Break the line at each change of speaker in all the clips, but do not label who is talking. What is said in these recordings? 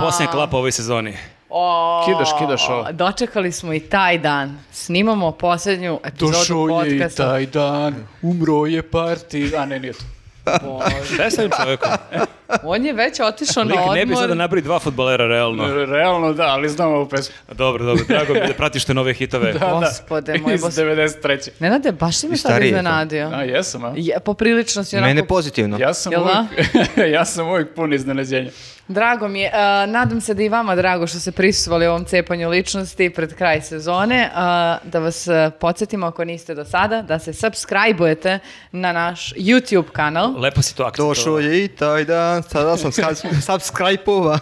posljednja klapa ove sezoni.
Pa! O,
Kidaš, kidaš ovo.
Dočekali smo i taj dan. Snimamo posljednju epizodu
Došao je i
podcasta.
taj dan, umro je parti... A ne, nije to.
Bože.
Šta je s ovim čovjekom?
On je već otišao na
E, Lik ne bi
Pa odmor.
sada nabrali dva futbolera, realno.
Realno da, ali znamo ovu pesmu.
Dobro, dobro, drago mi je da pratiš te nove hitove.
Da.
Gospode, moj
Iz
bos.
93.
Nenade, baš si me
I
sad
stariji je to.
iznenadio.
A, jesam, a?
Je, poprilično si onako...
Mene pozitivno.
Ja sam,
Jel da?
uvijek, ja sam uvijek pun iznenađenja.
Drago mi je. A, nadam se da i vama drago što ste prisustvovali ovom cepanju ličnosti pred kraj sezone. A, da vas e, podsjetimo ako niste do sada, da se subscribe-ujete na naš YouTube kanal.
Lepo si to akcentovao.
Došao je i taj dan, sada sam subs- subscribe-ovan.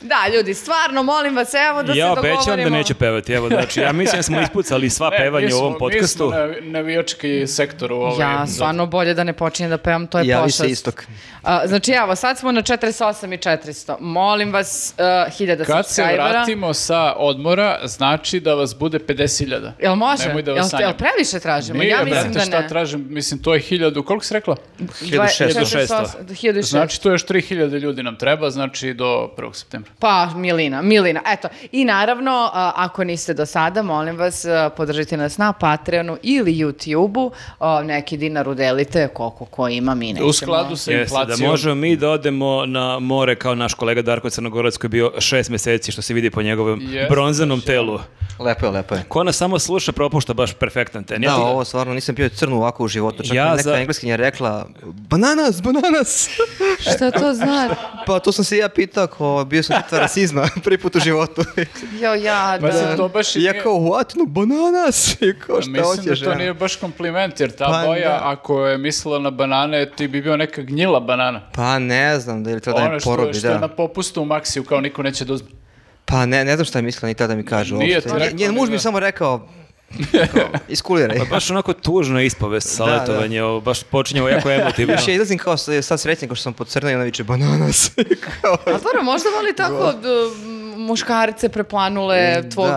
Da, ljudi, stvarno molim vas, evo da
ja
se dogovorimo.
obećavam da neću pevati, evo, znači, ja mislim da smo ispucali sva
E, mi
pevanja u
smo-
ovom podcastu.
Mi smo na- navijački sektor u ovoj...
Ja, stvarno bolje da ne počinjem da pevam, to je
Javi
pošast.
se istok.
A, znači, evo, sad smo na 48 i 400. Molim vas, uh, 1000
Kad se
subscribera.
vratimo sa odmora, znači da vas bude 50.000.
Jel može?
Nemoj da vas
jel,
sanjam.
jel previše tražimo?
Nije,
ja
brate,
mislim da ne.
šta tražim, mislim, to je hiljadu, koliko si rekla?
1600.
1600. 1600.
Znači, to još 3000 ljudi nam treba, znači do 1. septembra.
Pa, Milina, Milina, eto. I naravno, a, ako niste do sada, molim vas, a, podržite nas na Patreonu ili YouTubeu. A, Neki dinar udelite, koliko ko ima, mi nećemo.
U skladu sa
Jeste, da
inflacijom.
možemo mi da odemo na more kao naš kolega Darko Crnogorac koji je bio šest mjeseci što se vidi po njegovom
Jeste, znači,
bronzanom telu.
Lepo je, lepo je.
Ko nas samo sluša propušta baš perfektan ten. Ja
Da,
ti-
ovo stvarno nisam pio crnu ovako u životu. Čak
Ja
ja neka
za-
engleskinja rekla bananas, bananas.
Šta to znači?
Pa to sam se i ja pitao ko bio sam žrtva rasizma prvi put u životu.
Jo, ja,
Ma,
da.
sad to baš i
I ja
nije-
kao, what, no bananas? I kao, šta
Mislim da
hoćeš,
to
ja?
nije baš kompliment, jer ta
Pa
boja,
da.
ako je mislila na banane, ti bi bio neka gnjila banana.
Pa ne znam, da je li to da
Ono
je
što,
porobi,
što je
da.
na popustu u maksiju, kao niko neće da uzme.
Pa ne, ne znam šta je mislila ni tada mi kaže
Nije
uopšte.
ti rekla,
Njen muž mi
ne.
je samo rekao, kao, iskuliraj.
Pa baš onako tužna ispovest sa
Da, da.
letovanje, ovo baš počinje ovo jako emotivno.
Još ja izlazim kao sa- sad srećen kao što sam pocrnao i ona viče bananas. Kao,
A stvarno, možda voli tako d, m, muškarice preplanule
Da.
tvog,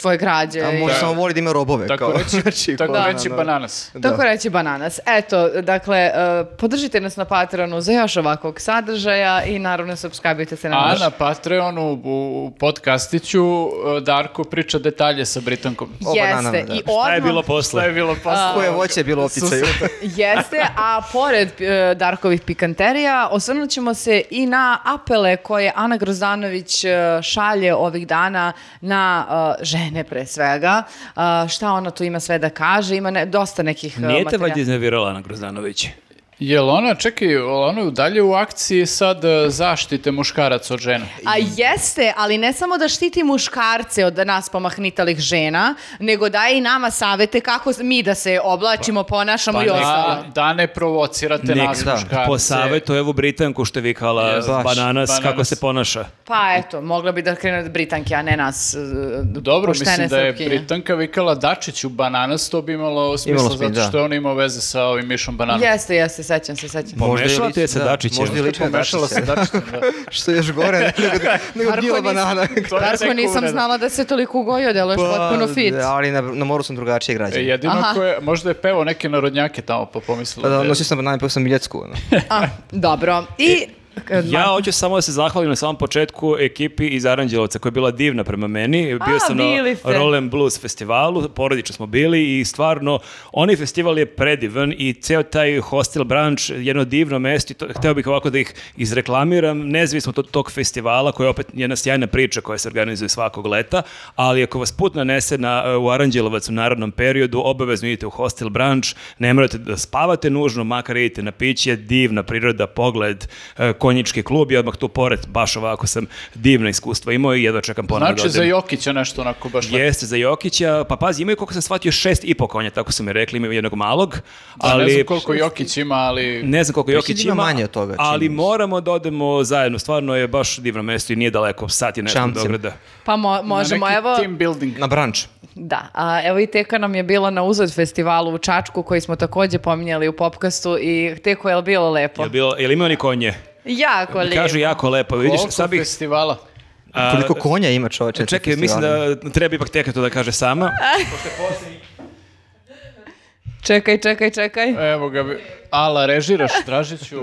tvoje građe.
A
i-
muž samo voli da ima robove.
E, Tako
kao.
reći,
Znači,
tako
kao,
reći
ono,
bananas.
da.
Tako reći bananas. Eto, dakle, e, podržite nas na Patreonu za još ovakvog sadržaja i naravno subscribe se na
A
naš.
na Patreonu u podcastiću e, Darko priča detalje sa Britankom.
O bananama,
Jeste,
da.
i
Šta je
odmah
bilo
Šta je
posle?
bilo posle?
Koje voće je bilo u opticaju?
jeste, a pored e, Darkovih pikanterija, osvrnut ćemo se i na apele koje Ana Grozdanović e, šalje ovih dana na e, žene pre svega. E, šta ona tu ima sve da kaže? Ima ne- dosta nekih e,
Nije te
materijala.
valjda iznervirala Ana Grozdanović?
Jel ona, čekaj, jel ona je dalje u akciji sad e, zaštite muškarac od žena?
A jeste, ali ne samo da štiti muškarce od nas pomahnitalih žena, nego daje i nama savete kako mi da se oblačimo, ponašamo
pa
i
ne.
ostalo.
Da, da ne provocirate
Nek-
nas
da,
muškarce.
Po savjetu evu Britanku što je vikala
Jeste.
bananas,
Baš,
kako
bananas.
se ponaša.
Pa eto, mogla bi da krene od Britanke, a ne nas e,
Dobro,
poštene
mislim da je
Srpkinje.
Britanka vikala Dačiću bananas, to bi imalo smisla
Imalo smisla,
zato što
da.
on imao veze sa ovim Mišom bananom.
Jeste, jeste, sećam se, sećam se.
Pa,
Pa
Možda je
Pomešala
lič-
ti je sa
da,
Dačićem.
Možda je lično na
Pomešala se
Dačića.
Dačićem, da.
Što je još gore nego, nego
Marko,
bila
nisam-
banana.
To je
Darko,
tek
nisam
uvreda.
znala da se toliko ugojio, deluješ
Pa,
potpuno fit.
Da, ali na, na moru sam drugačije
E,
građan.
jedino
Aha.
ko je, možda je pevao neke narodnjake tamo, pa pomislila.
Pa da,
je-
nosio sam banane, pa sam miljecku. Ono.
A, dobro. I...
E,
Ja hoću samo da se zahvalim na samom početku ekipi iz Aranđelovca koja je bila divna prema meni. Bio
A,
sam na
bili ste.
Roll and Blues festivalu, porodično smo bili i stvarno, onaj festival je predivan i ceo taj hostel branč jedno divno mesto i to, hteo bih ovako da ih izreklamiram, nezavisno od tog festivala koja je opet jedna sjajna priča koja se organizuje svakog leta, ali ako vas put nanese na, e, u Aranđelovac u narodnom periodu, obavezno idite u hostel branč, ne morate da spavate nužno, makar idite na piće, divna priroda, pogled, e, konjički klub i odmah tu pored, baš ovako sam divna iskustva imao i jedva čekam ponovno da
Znači za
odem.
Jokića nešto onako baš lepo.
Jeste, za Jokića, pa pazi, imaju koliko sam shvatio šest i po konja, tako su mi rekli, imaju jednog malog,
Da,
ali...
Ne znam koliko Jokić ima, ali...
Ne znam koliko
Mislim da
Jokić
ima
ima,
manje od toga, čini
ali
mi se.
moramo da odemo zajedno, stvarno je baš divno mesto i nije daleko, sat je nešto od
Čamcem.
Beograda.
Pa mo-
na
možemo,
neki
evo...
Team building.
Na branč.
Da, a evo i Teka nam je bila na uzad festivalu u Čačku koji smo također pominjali u popkastu i Teko je li bilo
Pa.
lepo?
Jel, bilo, jel imao ni konje?
Jako lijepo.
Kažu jako lepo, vidiš,
Koliko
sad bih...
festivala?
a,
Koliko konja ima čoveče? na
Čekaj, mislim
festivalima?
da treba ipak teka to da kaže sama.
Čekaj, čekaj, čekaj.
Evo ga, bi- Ala, režiraš Dražiću.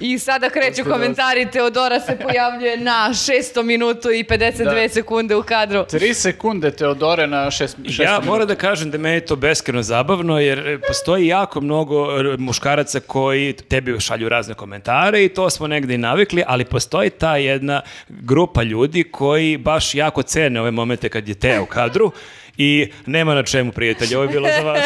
I sada kreću komentari, Teodora se pojavljuje na 600 minutu i 52
Da.
sekunde u kadru.
Tri sekunde Teodore na šest, šest
Ja moram da kažem da meni je to beskreno zabavno, jer e, postoji jako mnogo e, muškaraca koji tebi šalju razne komentare i to smo negde i navikli, ali postoji ta jedna grupa ljudi koji baš jako cene ove momente kad je te u kadru i nema na čemu, prijatelji, ovo je bilo za vas.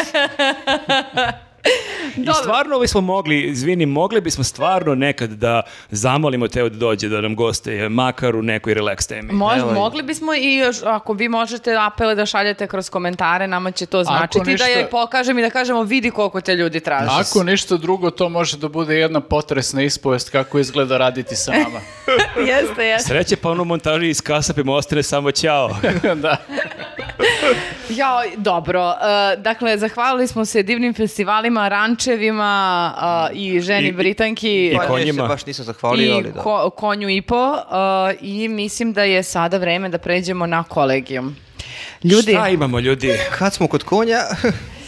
I stvarno bismo mogli, izvini, mogli bismo stvarno nekad da zamolimo Teo da dođe da nam goste, makar u nekoj relax temi.
Mož-
Evo.
mogli bismo i još, ako vi možete apele da šaljete kroz komentare, nama će to značiti
ništa-
da je pokažem i da kažemo vidi koliko te ljudi traže.
da-
Ako ništa drugo, to može da bude jedna potresna ispovest kako izgleda raditi sa nama.
jeste, jeste.
Sreće pa ono u montaži iz kasapima ostane samo ćao.
da.
Jao, dobro. e, dakle, zahvalili smo se divnim festivalima, rančevima e, i ženi
I-
Britanki.
i
koja-
konjima.
Ja se Pa, baš nisam zahvalio, ali
I
da.
ko- konju i po uh, i mislim da je sada vreme da pređemo na kolegijum. Ljudi,
Šta imamo ljudi?
Kad smo kod konja,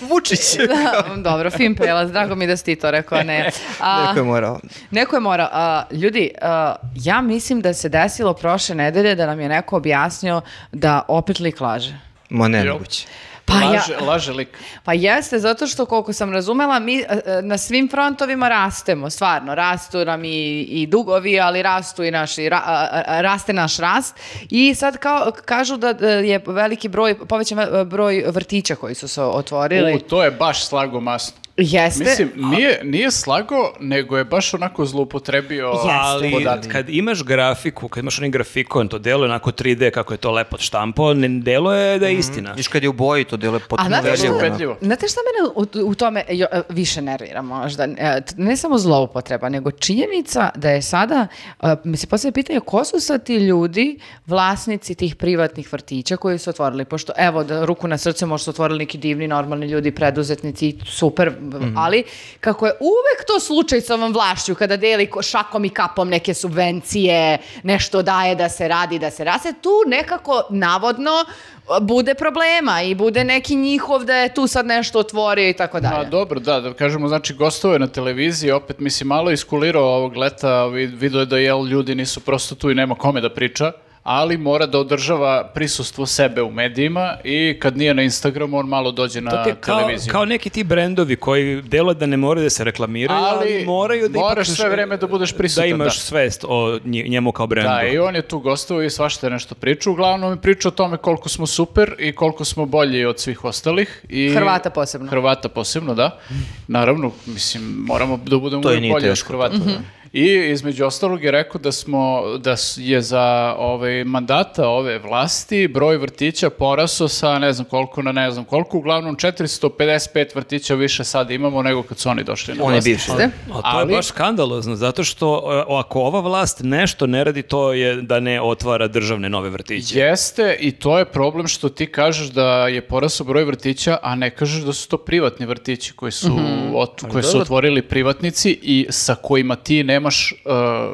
Vučić.
dobro, fin prelaz, drago mi da si ti to rekao, a ne. A,
Neko je morao.
neko je morao. a, ljudi, a, ja mislim da se desilo prošle nedelje da nam je neko objasnio da opet lik laže.
Ma ne,
Jo.
moguće.
Pa,
laže,
ja,
laže lik.
pa jeste, zato što koliko sam razumela, mi e, e, na svim frontovima rastemo, stvarno, rastu nam i, i dugovi, ali rastu i naši, ra- a- a- raste naš rast. I sad kao, kažu da e, je veliki broj, povećan ve- broj vrtića koji su se otvorili.
U, to je baš slago masno.
jeste.
Mislim, nije, nije slago, nego je baš onako zloupotrebio
Ali
podatke.
kad imaš grafiku, kad imaš onaj grafikon, to delo je onako 3D kako je to lepo štampo, ne delo je
Mm.
da je istina.
Viš kad je u boji, to delo je
A
potpuno
znate
verljivo.
šta,
ono.
Ubedljivo.
znate šta mene u, u tome jo- e, više nervira možda? E, t- Ne samo zloupotreba, nego činjenica da je sada, e, mi se postavlja pitanje, ko su sad ti ljudi vlasnici tih privatnih vrtića koji su otvorili? Pošto, evo, da ruku na srce možda su otvorili neki divni, normalni ljudi, preduzetnici, super, b- ali kako je uvek to slučaj sa ovom vlašću, kada deli ko- šakom i kapom neke subvencije, nešto daje da se radi, da se rase, tu nekako navodno e, bude problema i bude neki njihov da je tu sad nešto otvorio i tako
Ma
dalje.
dobro, da, da kažemo, znači gostovo je na televiziji, opet mislim malo je iskulirao ovog leta, vid- vidio je da jel ljudi nisu prosto tu i nema kome da priča, ali mora da održava prisustvo sebe u medijima i kad nije na Instagramu on malo dođe na
To ti je kao,
televiziju.
kao neki ti brendovi koji delo da ne moraju da se reklamiraju, ali,
Ali
moraju da
moraš
ipak-
sve vreme da budeš prisutan,
Da imaš
da.
svest o nje- njemu kao brendu.
Da, i on je tu gostovao i svašta je nešto pričao. Uglavnom je pričao o tome koliko smo super i koliko smo bolji od svih ostalih. I
Hrvata posebno.
Hrvata posebno, da. Naravno, mislim, moramo da budemo
To i
uvijek
nije
bolji od
teško.
Hrvata.
Mhm.
da. I između ostalog je rekao da smo da s- je za ovaj mandata ove vlasti broj vrtića poraso sa ne znam koliko na ne znam koliko, uglavnom 455 vrtića više sad imamo nego kad su oni došli na
On je
vlast.
bivši.
Jeste?
A to
Ali-
je baš skandalozno, zato što e, ako ova vlast nešto ne radi, to je da ne otvara državne nove vrtiće.
Jeste i to je problem što ti kažeš da je porasao broj vrtića, a ne kažeš da su to privatni vrtići koji su,
Mhm.
ot- koje su otvorili privatnici i sa kojima ti nemaš, e,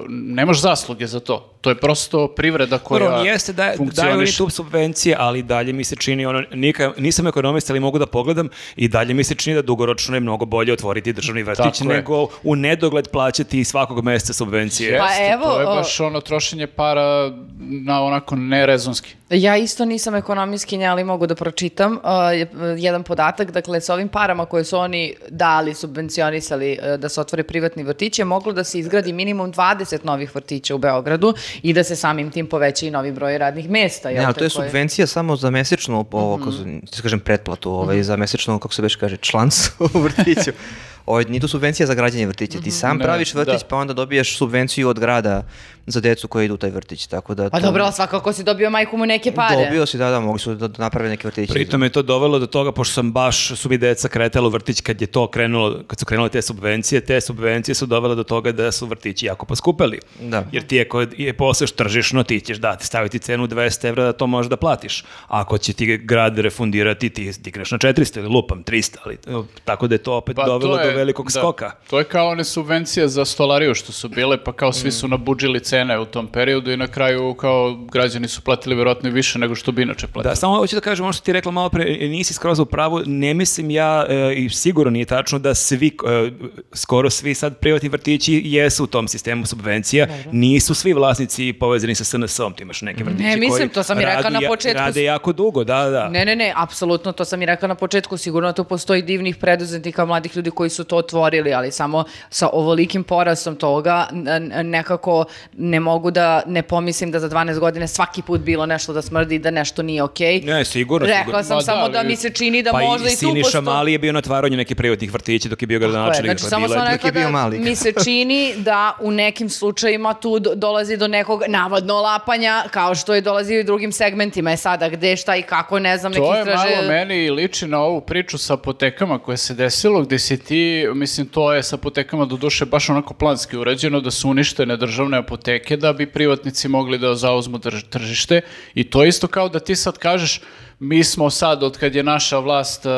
nemaš zasluge za to. To je prosto privreda koja
Dobro, on jeste da, daju oni
funkcioniše.
tu subvencije, ali dalje mi se čini, ono, nika, nisam ekonomista, ali mogu da pogledam, i dalje mi se čini da dugoročno je mnogo bolje otvoriti državni vrtić,
Tako je.
nego u nedogled plaćati svakog mjeseca subvencije.
Jeste,
Pa evo,
to je
o-
baš ono trošenje para na onako nerezonski.
Ja isto nisam ekonomistkinja, ali mogu da pročitam uh, je- jedan podatak. Dakle, s ovim parama koje su oni dali, subvencionisali uh, da se otvore privatni vrtići, je moglo da se izgradi minimum 20 novih vrtića u Beogradu i da se samim tim poveća i novi broj radnih mesta. jel
Ne, ali
te,
to je
koje-
subvencija samo za mesečno, ovo,
Mhm.
kako se- ti kažem, pretplatu, ovaj, za mesečno, kako se već kaže, članstvo u vrtiću. Ovo, nije to subvencija za građanje vrtića, ti
Mhm.
sam
Ne,
praviš vrtić
da.
pa onda dobiješ subvenciju od grada za decu koja idu u taj vrtić, tako da...
Pa
to-
dobro, ali svakako si dobio majku mu neke pare.
Dobio si, da, da, mogli su da da naprave neke vrtiće.
Pritom je to dovelo do toga, pošto sam baš, su mi deca kretala u vrtić kad je to krenulo, kad su krenule te subvencije, te subvencije su dovele do toga da su vrtići jako poskupeli.
Da.
Jer ti ako je poseš tržišno, ti ćeš dati, staviti cenu 200 evra da to možeš da platiš. Ako će ti grad refundirati, ti digneš na 400 ili lupam 300, ali e, tako da je to opet
Pa
dovelo
to je,
do velikog
Da.
skoka.
To je kao one subvencije za stolariju što su bile, pa kao svi su
Mm.
nabudžili cene u tom periodu i na kraju kao građani su platili verovatno i više nego što bi inače platili.
Da, samo hoću da kažem ono što ti rekla malo pre, e, nisi skroz u pravu, ne mislim ja e, i sigurno nije tačno da svi, e, skoro svi sad privatni vrtići jesu u tom sistemu subvencija, nisu svi vlasnici povezani sa SNS-om, ti imaš neke vrtići
mislim,
koji
to sam i rekla
radu
na
ja-
početku.
rade jako dugo, da, da.
Ne, ne, ne, apsolutno, to sam i rekla na početku, sigurno tu postoji divnih preduzetnika, mladih ljudi koji su to otvorili, ali samo sa ovolikim porastom toga n- n- nekako ne mogu da ne pomislim da za 12 godine svaki put bilo nešto da smrdi i da nešto nije okej.
Ne, sigurno,
Rekla
sigurno.
sam
Ma da,
samo da,
ali-
mi se čini da
pa
možda i,
i
tu postoji.
Siniša Mali je bio na otvaranju nekih privatnih vrtića dok je bio
Tako je,
gradonačelnik.
Znači,
dakle,
samo
bila je-
sam
dok je
rekla
bio
da
mali.
mi se čini da u nekim slučajima tu do- dolazi do nekog navodno lapanja, kao što je dolazi i u drugim segmentima. E sada, gde, šta i kako, ne znam, neki
To je
istraže...
malo meni i liči na ovu priču sa apotekama koja se desilo, gde si ti, mislim, to je sa apotekama do duše baš onako planski urađeno, da su uništene državne apoteke da bi privatnici mogli da zauzmu drž- tržište i to je isto kao da ti sad kažeš mi smo sad, od kad je naša vlast e,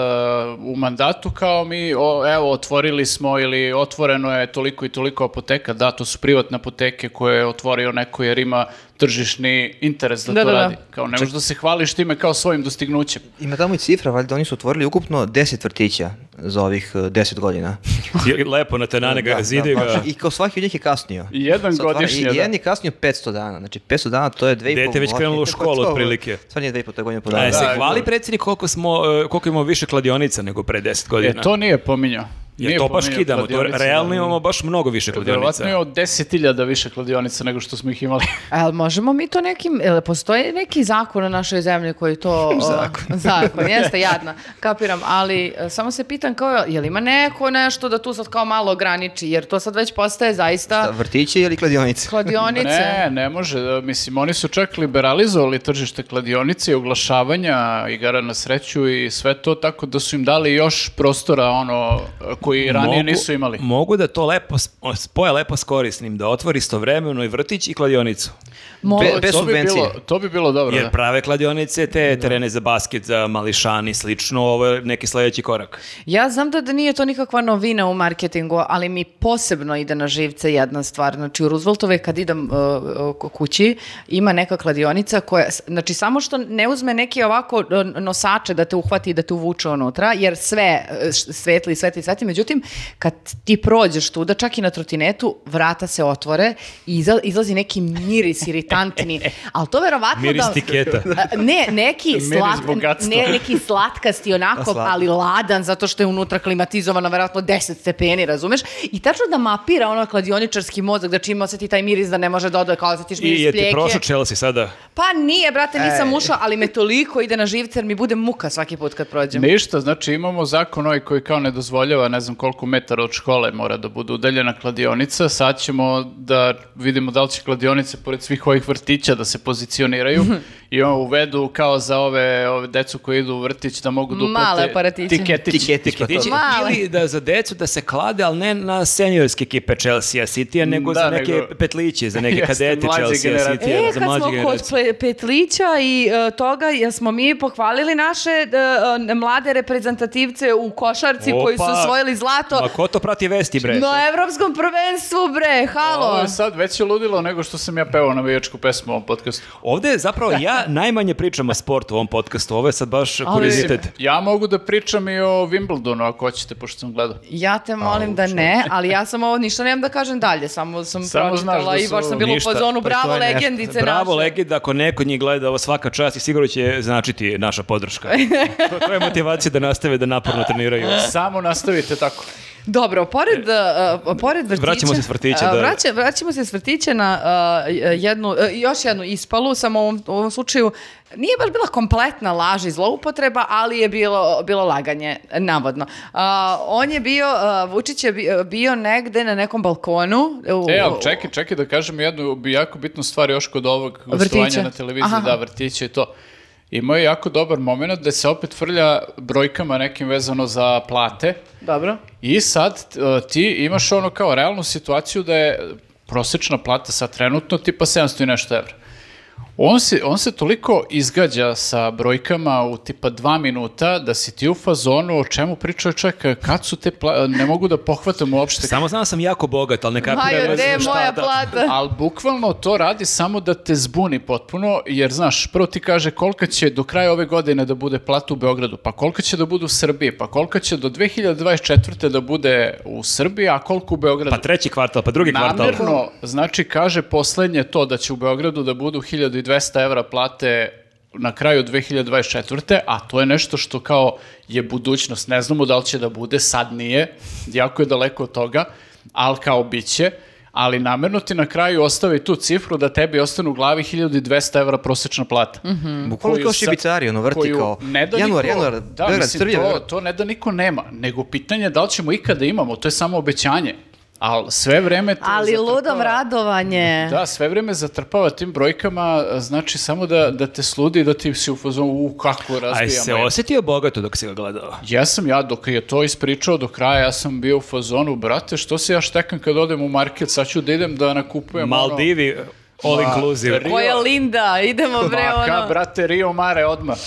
u mandatu, kao mi, o, evo, otvorili smo ili otvoreno je toliko i toliko apoteka, da, to su privatne apoteke koje je otvorio neko jer ima tržišni interes da,
Da,
to
da, da.
radi. Kao ne možeš da se hvališ time kao svojim dostignućem.
Ima tamo i cifra, valjda oni su otvorili ukupno 10 vrtića za ovih e, 10 godina.
Je Lepo na tenane ga,
Da,
zide
da, baš.
ga.
I kao svaki od njih je kasnio.
I jedan
Sa otvara-
godišnje,
I
da.
jedan je kasnio 500 dana. Znači 500 dana to je 2,5 godine. Pa
Dete je već krenulo u školu,
To je to.
otprilike.
Stvarno je 2,5 godine po
Da,
dana.
se
da.
hvali predsjednik koliko, smo, e, koliko imamo više kladionica nego pre 10 godina.
E, to nije pominjao.
Jer to baš
pominjao
kidamo, to
kladionice,
realno
da.
imamo baš mnogo više
Verovatno je
kladionica.
od 10.000 više kladionica nego što smo ih imali.
A jel možemo mi to nekim, jel postoji neki zakon u našoj zemlji koji to... zakon. zakon, jeste, jadna, kapiram, ali e, samo se pitam kao, jel ima neko nešto da tu sad kao malo ograniči, jer to sad već postaje zaista
Vrtići ili kladionice?
kladionice.
ne, ne može. da, Mislim, oni su čak liberalizovali tržište kladionice i oglašavanja igara na sreću i sve to, tako da su im dali još prostora ono koji ranije nisu imali.
Mogu da to lepo, s- o, spoje lepo s korisnim, da otvori istovremeno i vrtić i kladionicu.
Molim.
Be- bez
to, bi
subvencije.
bilo, to bi bilo dobro.
Jer
da.
prave kladionice, te terene za basket, za mališani, slično, ovo je neki sledeći korak.
Ja znam da, da nije to nikakva novina u marketingu, ali mi posebno ide na živce jedna stvar. Znači u Rooseveltove kad idem uh, uh, ku- kući ima neka kladionica koja, s- znači samo što ne uzme neki ovako uh, nosače da te uhvati i da te uvuče unutra, jer sve uh, š- svetli, svetli, svetli, međutim kad ti prođeš tu, da čak i na trotinetu vrata se otvore i iza- izlazi neki miris iritantni, ali to verovatno
Miris
da...
tiketa.
A, Ne, neki,
Miris
slat,
bogatstva.
ne, neki slatkasti onako,
A, slatko.
ali ladan zato što je unutra klimatizovano verovatno 10 stepeni, razumeš? I tačno da mapira ono kladioničarski mozak, znači ima osjeti taj miris da ne može da odoje, kao osjetiš
I
miris
je ti
pljeke.
prošao Chelsea sada.
Pa nije, brate, nisam ušao, ali me toliko ide na živce jer mi bude muka svaki put kad prođem.
Ništa, znači imamo zakon ovaj koji kao ne dozvoljava ne znam koliko metara od škole mora da bude udaljena kladionica, sad ćemo da vidimo da li će kladionice pored svih ovih vrtića da se pozicioniraju
Mhm.
i ono uvedu kao za ove, ove decu koji idu u vrtić da mogu da uplate
Male aparatiće.
tiketić.
Tiketić, pa to.
Tiketići.
Male.
Ili da za decu da se klade, ali ne na seniorske ekipe Chelsea City, nego
Da,
za neke
nego-
petliće, za neke
Jeste,
kadete
mlađe
Chelsea
generacije.
City,
E,
za
kad
mlađe
smo kod
generacije.
pe- Petlića i e, toga, jesmo mi pohvalili naše e, e, mlade reprezentativce u košarci koji su
Opa.
osvojili zlato
Ma ko to prati vesti, bre?
na evropskom prvenstvu, bre, halo.
Ovo je sad veće ludilo nego što sam ja pevao na vijačku pesmu u ovom podcastu.
Ovde zapravo ja najmanje pričam o sportu u ovom podcastu, ovo je sad baš kuriozitet.
Ja mogu da pričam i o Wimbledonu ako hoćete, pošto sam gledao.
Ja te molim da ne, ali ja sam ovo ništa nemam da kažem dalje, samo sam
Samo znaš
pročitala
da
i baš
su-
sam bila
Ništa,
u fazonu,
pa to je
bravo
nešto.
legendice
Bravo
naše.
Legend, ako neko njih gleda ovo svaka čast i sigurno će značiti naša podrška. to, to je motivacija da nastave da naporno treniraju.
Samo nastavite tako.
Dobro, pored, uh, pored vrtića...
Vraćamo se s vrtića,
uh,
da.
vraća- vraćamo se s vrtića na uh, jednu, uh, još jednu ispalu, samo u ovom, u ovom slučaju nije baš bila kompletna laž i zloupotreba, ali je bilo, bilo laganje, navodno. Uh, on je bio, uh, Vučić je bio, bio negde na nekom balkonu. u-
E, ali čekaj, čekaj da kažem jednu bi- jako bitnu stvar još kod ovog
Vrtića.
gostovanja na televiziji,
Aha.
da, vrtića i to. Imao je jako dobar moment da se opet frlja brojkama nekim vezano za plate
Dobro.
i sad e, ti imaš ono kao realnu situaciju da je prosječna plata sad trenutno tipa 700 i nešto evra. On se, on se toliko izgađa sa brojkama u tipa dva minuta da si ti u fazonu o čemu pričao čovjek, kad su te pla- ne mogu da pohvatam uopšte.
Samo znam da sam jako bogat, ali ne kapiram
Majo,
ne
gde je
znam šta
moja
da-
plata?
Ali bukvalno to radi samo da te zbuni potpuno, jer znaš, prvo ti kaže kolika će do kraja ove godine da bude plata u Beogradu, pa kolika će da bude u Srbiji, pa kolika će do 2024. da bude u Srbiji, a koliko u Beogradu.
Pa treći kvartal, pa drugi kvartal.
Namjerno, znači, kaže poslednje to da će u Beogradu da budu 1200 evra plate na kraju 2024. A to je nešto što kao je budućnost. Ne znamo da li će da bude, sad nije, jako je daleko od toga, ali kao bit će. Ali namerno ti na kraju ostavi tu cifru da tebi ostane u glavi 1200 evra prosečna plata.
Bukvalno
Mm, Koju
kao
sa-
šibicari, ono vrti
koju
kao
ne da
januar,
niko-
januar,
da,
Beograd,
mislim,
Srbija,
to,
Beograd.
to ne da niko nema, nego pitanje je da li ćemo ikada imamo, to je samo obećanje. Ali sve vreme... te
Ali
zatrpava-
ludom radovanje.
Da, sve vreme zatrpava tim brojkama, znači samo da, da te sludi, da ti si u fazonu, u, kako
Aj
razbijamo.
se osjetio bogato dok si ga gledao.
Ja sam ja, dok je to ispričao do kraja, ja sam bio u fazonu, brate, što se ja štekam kad odem u market, sad ću da idem da nakupujem ono...
Maldivi, all inclusive.
Rio-
Ko je Linda, idemo bre
Maka,
ono.
brate, Rio Mare odmah.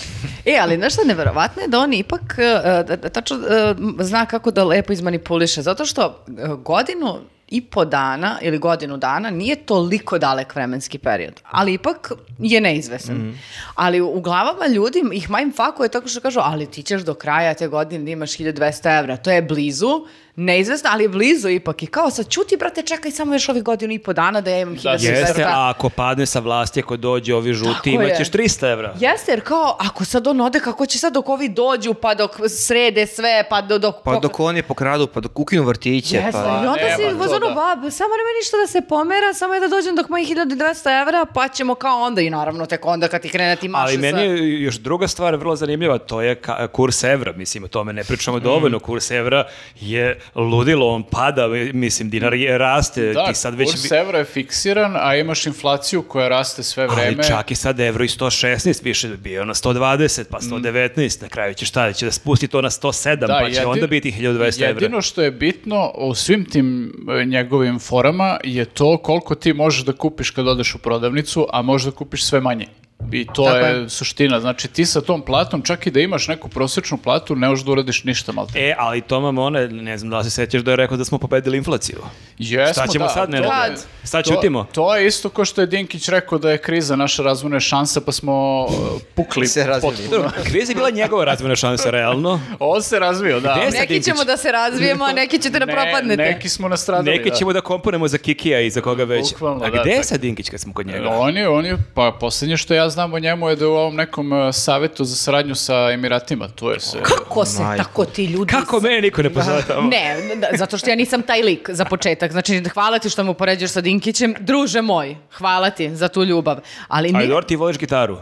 E, ali nešto neverovatno je da on ipak e, da, da, tačno e, m, zna kako da lepo izmanipuliše, zato što e, godinu i po dana ili godinu dana nije toliko dalek vremenski period, ali ipak je neizvesan.
Mhm.
Ali u, u glavama ljudi ih mindfuckuje tako što kažu, ali ti ćeš do kraja te godine da imaš 1200 evra, to je blizu, neizvesno, ali je blizu ipak. I kao sad čuti, brate, čekaj samo još ovih godinu i po dana da ja imam 1200 evra.
Jeste, a ako padne sa vlasti, ako dođe ovi
Tako
žuti,
je.
imaćeš 300 evra.
Jeste, jer kao, ako sad on ode, kako će sad dok ovi dođu, pa dok srede sve, pa do, dok...
Pa dok oni pokradu, pa dok ukinu vrtiće,
Jeste,
pa...
i onda
nema
si
to,
vozonu,
da.
bab, samo nema ništa da se pomera, samo je da dođem dok mojih 1200 evra, pa ćemo kao onda i naravno tek onda kad ti krene da ti maše
Ali meni
sa...
je još druga stvar vrlo zanimljiva, to je ka- kurs evra, mislim, o tome ne pričamo
Mm.
dovoljno, kurs evra je ludilo, on pada, mislim, dinar je raste,
Da,
ti sad već...
kurs
bi-
evra je fiksiran, a imaš inflaciju koja raste sve vreme.
Ali čak i sad evro i 116 više je bio na 120,
Mm.
pa 119, na kraju će šta, će da spusti to na 107, pa će
jedin-
onda biti 1200 evra.
Da, Jedino što je bitno u svim tim e, njegovim forama je to koliko ti možeš da kupiš kad odeš u prodavnicu, a možeš da kupiš sve manje. I to
Tako
je,
je.
suština. Znači ti sa tom platom, čak i da imaš neku prosječnu platu, ne možeš da uradiš ništa malo.
E, ali Toma Mone, ne znam da li se sećaš da je rekao da smo pobedili inflaciju.
Jesmo,
Šta ćemo
da,
sad,
to-
Nenade?
Kad?
Sad
to-
ćutimo?
To je isto kao što je Dinkić rekao da je kriza naša razvojna šansa, pa smo e, pukli.
Se razvili.
potpuno.
Dobro, kriza je bila njegova razvojna šansa, realno.
On se razvio, da.
Gde
Neki
Dinkić.
ćemo da se razvijemo, a neki ćete da
Ne,
propadnete.
Neki smo nastradali.
Neki
da.
ćemo da komponemo za Kikija i za koga već. A
Bukvalno, da,
gde je
tako. E,
sad Dinkić kad smo kod njega?
On je, on je, pa posljednje što ja znam o njemu je da je u ovom nekom e, savetu za saradnju sa Emiratima, to je se...
Kako se
Majko.
tako ti ljudi...
Kako mene niko ne pozove tamo?
Ne, da, zato što ja nisam taj lik za početak. Znači, hvala ti što me upoređuješ sa Dinkićem. Druže moj, hvala ti za tu ljubav. Ali
Ali
nije-
dobro, ti voliš gitaru.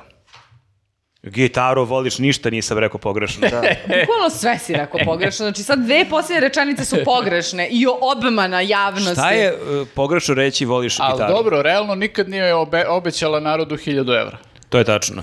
Gitaru voliš ništa, nisam rekao pogrešno.
Da.
Bukvalno sve si rekao pogrešno. Znači sad dve posljednje rečenice su pogrešne i obmana javnosti.
Šta je e, pogrešno reći voliš
Ali
gitaru?
dobro, realno nikad nije obe, obećala narodu 1000 evra.
To je tačno.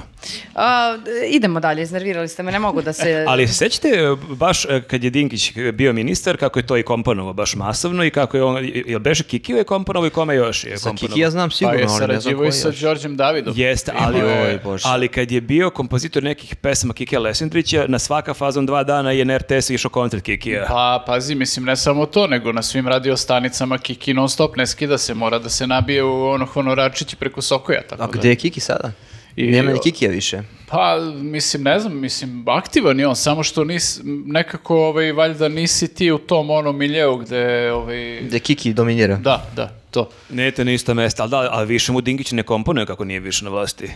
A, d- idemo dalje, iznervirali ste me, ne mogu da se...
Ali se sećate e, baš e, kad je Dinkić bio ministar, kako je to i komponovao baš masovno i kako je on, jel beše Kikio je komponovao i kome još je
Sa
komponovao?
Kiki ja znam
Pa je
sigurno, ali ne znam
sarađivo
koji
i sa
još.
Đorđem Davidom.
Jeste, ali,
Ima,
e,
oj, Bože.
ali kad je bio kompozitor nekih pesama Kikija Lesendrića, na svaka fazon dva dana je na RTS išao koncert Kikija.
Pa, pazi, mislim, ne samo to, nego na svim radio stanicama Kiki non stop ne skida se, mora da se nabije u ono honoračići preko Sokoja, tako
A
da.
gde je Kiki sada?
I-
Nema ni Kikija više.
Pa, mislim, ne znam, mislim, aktivan je on, samo što nis, nekako, ovaj, valjda nisi ti u tom onom miljeu gde, ovaj...
Gde Kiki dominira.
Da, da, to.
Ne, to na isto mesto, ali, da, ali više mu Dinkić ne komponuje kako nije više na vlasti.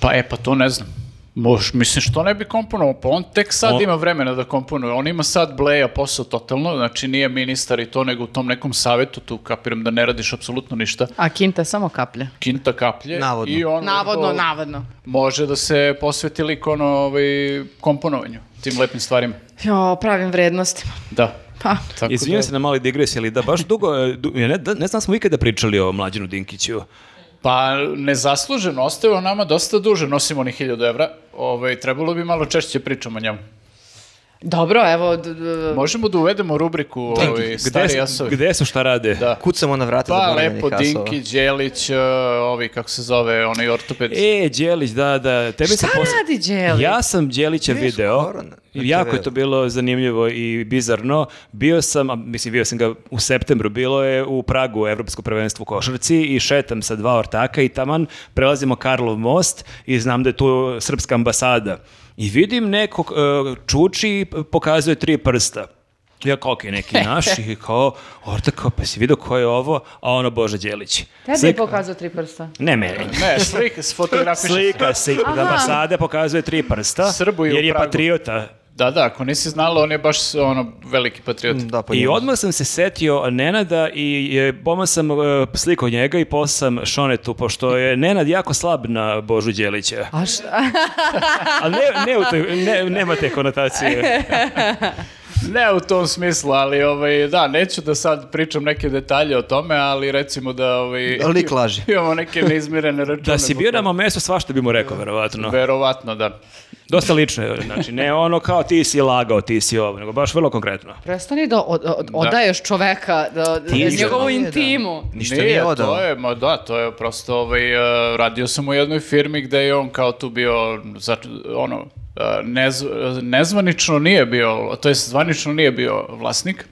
Pa e, pa to ne znam. Moš, mislim, što ne bi komponovao? Pa on tek sad
On-
ima vremena da komponuje. On ima sad bleja posao totalno, znači nije ministar i to, nego u tom nekom savetu tu kapiram da ne radiš apsolutno ništa.
A Kinta samo kaplja.
Kinta kaplje.
Navodno.
I on
Navodno,
to
navodno.
Može da se posveti lik ono, ovaj, komponovanju, tim lepim stvarima.
Jo, pravim vrednostima.
Da.
Pa,
Tako
Izvinjam
da-
se na mali digres, ali da baš dugo, e, du- ja ne, da- ne znam da smo ikada pričali o mlađenu Dinkiću.
Pa nezasluženo, ostaje on nama dosta duže, nosimo ni 1000 evra. Ovaj, trebalo bi malo češće pričamo o njemu.
Dobro, evo... d- d-
Možemo da uvedemo rubriku ovi,
Gde,
stari jasovi.
gde su šta rade?
Da.
Kucamo na vrata
Pa,
zaboravljenih
lepo,
asova.
Dinki, Đelić, e, ovi, kako se zove, onaj ortoped.
E, Đelić, da, da. Tebi
Šta
sam posle-
radi Đelić?
Ja sam Đelića
Vidiš,
video.
skoro na- na
Jako je
TV-u.
to bilo zanimljivo i bizarno. Bio sam, a mislim bio sam ga u septembru, bilo je u Pragu Evropsko prvenstvo u košarci i šetam sa dva ortaka i taman prelazimo Karlov most i znam da je tu srpska ambasada. I vidim nekog e, čuči i pokazuje tri prsta. Ja kao, okej, neki naš i kao, ortak, kao, pa si vidio ko je ovo, a ono Boža Đelić.
Tebi je
Slika-
pokazao tri prsta.
Ne meni.
Ne, slika, sfotografiše se.
Slika se da ambasade pokazuje tri prsta,
Srbu i u
jer je
Pragu.
patriota.
Da, da, ako nisi znala, on je baš ono, veliki patriot.
Da, pa
I
njemu.
odmah sam se setio Nenada i e, boma sam e, slikao njega i poslao sam Šonetu, pošto je Nenad jako slab na Božu Đelića.
A šta?
Ali ne, ne, u toj- ne- nema te konotacije.
Ne u tom smislu, ali ovaj, da, neću da sad pričam neke detalje o tome, ali recimo da... Ovaj,
Da, lik laže.
Imamo neke neizmirene račune.
Da si
zbog
bio
toga.
na mom mestu, svašta bi mu rekao, verovatno.
Verovatno, da.
Dosta lično je, znači, ne ono kao ti si lagao, ti si ovo, nego baš vrlo konkretno.
Prestani da od, od- odaješ čoveka, da, da-
Ti-
njegovu
Nije, da.
intimu.
Ništa nije odao.
To je, ma da, to je prosto, ovaj, e, radio sam u jednoj firmi gde je on kao tu bio, za, ono, e, nez- nezvanično nije bio, to jest zvanično nije bio vlasnik,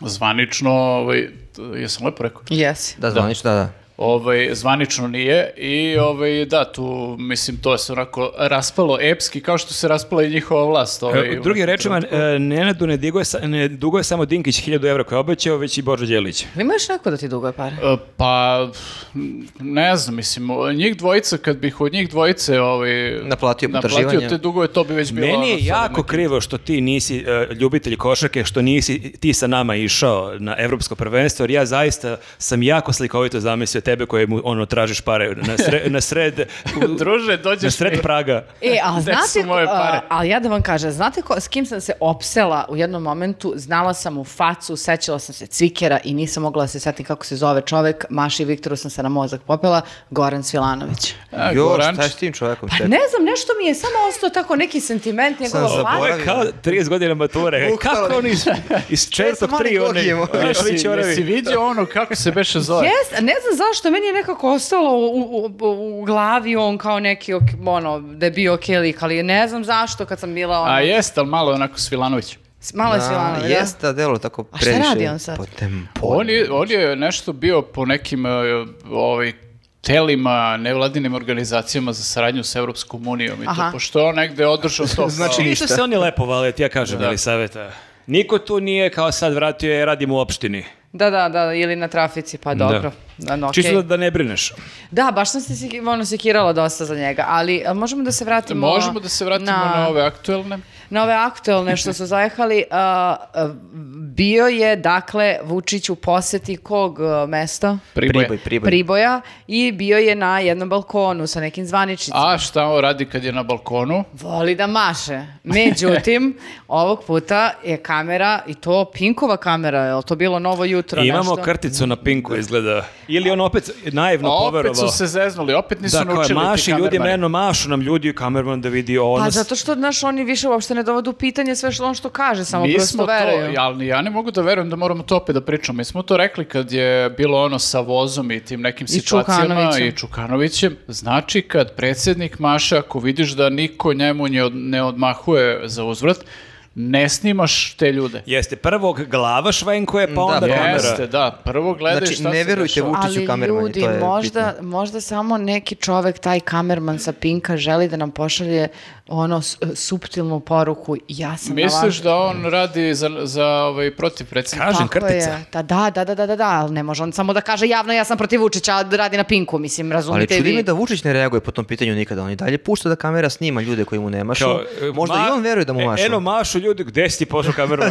zvanično, ovaj, t- jesam lepo rekao,
Jesi.
Da, zvanično, da, da.
Ovaj, zvanično nije i ovaj, da, tu mislim to se onako raspalo epski kao što se raspala i njihova vlast. Ovaj,
E, Drugim rečima, e, Nenadu ne, diguje sa- ne duguje samo Dinkić 1000 evra koje je obećao, već i Božo Đelić.
Ali imaš neko da ti duguje pare?
E, Pa, ne znam, mislim, njih dvojica, kad bih od njih dvojice ovaj, naplatio
Naplatio potraživanja.
te dugove, to bi već bilo...
Meni
ono,
je
sad
jako
neki-
krivo što ti nisi e, ljubitelj košarke, što nisi ti sa nama išao na evropsko prvenstvo, jer ja zaista sam jako slikovito zamislio tebe koji mu ono tražiš pare na, sre- na sred u-
Druže,
na
dođeš
sred Praga.
E, a
Gde
znate,
su moje
ko-
pare?
a, ali ja da vam kažem, znate ko, s kim sam se opsela u jednom momentu, znala sam mu facu, sećala sam se cvikera i nisam mogla da se setim kako se zove čovek, Maši i Viktoru sam se na mozak popela, Goran Svilanović.
A,
Jo,
Goranč.
šta je s tim čovjekom?
Pa
čekaj?
ne znam, nešto mi je samo ostao tako neki sentiment, njegova
Sam
Ovo
faca.
je kao 30 godina mature.
Bukvalno.
Kako oni iz, iz četvrtog
Samo oni
tri oni,
gogijemo.
oni
Jesi,
svi ćoravi.
jesi vidio ono kako se beše zove?
Jes, ne znam zašto, meni je nekako ostalo u, u, u- u glavi on kao neki, ok- ono, da je bio okej lik, ali ne znam zašto kad sam bila ono,
A jest, ali malo je onako Svilanović.
s- malo je
Da,
Svilanović, da?
Jest, da, delo tako
A šta
previše.
radi on sad?
Po tem
On je, on je nešto bio po nekim e, ovaj, telima, nevladinim organizacijama za saradnju sa Evropskom unijom i
Aha.
to, pošto je on negde održao to.
Znači,
kao-
Ništa se oni lepo vale, ti ja kažem, da. saveta. Niko tu nije kao sad vratio je, radim u opštini.
Da, da, da, ili na trafici, pa dobro. Da. no,
Čisto
okej.
da, da ne brineš.
Da, baš sam se sik- ono, sekirala dosta za njega, ali a, možemo da se vratimo...
Možemo da se vratimo na, ove aktuelne.
na ove aktualne što su zajehali. A, a, bio je, dakle, Vučić u poseti kog a, mesta?
Priboje.
Priboj.
Priboja i bio je na jednom balkonu sa nekim zvaničnicima.
A šta on radi kad je na balkonu?
Voli da maše. Međutim, ovog puta je kamera, i to Pinkova kamera, je li to bilo novo jutro?
Imamo
nešto? Da.
karticu na pinku izgleda. Ili on opet naivno
A opet
poverovao.
su se zeznuli, opet nisu
da, kao je
naučili
da. maši
ti
ljudi,
kamermani.
meno mašu nam ljudi i kamerman da vidi ono.
Pa zato što, znaš, oni više uopšte ne dovode u pitanje sve što on što kaže, samo
Mi
prosto
smo
veruju.
to, ali ja ne mogu da verujem da moramo to opet da pričamo. Mi smo to rekli kad je bilo ono sa vozom i tim nekim situacijama
Čukanovićem.
i Čukanovićem. Znači kad predsjednik Maša, ako vidiš da niko njemu ne, od- ne odmahuje za uzvrat, ne snimaš te ljude.
Jeste, prvog glava švenkuje, pa
Da,
onda
pa-
kamera.
Jeste, da, prvo gledaj
Znači,
šta
ne
se
verujte
dešava.
Vučiću
Ali
kamermanu,
ljudi,
to je
možda, možda samo neki čovek, taj kamerman sa Pinka, želi da nam pošalje ono s- suptilnu poruku. Ja sam na vas-
Misliš da on radi za, za ovaj, protiv predsjednika?
Kažem,
Tako
kartica.
je. Da, da, da, da, da, da, da, ali ne može on samo da kaže javno ja sam protiv Vučića, a da radi na Pinku, mislim,
Ali
razumite
čudi
vi.
me da Vučić ne reaguje po tom pitanju nikada. On i dalje pušta da kamera snima ljude koji mu ne mašu.
Kao, e,
Možda
ma-
i on veruje da mu
e,
mašu.
Eno mašu Da. ljudi, gde si ti pošao kamerman?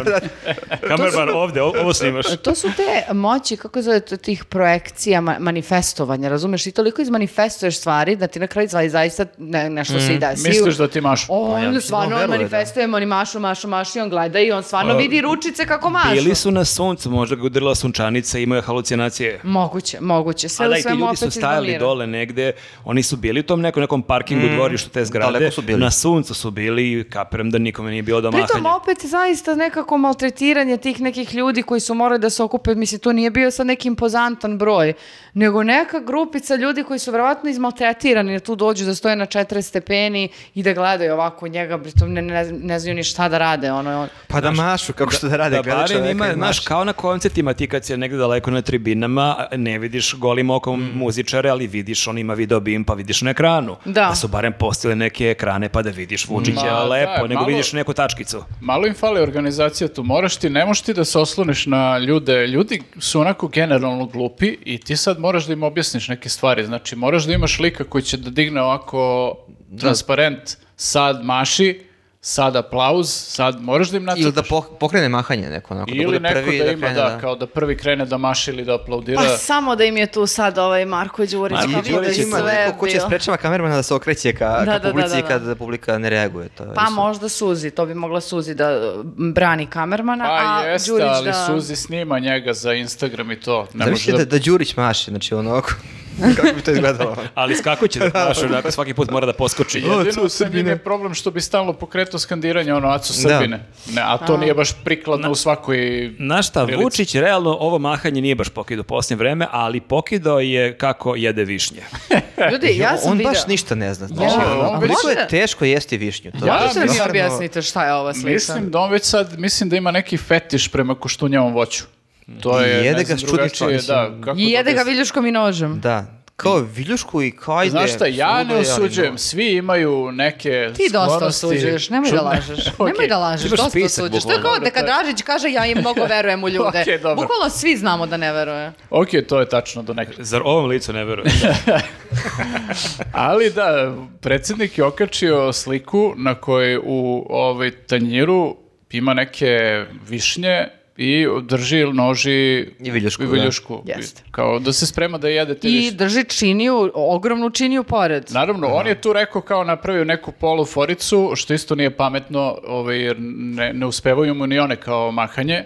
kamerman ovde, o- ovo snimaš.
E, To su te moći, kako zove to, tih projekcija, ma- manifestovanja, razumeš? Ti toliko izmanifestuješ stvari da ti na kraju zva- zaista ne- nešto se i desi.
Misliš da ti maš?
On
mislim da
stvarno
on
on
veruje,
manifestuje, on i mašu, mašu, mašu i on gleda i on stvarno vidi ručice kako mašu.
Bili su na suncu, možda ga udarila sunčanica, imaju halucinacije.
Moguće, moguće. Sve
A da,
u
i ti
svemu
ljudi
opet
su stajali
izdomira.
dole negde, oni su bili u Mm. tom nekom, nekom parkingu, dvorištu te zgrade,
daleko su bili.
na suncu su bili i kapiram da nikome nije bilo da maha.
Pritom znam, opet zaista nekako maltretiranje tih nekih ljudi koji su morali da se okupe, mislim, to nije bio sad neki impozantan broj, nego neka grupica ljudi koji su verovatno izmaltretirani, jer tu dođu da stoje na 40 stepeni i da gledaju ovako njega, pritom ne, ne, ne znaju ni šta da rade, ono, on,
Pa da mašu, kako što da rade,
Da
gledaš
barem
čoveka
ima,
i
znaš,
maše.
kao na koncertima ti kad si negde daleko na tribinama, ne vidiš golim okom muzičare, ali vidiš, on ima video bim, pa vidiš na ekranu.
Da.
su barem postile neke ekrane pa da vidiš Vučića
Ma,
lepo,
da,
nego
malo-
vidiš neku tačkicu.
Malo im fale organizacija tu, moraš ti, ne možeš ti da se osloniš na ljude, ljudi su onako generalno glupi i ti sad moraš da im objasniš neke stvari, znači moraš da imaš lika koji će da digne ovako
Da.
transparent, sad maši, sad aplauz, sad moraš da im nacrtaš.
Ili da poh- pokrene mahanje neko, onako, da
Ili
bude
neko
prvi
da
da
ima,
krene,
da,
da.
kao da prvi krene da maši ili da aplaudira.
Pa samo da im je tu sad ovaj Marko Đurić.
Marko
pa
I
Đurić
vidi
Đurić
je
da ima
sve
neko ko će
bio.
sprečava kamermana da se okreće ka,
Da,
ka
da, da,
publici
da, da.
kad publika ne reaguje. To je
Pa
isto.
možda Suzi, to bi mogla Suzi da e, brani kamermana,
Pa
a
jeste,
Đurić
ali
da...
Suzi snima njega za Instagram i to. Ne može
Zamislite
da...
da, da Đurić maše, znači ono ovako, kako bi to izgledalo.
Ali skakuće da mašu, onako svaki put mora da poskoči.
Jedino sa njim je problem što bi stalno pokretao skandiranje ono Aco
Da.
Srbine. Ne, a to nije baš prikladno u svakoj...
Znaš šta,
Prilici.
Vučić realno ovo mahanje nije baš pokidao u posljednje vreme, ali pokidao je kako jede višnje.
Ljudi, ja sam
on
videla-
baš ništa ne zna. Znači,
Ja,
ono,
on
koliko
već-
je teško jesti višnju. To
Ja
je
Možete li mi
stvarno-
objasnite šta je ova slika?
Mislim da on već sad, mislim da ima neki fetiš prema koštunjavom voću. To
I
je,
jede
ne
ga
znam,
s čudnim
drugačije, da,
čovjekom.
kako
I jede ga
da objasnim.
viljuškom i nožem.
Da, kao viljušku i kao ide.
Znaš šta, ja
svuda
ne
je, ali
osuđujem,
no.
svi imaju neke
Ti dosta
sklonosti.
osuđuješ, nemoj da
Čudne-
lažeš. Nemoj
Okej.
da lažeš,
Ti imaš
dosta
spisak,
osuđuješ. To je
bukvalno.
kao da kad Dražić kaže ja im mnogo verujem u ljude.
Okej, dobro.
Bukvalno svi znamo da ne veruje.
Ok, to je tačno do nekada.
Zar ovom licu ne verujem?
Ali da, predsjednik je okačio sliku na kojoj u ovaj tanjiru ima neke višnje i drži noži
I viljušku,
i
da.
viljušku.
Jeste.
Kao da se sprema da jede te
I
višnje.
drži činiju, ogromnu činiju pored.
Naravno, on je tu rekao kao napravio neku poluforicu, što isto nije pametno, ovaj, jer ne, ne uspevaju mu ni one kao mahanje. E,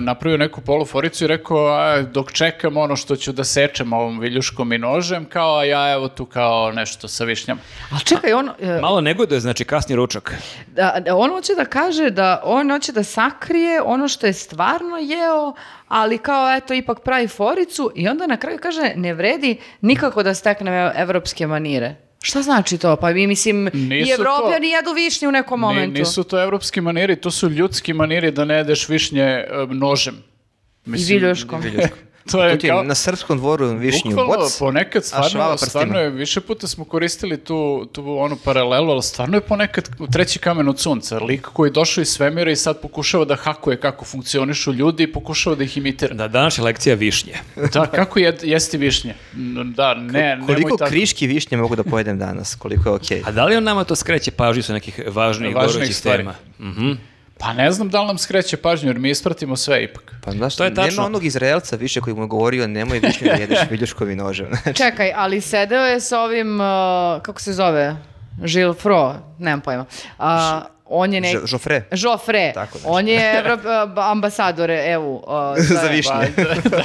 napravio neku poluforicu i rekao, a, dok čekam ono što ću da sečem ovom viljuškom i nožem, kao a ja evo tu kao nešto sa višnjama.
Ali čekaj, on, e,
Malo negoduje, znači kasni ručak.
da, da, on hoće da kaže da on hoće da sakrije ono što je stvarno jeo, ali kao eto ipak pravi foricu i onda na kraju kaže ne vredi nikako da steknem ev- evropske manire. Šta znači to? Pa mi mislim i
Nisu to-
evropljani jedu višnje u nekom
Ni-
momentu.
nisu to evropski maniri, to su ljudski maniri da ne jedeš višnje e, nožem.
I viljuškom.
To
Tu
je
ti
kao...
na srpskom dvoru višnju
Bukvalno,
boc.
ponekad
švala
stvarno,
prstima.
stvarno je, više puta smo koristili tu, tu onu paralelu, ali stvarno je ponekad u treći kamen od sunca, lik koji je došao iz svemira i sad pokušava da hakuje kako funkcionišu ljudi i pokušava da ih imitira.
Da, danas je lekcija višnje.
Da, kako jed, jesti višnje? N- Da, ne, nemoj
Koliko
tako.
kriški višnje mogu da pojedem danas, koliko je okej.
A da li on nama to skreće pažnju sa nekih važnih,
Važnih
gorućih
stvari.
tema?
Pa ne znam da li nam skreće pažnju, jer mi ispratimo sve ipak.
Pa znaš,
To je tačno.
nema onog Izraelca više koji mu je govorio nemoj višnju da jedeš viljuškovi nožem.
Čekaj, ali sedeo je sa ovim, uh, kako se zove, Žil Fro, nemam pojma. A, on je neki...
Ž- Žofre.
Joffre.
Tako da. nešto.
on je Evrop- ambasador EU. uh, to
Za
je-
višnje.
Mogu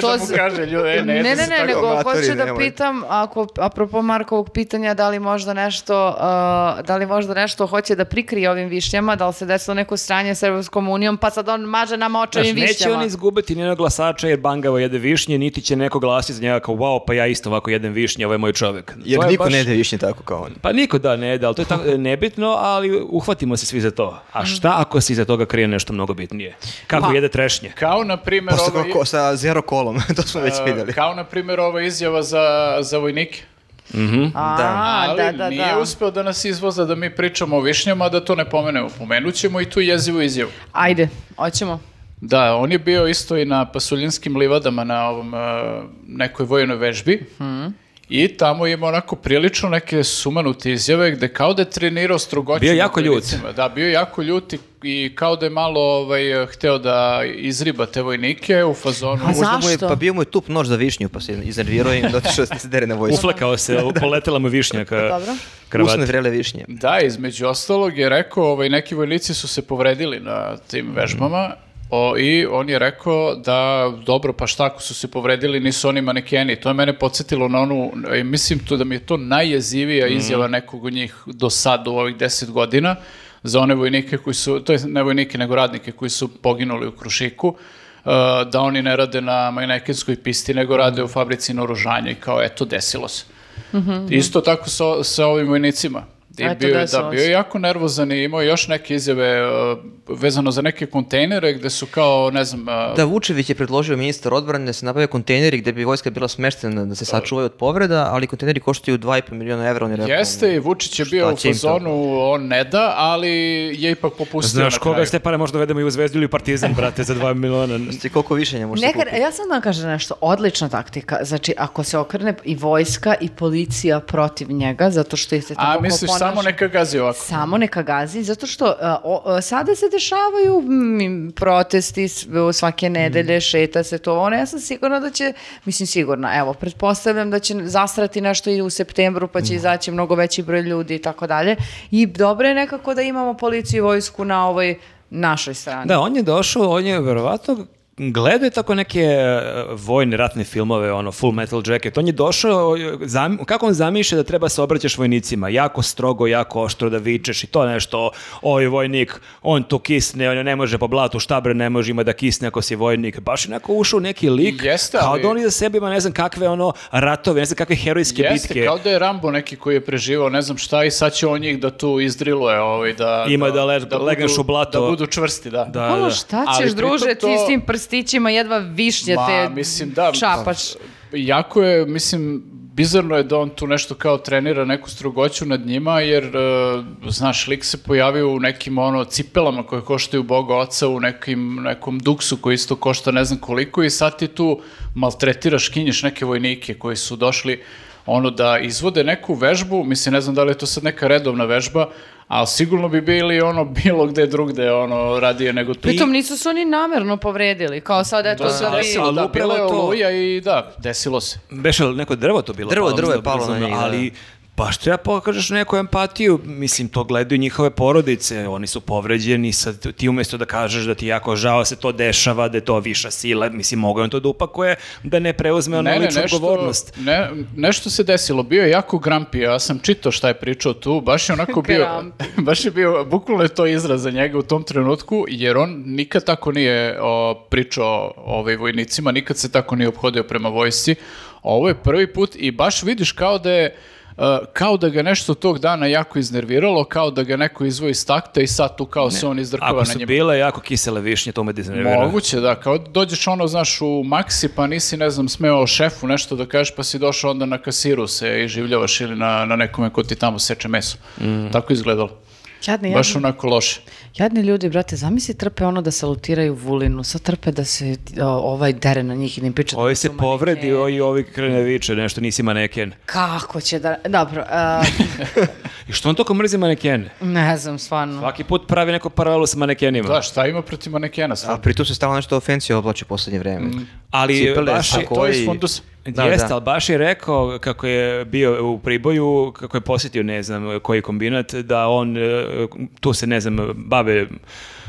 to
da mu
s-
kaže, ljudi, e,
Ne,
ne,
ne,
jede se
ne,
tako.
nego
amatori,
hoću da
nemoj.
pitam, ako, apropo Markovog pitanja, da li možda nešto, uh, da li možda nešto hoće da prikrije ovim višnjama, da li se desilo neko stranje s Evropskom unijom, pa sad on maže nama oče
Znaš,
ovim
neće
višnjama.
on izgubiti nijednog glasača jer Bangavo jede višnje, niti će neko glasiti za njega kao wow, pa ja isto ovako jedem višnje, ovo je moj čovek.
Jer
To je
niko
baš-
ne jede višnje tako kao on.
Pa niko da ne jede, ali to je tako, e, nebitno, ali uhvatimo se svi za to. A šta ako se iza toga krije nešto mnogo bitnije? Kako
Mm. Ma-
jede trešnje?
Kao, na primjer,
Posle
ovo-
ko- ko- Pa sa zero kolom, to smo već vidjeli.
E, Kao, na primjer, ova izjava za, za vojnike.
A,
Ali
da, da,
nije
da.
uspeo da nas izvoza da mi pričamo o višnjama, a da to ne pomenemo. Pomenut ćemo i tu jezivu izjavu.
Ajde, hoćemo.
Da, on je bio isto i na pasuljinskim livadama na ovom e, nekoj vojnoj vežbi.
Mhm.
I tamo ima onako prilično neke sumanute izjave gde kao da je trenirao strogoću.
Bio
na
jako ljut.
vojnicima. Da, bio je jako ljut i, i kao da je malo ovaj, hteo da izriba te vojnike u fazonu.
A
Možda mu je,
zašto?
pa bio mu je tup nož za višnju, pa se iznervirao i dotišao da se dere na vojsku.
Uflekao se, poletela mu višnja ka
Dobro.
kravati.
Usne vrele višnje.
Da, između ostalog je rekao, ovaj, neki vojnici su se povredili na tim vežbama o, i on je rekao da dobro, pa šta ako su se povredili, nisu oni manekeni. To je mene podsjetilo na onu, e, mislim tu da mi je to najjezivija izjava nekog od njih do sad u ovih deset godina, za one vojnike koji su, to je ne vojnike, nego radnike koji su poginuli u Krušiku, uh, da oni ne rade na majnekinskoj pisti, nego rade u fabrici naoružanja i kao, eto, desilo se. Isto tako sa, sa ovim vojnicima. I
Mhm. Eto,
bio, je-
desilo
da,
se.
bio je jako nervozan i imao je još neke izjave uh, vezano za neke kontejnere gde su kao, ne znam, uh,
Da, Vučević je predložio ministar odbrane da se nabave kontejneri gde bi vojska bila smeštena da se sačuvaju od povreda, ali kontejneri koštaju 2,5 miliona evra.
da,
Oni rekao,
Jeste i Vučić je bio
Šta
u
će im to?
fazonu, on ne da, ali je ipak popustio
Znaš
na
koga
kraju.
ste pare možda uvedemo i u Zvezdu ili u Partizan, brate, za 2 miliona.
Jeste i koliko više ne možete
Nekad,
kupiti.
ja sam da vam kažem nešto, odlična taktika. Znači, ako se okrene i vojska i policija protiv njega, zato što ih se tako
A
ponaša.
misliš samo neka gazi ovako?
Samo neka gazi, zato što a, o- a, sada se dešavaju mm, protesti s- svake
Mm.
nedelje, šeta se to, ono, ja sam sigurna da će, mislim sigurna, evo, pretpostavljam da će zastrati nešto i u septembru, pa će
Da.
izaći mnogo veći broj ljudi i tako dalje. I dobro je nekako da imamo policiju i vojsku na ovoj našoj strani.
Da, on je došao, on je verovatno gledao je tako neke e, vojne ratne filmove, ono, Full Metal Jacket. On je došao, e, zam- kako on zamišlja da treba se obraćaš vojnicima? Jako strogo, jako oštro da vičeš i to nešto, oj vojnik, on tu kisne, on ne može po blatu, štabre ne može ima da kisne ako si vojnik. Baš je onako ušao u neki lik,
Jeste,
kao
ali-
da on iza sebe ima ne znam kakve ono ratove, ne znam kakve herojske
Jeste,
bitke.
kao da je Rambo neki koji je preživao, ne znam šta, i sad će on njih da tu izdriluje, ovaj, da,
Ima da le- legneš
budu,
u blato.
Da budu čvrsti, da.
Da,
Ono,
da.
šta
Ali
ćeš,
pritom
druže,
to-
ti s tim prstićima jedva višnje
Ma,
te
mislim, da,
čapaš.
Jako je, mislim, bizarno je da on tu nešto kao trenira neku strogoću nad njima, jer, e, znaš, lik se pojavio u nekim, ono, cipelama koje koštaju Boga oca, u nekim, nekom duksu koji isto košta ne znam koliko i sad ti tu maltretiraš, kinješ neke vojnike koji su došli ono da izvode neku vežbu, mislim ne znam da li je to sad neka redovna vežba, ali sigurno bi bili ono bilo gde drugde ono radije nego tu.
Pritom nisu se oni namerno povredili, kao sad eto
To se
da bi...
desilo,
ali
da,
upravo
bila je
to-
oluja i da, desilo se.
Beše li neko drvo to bilo?
Drvo-
palo,
drvo je
mislim,
palo na
brzo,
njih, da.
Ali baš treba da pokažeš neku empatiju, mislim, to gledaju njihove porodice, oni su povređeni, sad ti umjesto da kažeš da ti je jako žao se to dešava, da je to viša sila, mislim, mogao je on to da upakuje, da ne preuzme ono ličnu odgovornost.
Ne, nešto se desilo, bio je jako grampi, ja sam čitao šta je pričao tu, baš je onako bio,
Grampi.
baš je bio, bukvalno je to izraz za njega u tom trenutku, jer on nikad tako nije o, pričao o ovaj, vojnicima, nikad se tako nije obhodio prema vojsci, ovo je prvi put i baš vidiš kao da je e, kao da ga nešto tog dana jako iznerviralo, kao da ga neko izvoji iz takta i sad tu kao se on izdrkava
Ako
na
su
njima.
bile jako kisele višnje, to me diznervira.
Moguće, da, kao dođeš ono, znaš, u maksi, pa nisi, ne znam, smeo šefu nešto da kažeš, pa si došao onda na kasiru se i življavaš ili na, na nekome ko ti tamo seče meso.
Mm.
Tako je izgledalo.
Jadni,
Baš
jadni.
onako loše.
Jadni ljudi, brate, zamisli trpe ono da salutiraju Vulinu, sad trpe da se o, ovaj dere na njih i da im priča.
Ovi se povredi, ovi, ovi krene viče, nešto nisi maneken.
Kako će da... Dobro, a,
I što on toliko mrzi manekene?
ne znam, stvarno.
Svaki put pravi neku paralelu sa manekenima.
Da, šta ima protiv manekena
A
stvarno?
pritom se stalo nešto ofensije oblači u poslednje vreme.
Mm.
Ali
Cipele,
baš je-
sako-
To je
koji-
iz fundusa.
Da,
Jeste,
da.
ali baš je rekao kako je bio u Priboju, kako je posjetio ne znam koji kombinat, da on e, tu se ne znam bave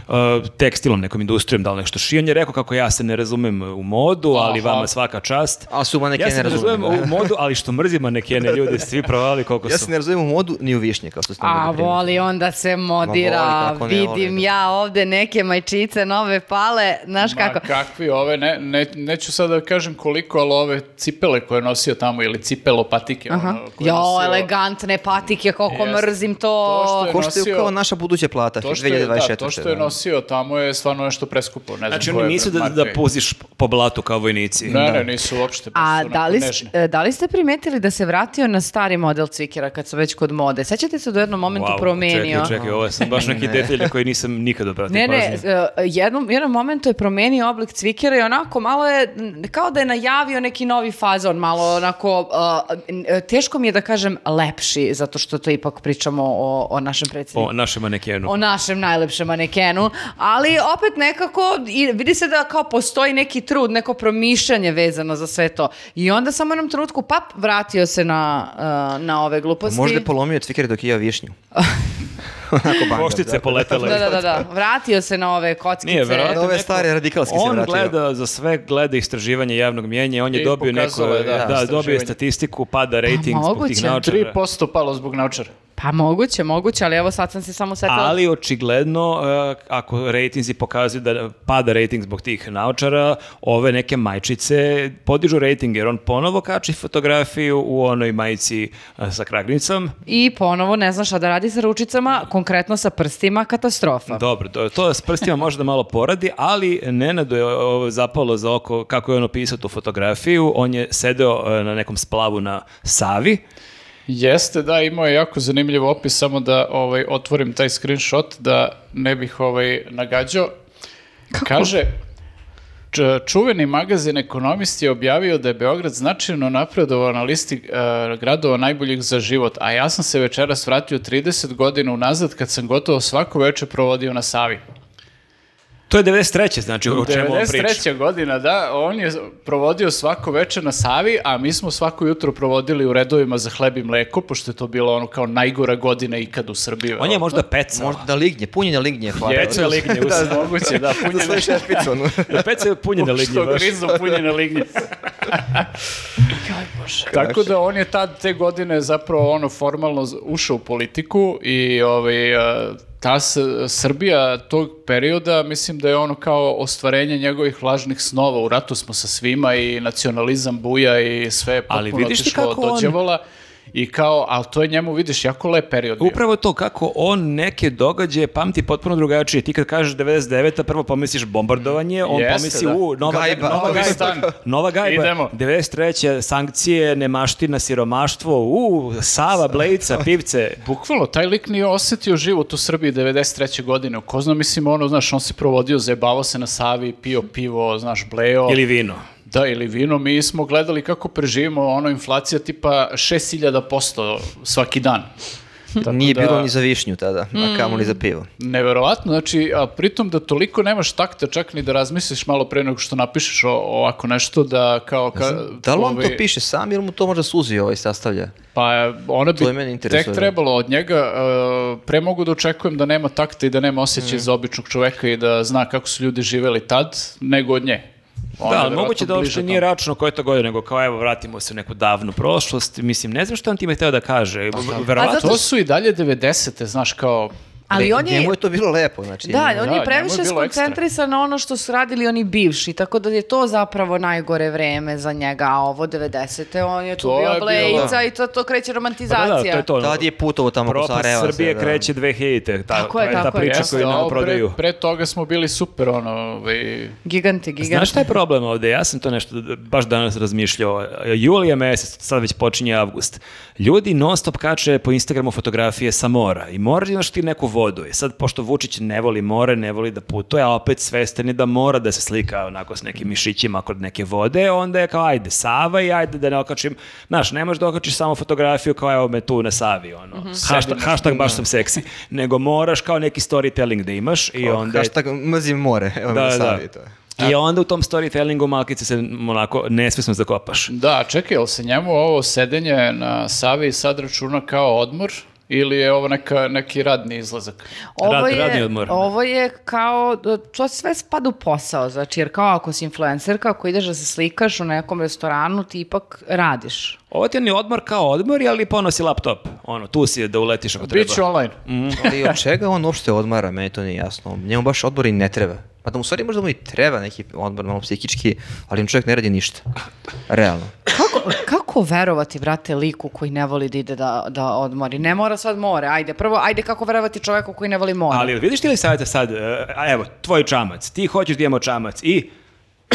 e, tekstilom, nekom industrijom, da li nešto šijanje, rekao kako ja se ne razumem u modu, ali
Aha.
vama svaka čast.
Ali su manekene
ja se ne razumem
razumem, da.
u modu, ali što mrzim manekene, ljude, svi provali koliko
Ja
su.
se ne razumijem u modu ni u višnje, kao što ste
A
mogli da primetite.
voli on da se
Ma
modira,
voli, kako ne
vidim
voli, da.
ja ovde neke majčice nove pale, znaš
Ma
kako.
kakvi ove, ne, ne, neću sad da kažem koliko, ali ove cipele koje je nosio tamo, ili cipelo patike.
Aha.
Ono, koje je
Jo,
nosio-
elegantne patike, koliko
Jeste.
mrzim to.
To što je
Koštaju
nosio-
kao naša buduća plata,
To što, je, da,
2024.
to što je
da.
nosio tamo je stvarno nešto preskupo. Ne znam
Znači
koje
oni nisu da, da
marke.
puziš po blatu kao vojnici.
Da.
Ne, ne, nisu uopšte. baš
A
su
da
onako
li,
nežne.
e, da li ste primetili da se vratio na stari model cvikera kad su već kod mode? Sećate se da u jednom momentu
Wow,
promenio?
Čekaj, čekaj, ovo je sad baš neki detalj na koji nisam nikad obratio
Ne, ne,
pažnju.
e, jednom, jednom momentu je promenio oblik cvikera i onako malo je, m, kao da je najavio neki novi fazon, malo onako, e, n- e, teško mi je da kažem lepši, zato što to ipak pričamo o, o našem predsjedniku.
O našem manekenu.
o našem najlepšem manekenu, ali opet nekako i vidi se da kao postoji neki trud, neko promišljanje vezano za sve to. I onda samo u jednom trenutku pap vratio se na, uh, na ove gluposti.
Pa
Možda je polomio cvikere dok je jeo višnju. Onako bangam,
Koštice
da.
poletele.
Da, da, da, da. Vratio se na ove kockice.
Nije, verovatno.
Ove
neko-
stare radikalske se
On
vratio.
gleda za sve, gleda istraživanje javnog mjenja, on je
I
dobio neko,
pokazalo je, da,
da, dobio je
istraživanje.
statistiku, pada rating zbog
moguće.
tih naučara.
3% palo zbog naučara.
Pa moguće, moguće, ali evo sad sam se samo setila.
Ali očigledno, e, ako rejtinzi pokazuju da pada rejting zbog tih naočara, ove neke majčice podižu rejting, jer on ponovo kači fotografiju u onoj majici e, sa kragnicom.
I ponovo ne znaš šta da radi sa ručicama, konkretno sa prstima, katastrofa.
Dobro, to, to s prstima možda malo poradi, ali Nenadu je ovo, zapalo za oko kako je on opisao tu fotografiju. On je sedeo e, na nekom splavu na Savi.
Jeste, da, imao je jako zanimljiv opis, samo da ovaj, otvorim taj screenshot da ne bih ovaj, nagađao. Kaže, č- čuveni magazin Ekonomist je objavio da je Beograd značajno napredovao na listi eh, gradova najboljih za život, a ja sam se večeras vratio 30 godina unazad kad sam gotovo svako veče provodio na Savi.
To je 93. znači o čemu on priča.
93. godina, da, on je provodio svako večer na Savi, a mi smo svako jutro provodili u redovima za hleb i mleko, pošto je to bilo ono kao najgora godina ikad u Srbiji.
On je možda pecao.
Možda da lignje, punjenje lignje. Hvala.
Pecao je lignje.
da, da, moguće, da,
Za
punjene
sledeću špicu, ono.
Da pecao je punjene lignje
što
baš.
grizu punjene lignje. Tako da on je tad te godine zapravo ono formalno z- ušao u politiku i ovaj, eh, ta s- Srbija tog perioda mislim da je ono kao ostvarenje njegovih lažnih snova. U ratu smo sa svima i nacionalizam buja i sve je
Ali
potpuno
vidiš ti
otišlo
kako on-
dođevola. I kao, ali to je njemu, vidiš, jako lep period. bio.
Upravo to kako on neke događaje pamti potpuno drugačije. Ti kad kažeš 99. prvo pomisliš bombardovanje, on
Jeste,
pomisli
da.
u Nova
Gajba.
Nova
Afganistan.
Gajba. Nova Gajba.
Idemo.
93. sankcije, nemaština, siromaštvo, u Sava, Blejca, pivce.
Bukvalno, taj lik nije osetio život u Srbiji 93. godine. Ko zna, mislim, ono, znaš, on se provodio, zajebavao se na Savi, pio pivo, znaš, bleo.
Ili vino.
Da, ili vino. Mi smo gledali kako preživimo, ono, inflacija tipa 6000% svaki dan. Tako
Nije
da,
bilo ni za višnju tada, a kamoli
Mm.
za pivo.
Neverovatno, znači, a pritom da toliko nemaš takta, čak ni da razmisliš malo pre nego što napišeš o, ovako nešto, da kao... Ka,
Da li on to
ovaj,
piše sam ili mu to možda suzi ovaj sastavlja?
Pa ona
To je mene
bi
interesuje,
tek
da.
trebalo od njega, e, pre mogu da očekujem da nema takta i da nema
Mhm.
osjećaj za običnog čoveka i da zna kako su ljudi živeli tad, nego od nje. Ona
da,
je
ali moguće
verovatno
da
bliže
uopšte
tome.
nije račno koje to godine, nego kao evo vratimo se u neku davnu prošlost. Mislim, ne znam što on time hteo da kaže. Verovatno
Pa, A zato
To su i dalje 90-te, znaš, kao...
Ali
Ne-
on je...
Njemu je to bilo lepo, znači.
Da, on
Da, njemu
je
je
previše
bilo ekstra.
skoncentrisan na ono što su radili oni bivši, tako da je to zapravo najgore vreme za njega, a ovo 90. on je tu
To je
bio
bilo,
blejica i to, to kreće
Pa
romantizacija.
da, da, to je to. ono,
Tad je putovo tamo po
Propast
Sarajeva.
Srbije
sve, da.
kreće 2000-te. Ta,
Tako je,
to ta
tako je.
priča
Jeste,
koju
a
nam
ovo pre-
prodaju.
Pre, toga smo bili super, ono, ovaj,
Giganti,
Znaš
giganti.
šta je problem ovde? Ja sam to nešto d- baš danas razmišljao. Jul je mesec, sad već počinje avgust. Ljudi non stop kače po Instagramu fotografije sa mora i mora imaš ti neku vodu. I sad, pošto Vučić ne voli more, ne voli da putuje, a opet svestan je da mora da se slika onako s nekim mišićima kod neke vode, onda je kao ajde Sava i ajde da ne okačim. Znaš, ne možeš da okačiš samo fotografiju kao evo me tu na Savi, ono. hashtag, hashtag baš sam seksi. Nego moraš kao neki storytelling da imaš i onda je
Oh, Hashtag mrzim more, evo
da,
da,
da.
Savi, to je.
I onda u tom storytellingu malkice se onako nesvesno zakopaš.
Da, čekaj, jel se njemu ovo sedenje na Savi sad računa kao odmor ili je ovo neka, neki radni izlazak?
Ovo
Rad- radni
je,
odmor.
ovo je kao, to sve spada u posao, znači, jer kao ako si influencerka, ako ideš da se slikaš u nekom restoranu, ti ipak radiš.
Ovo ti je ni odmor kao odmor, ali ponosi laptop. Ono, tu si je da uletiš ako treba. Mm.
Biće online.
Ali od čega on uopšte odmara, meni to nije jasno. Njemu baš odbor i ne treba. Pa da mu u stvari možda mu i treba neki odbor, malo psihički, ali on čovjek ne radi ništa. Realno.
Kako, kako verovati, brate, liku koji ne voli da ide da, da odmori? Ne mora sad more, ajde. Prvo, ajde kako verovati čoveku koji ne voli more?
Ali vidiš ti li savjeta sad, e, a evo, tvoj čamac, ti hoćeš da imamo čamac i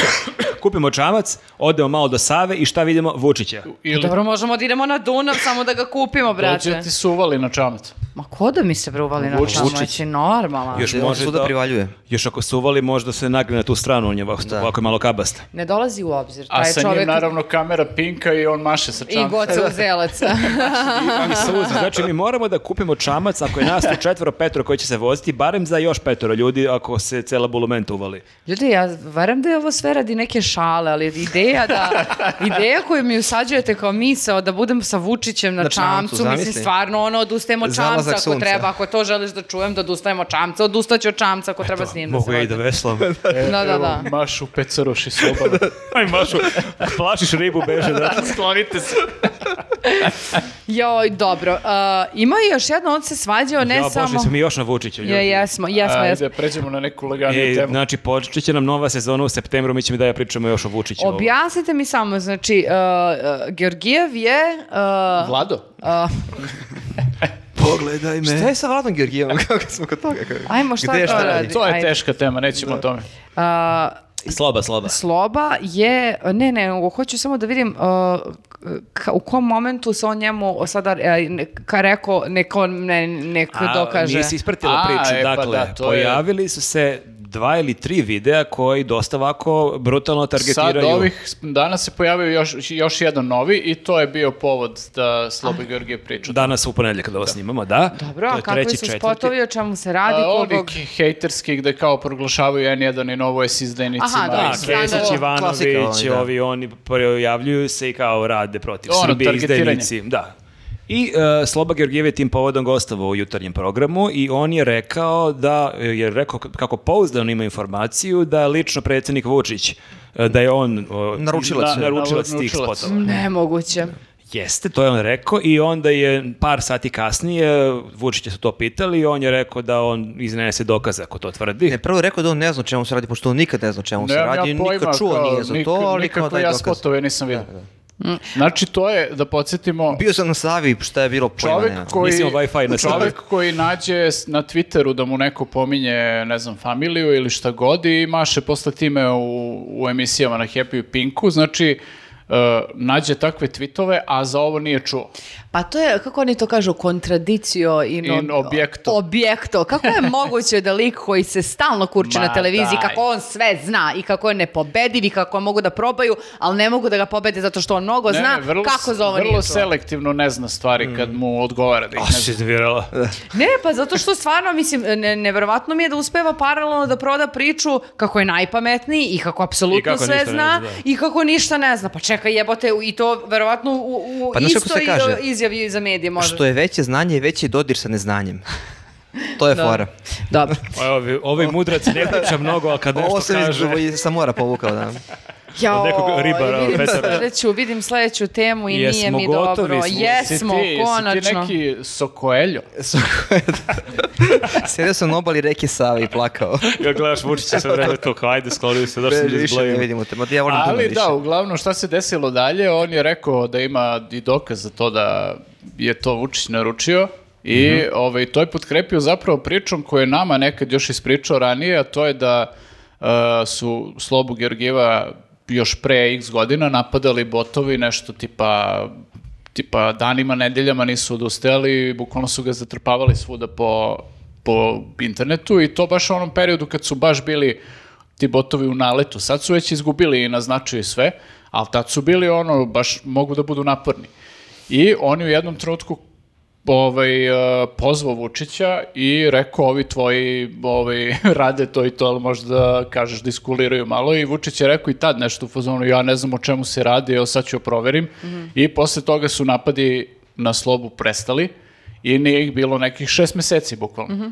kupimo čamac, odemo malo do Save i šta vidimo? Vučića.
Ili
Dobro, možemo da idemo na Dunav samo da ga kupimo, brate.
dođe ti se uvali na čamac.
Ma ko da mi se bre uvali na
Vučić.
čamac? Znači, normalno.
Još
Gde on
može
svuda
da-
privaljuje.
Još ako se uvali, možda se nagne na tu stranu, on je ovako,
Da.
ovako je malo kabasta.
Ne dolazi u obzir.
A
Taj
sa njim
čovek
naravno kamera pinka i on maše sa
I
čamcem.
goca uzelaca.
Imam suze. Znači, mi moramo da kupimo čamac ako je nas tu četvoro, petoro koji će se voziti, barem za još petoro ljudi ako se cela bulumenta uvali.
Ljudi, ja varam da je ovo sve radi neke šale, ali ideja da, ideja koju mi usađujete kao misao da budem sa Vučićem na,
Na čamcu,
čamcu, mislim
zamisli.
stvarno ono odustajem od čamca
Zalazak
ako
sunca.
treba, ako to želiš da čujem da odustajem od čamca, odustaću od čamca ako treba s njim da se
Mogu ja i da
vozim.
veslam.
Da, da, da.
E, Mašu pecaroši s obala.
Aj, Mašo, plašiš ribu, beže, da.
Sklonite se.
Joj, dobro. A, ima još jedno, on se svađao, ne
ja,
samo...
Bože, smo još na Vučiću, ljudi.
Je, jesmo, jesmo, jesmo.
Ajde, pređemo na neku laganiju
E,
temu.
znači, počet će nam nova sezona u septembru, mi ćemo i da ja pričamo još o Vučiću.
Objasnite mi samo, znači, uh, uh, Georgijev je... uh,
Vlado?
uh,
Pogledaj me. Šta je sa Vladom Georgijevom? Kako smo kod toga? Kako-
Ajmo, šta
Gde,
to radi?
To je
Ajde.
teška tema,
Da.
nećemo o tome.
uh,
Sloba, sloba.
Sloba je, ne, ne, nego hoću samo da vidim uh, ka- u kom momentu se on njemu sada, e, ne- ka rekao, nek on ne, nek dokaže.
Nisi ispratila
A,
priču.
e, pa
dakle,
da, to je-
pojavili su se dva ili tri videa koji dosta ovako brutalno
Sad
targetiraju.
ovih, danas se pojavio još, još jedan novi i to je bio povod da
Ah.
Slobi Georgije
Da.
priča.
Danas u ponedjeljak kada ovo snimamo, da.
Dobro,
To
a
je
kakvi
treći,
su
četvrti.
spotovi, o čemu se radi,
A,
kogog...
Ovi hejterski gde kao proglašavaju N1 i Novo je s izdenicima.
Aha,
Da,
Alex
i sve.
Kesić,
Sandov.
Klasika,
Ivanović,
ovaj, da.
ovi oni pojavljuju se i kao rade protiv
Ono,
Srbije,
targetiranje.
izdajnici. Da. I e, Sloba Georgijev je tim povodom gostovao u jutarnjem programu i on je rekao da, e, je rekao k- kako pouzdano ima informaciju da lično predsjednik Vučić, e, da je on e,
Naručilac. da.
na- naručilac tih
Naručilac.
spotova.
Nemoguće.
Jeste, to je on rekao i onda je par sati kasnije Vučića su to pitali i on je rekao da on iznese dokaze ako to tvrdi.
Ne, prvo je rekao da on ne zna o čemu se radi, pošto on nikad ne zna o čemu se
Nemam
radi,
ja pojma,
nikad čuo
kao,
nije za
nik-
to, ali kao
nikako
daj
ja
dokaz. Da,
spotove nisam vidio.
Mm.
Znači, to je, da podsjetimo,
Bio sam na Savi, šta je bilo pojma,
čovjek
nema.
koji,
Nisam Wi-Fi na
čovjek
sebi.
koji nađe s- na Twitteru da mu neko pominje, ne znam, familiju ili šta god i maše posle time u, u emisijama na Happy i Pinku, znači, e, nađe takve tweetove, a za ovo nije čuo.
Pa to je, kako oni to kažu, kontradicio in,
In objekto.
objekto. Kako je moguće da lik koji se stalno kurči
Ma
na televiziji,
daj.
kako on sve zna i kako je nepobediv i kako mogu da probaju, ali ne mogu da ga pobede zato što on mnogo
Ne,
Pa zna
ne, vrlo,
kako za ovo
vrlo
nije čuo.
selektivno ne zna stvari
Mm.
kad mu odgovara da ih
A,
ne zna.
se iznervirala.
Ne, pa zato što stvarno, mislim, ne, neverovatno mi je da uspeva paralelno da proda priču kako je najpametniji i kako apsolutno
I kako
sve
ništa ne
zna
zna, da.
i kako ništa ne zna. Pa čekaj, jebote, i to verovatno u, u
Pa znaš kako
istoj
se kaže?
izjavi za medije možda.
Što je veće znanje, veći je dodir sa neznanjem. To
Da.
je fora.
Dobro.
Ovi, ovaj mudrac ne priča mnogo, ali kad nešto
Ovo sam iz,
kaže...
iz- sa mora povukao, da.
Ja,
Od nekog ribara,
vidim
Petar.
sledeću, vidim sledeću temu i
Jesmo
nije mi
gotovi,
dobro.
smo-
Jesmo,
Jesi ti- jesi
konačno.
ti neki Sokoeljo?
Sjedio sam na obali reke Save i plakao.
Ja gledaš Vučića sve vreme to, kao ajde, sklonio se, došli
Previše
se
ne
izblaju.
vidimo te. Ma ja volim da
Ali
više.
da, uglavnom šta se desilo dalje, on je rekao da ima i dokaz za to da je to Vučić naručio i ovaj, to je potkrepio zapravo pričom koju je nama nekad još ispričao ranije, a to je da e, su Slobu Georgijeva još pre x godina napadali botovi nešto tipa tipa danima, nedeljama nisu odustajali i bukvalno su ga zatrpavali svuda po, po internetu i to baš u onom periodu kad su baš bili ti botovi u naletu. Sad su već izgubili i naznačuju sve, ali tad su bili ono, baš mogu da budu naporni. I oni u jednom trenutku ovaj, e, pozvao Vučića i rekao ovi tvoji ovaj, rade to i to, ali možda kažeš da iskuliraju malo i Vučić je rekao i tad nešto u fazonu, ja ne znam o čemu se radi, evo sad ću da proverim i posle toga su napadi na slobu prestali i nije ih bilo nekih šest meseci bukvalno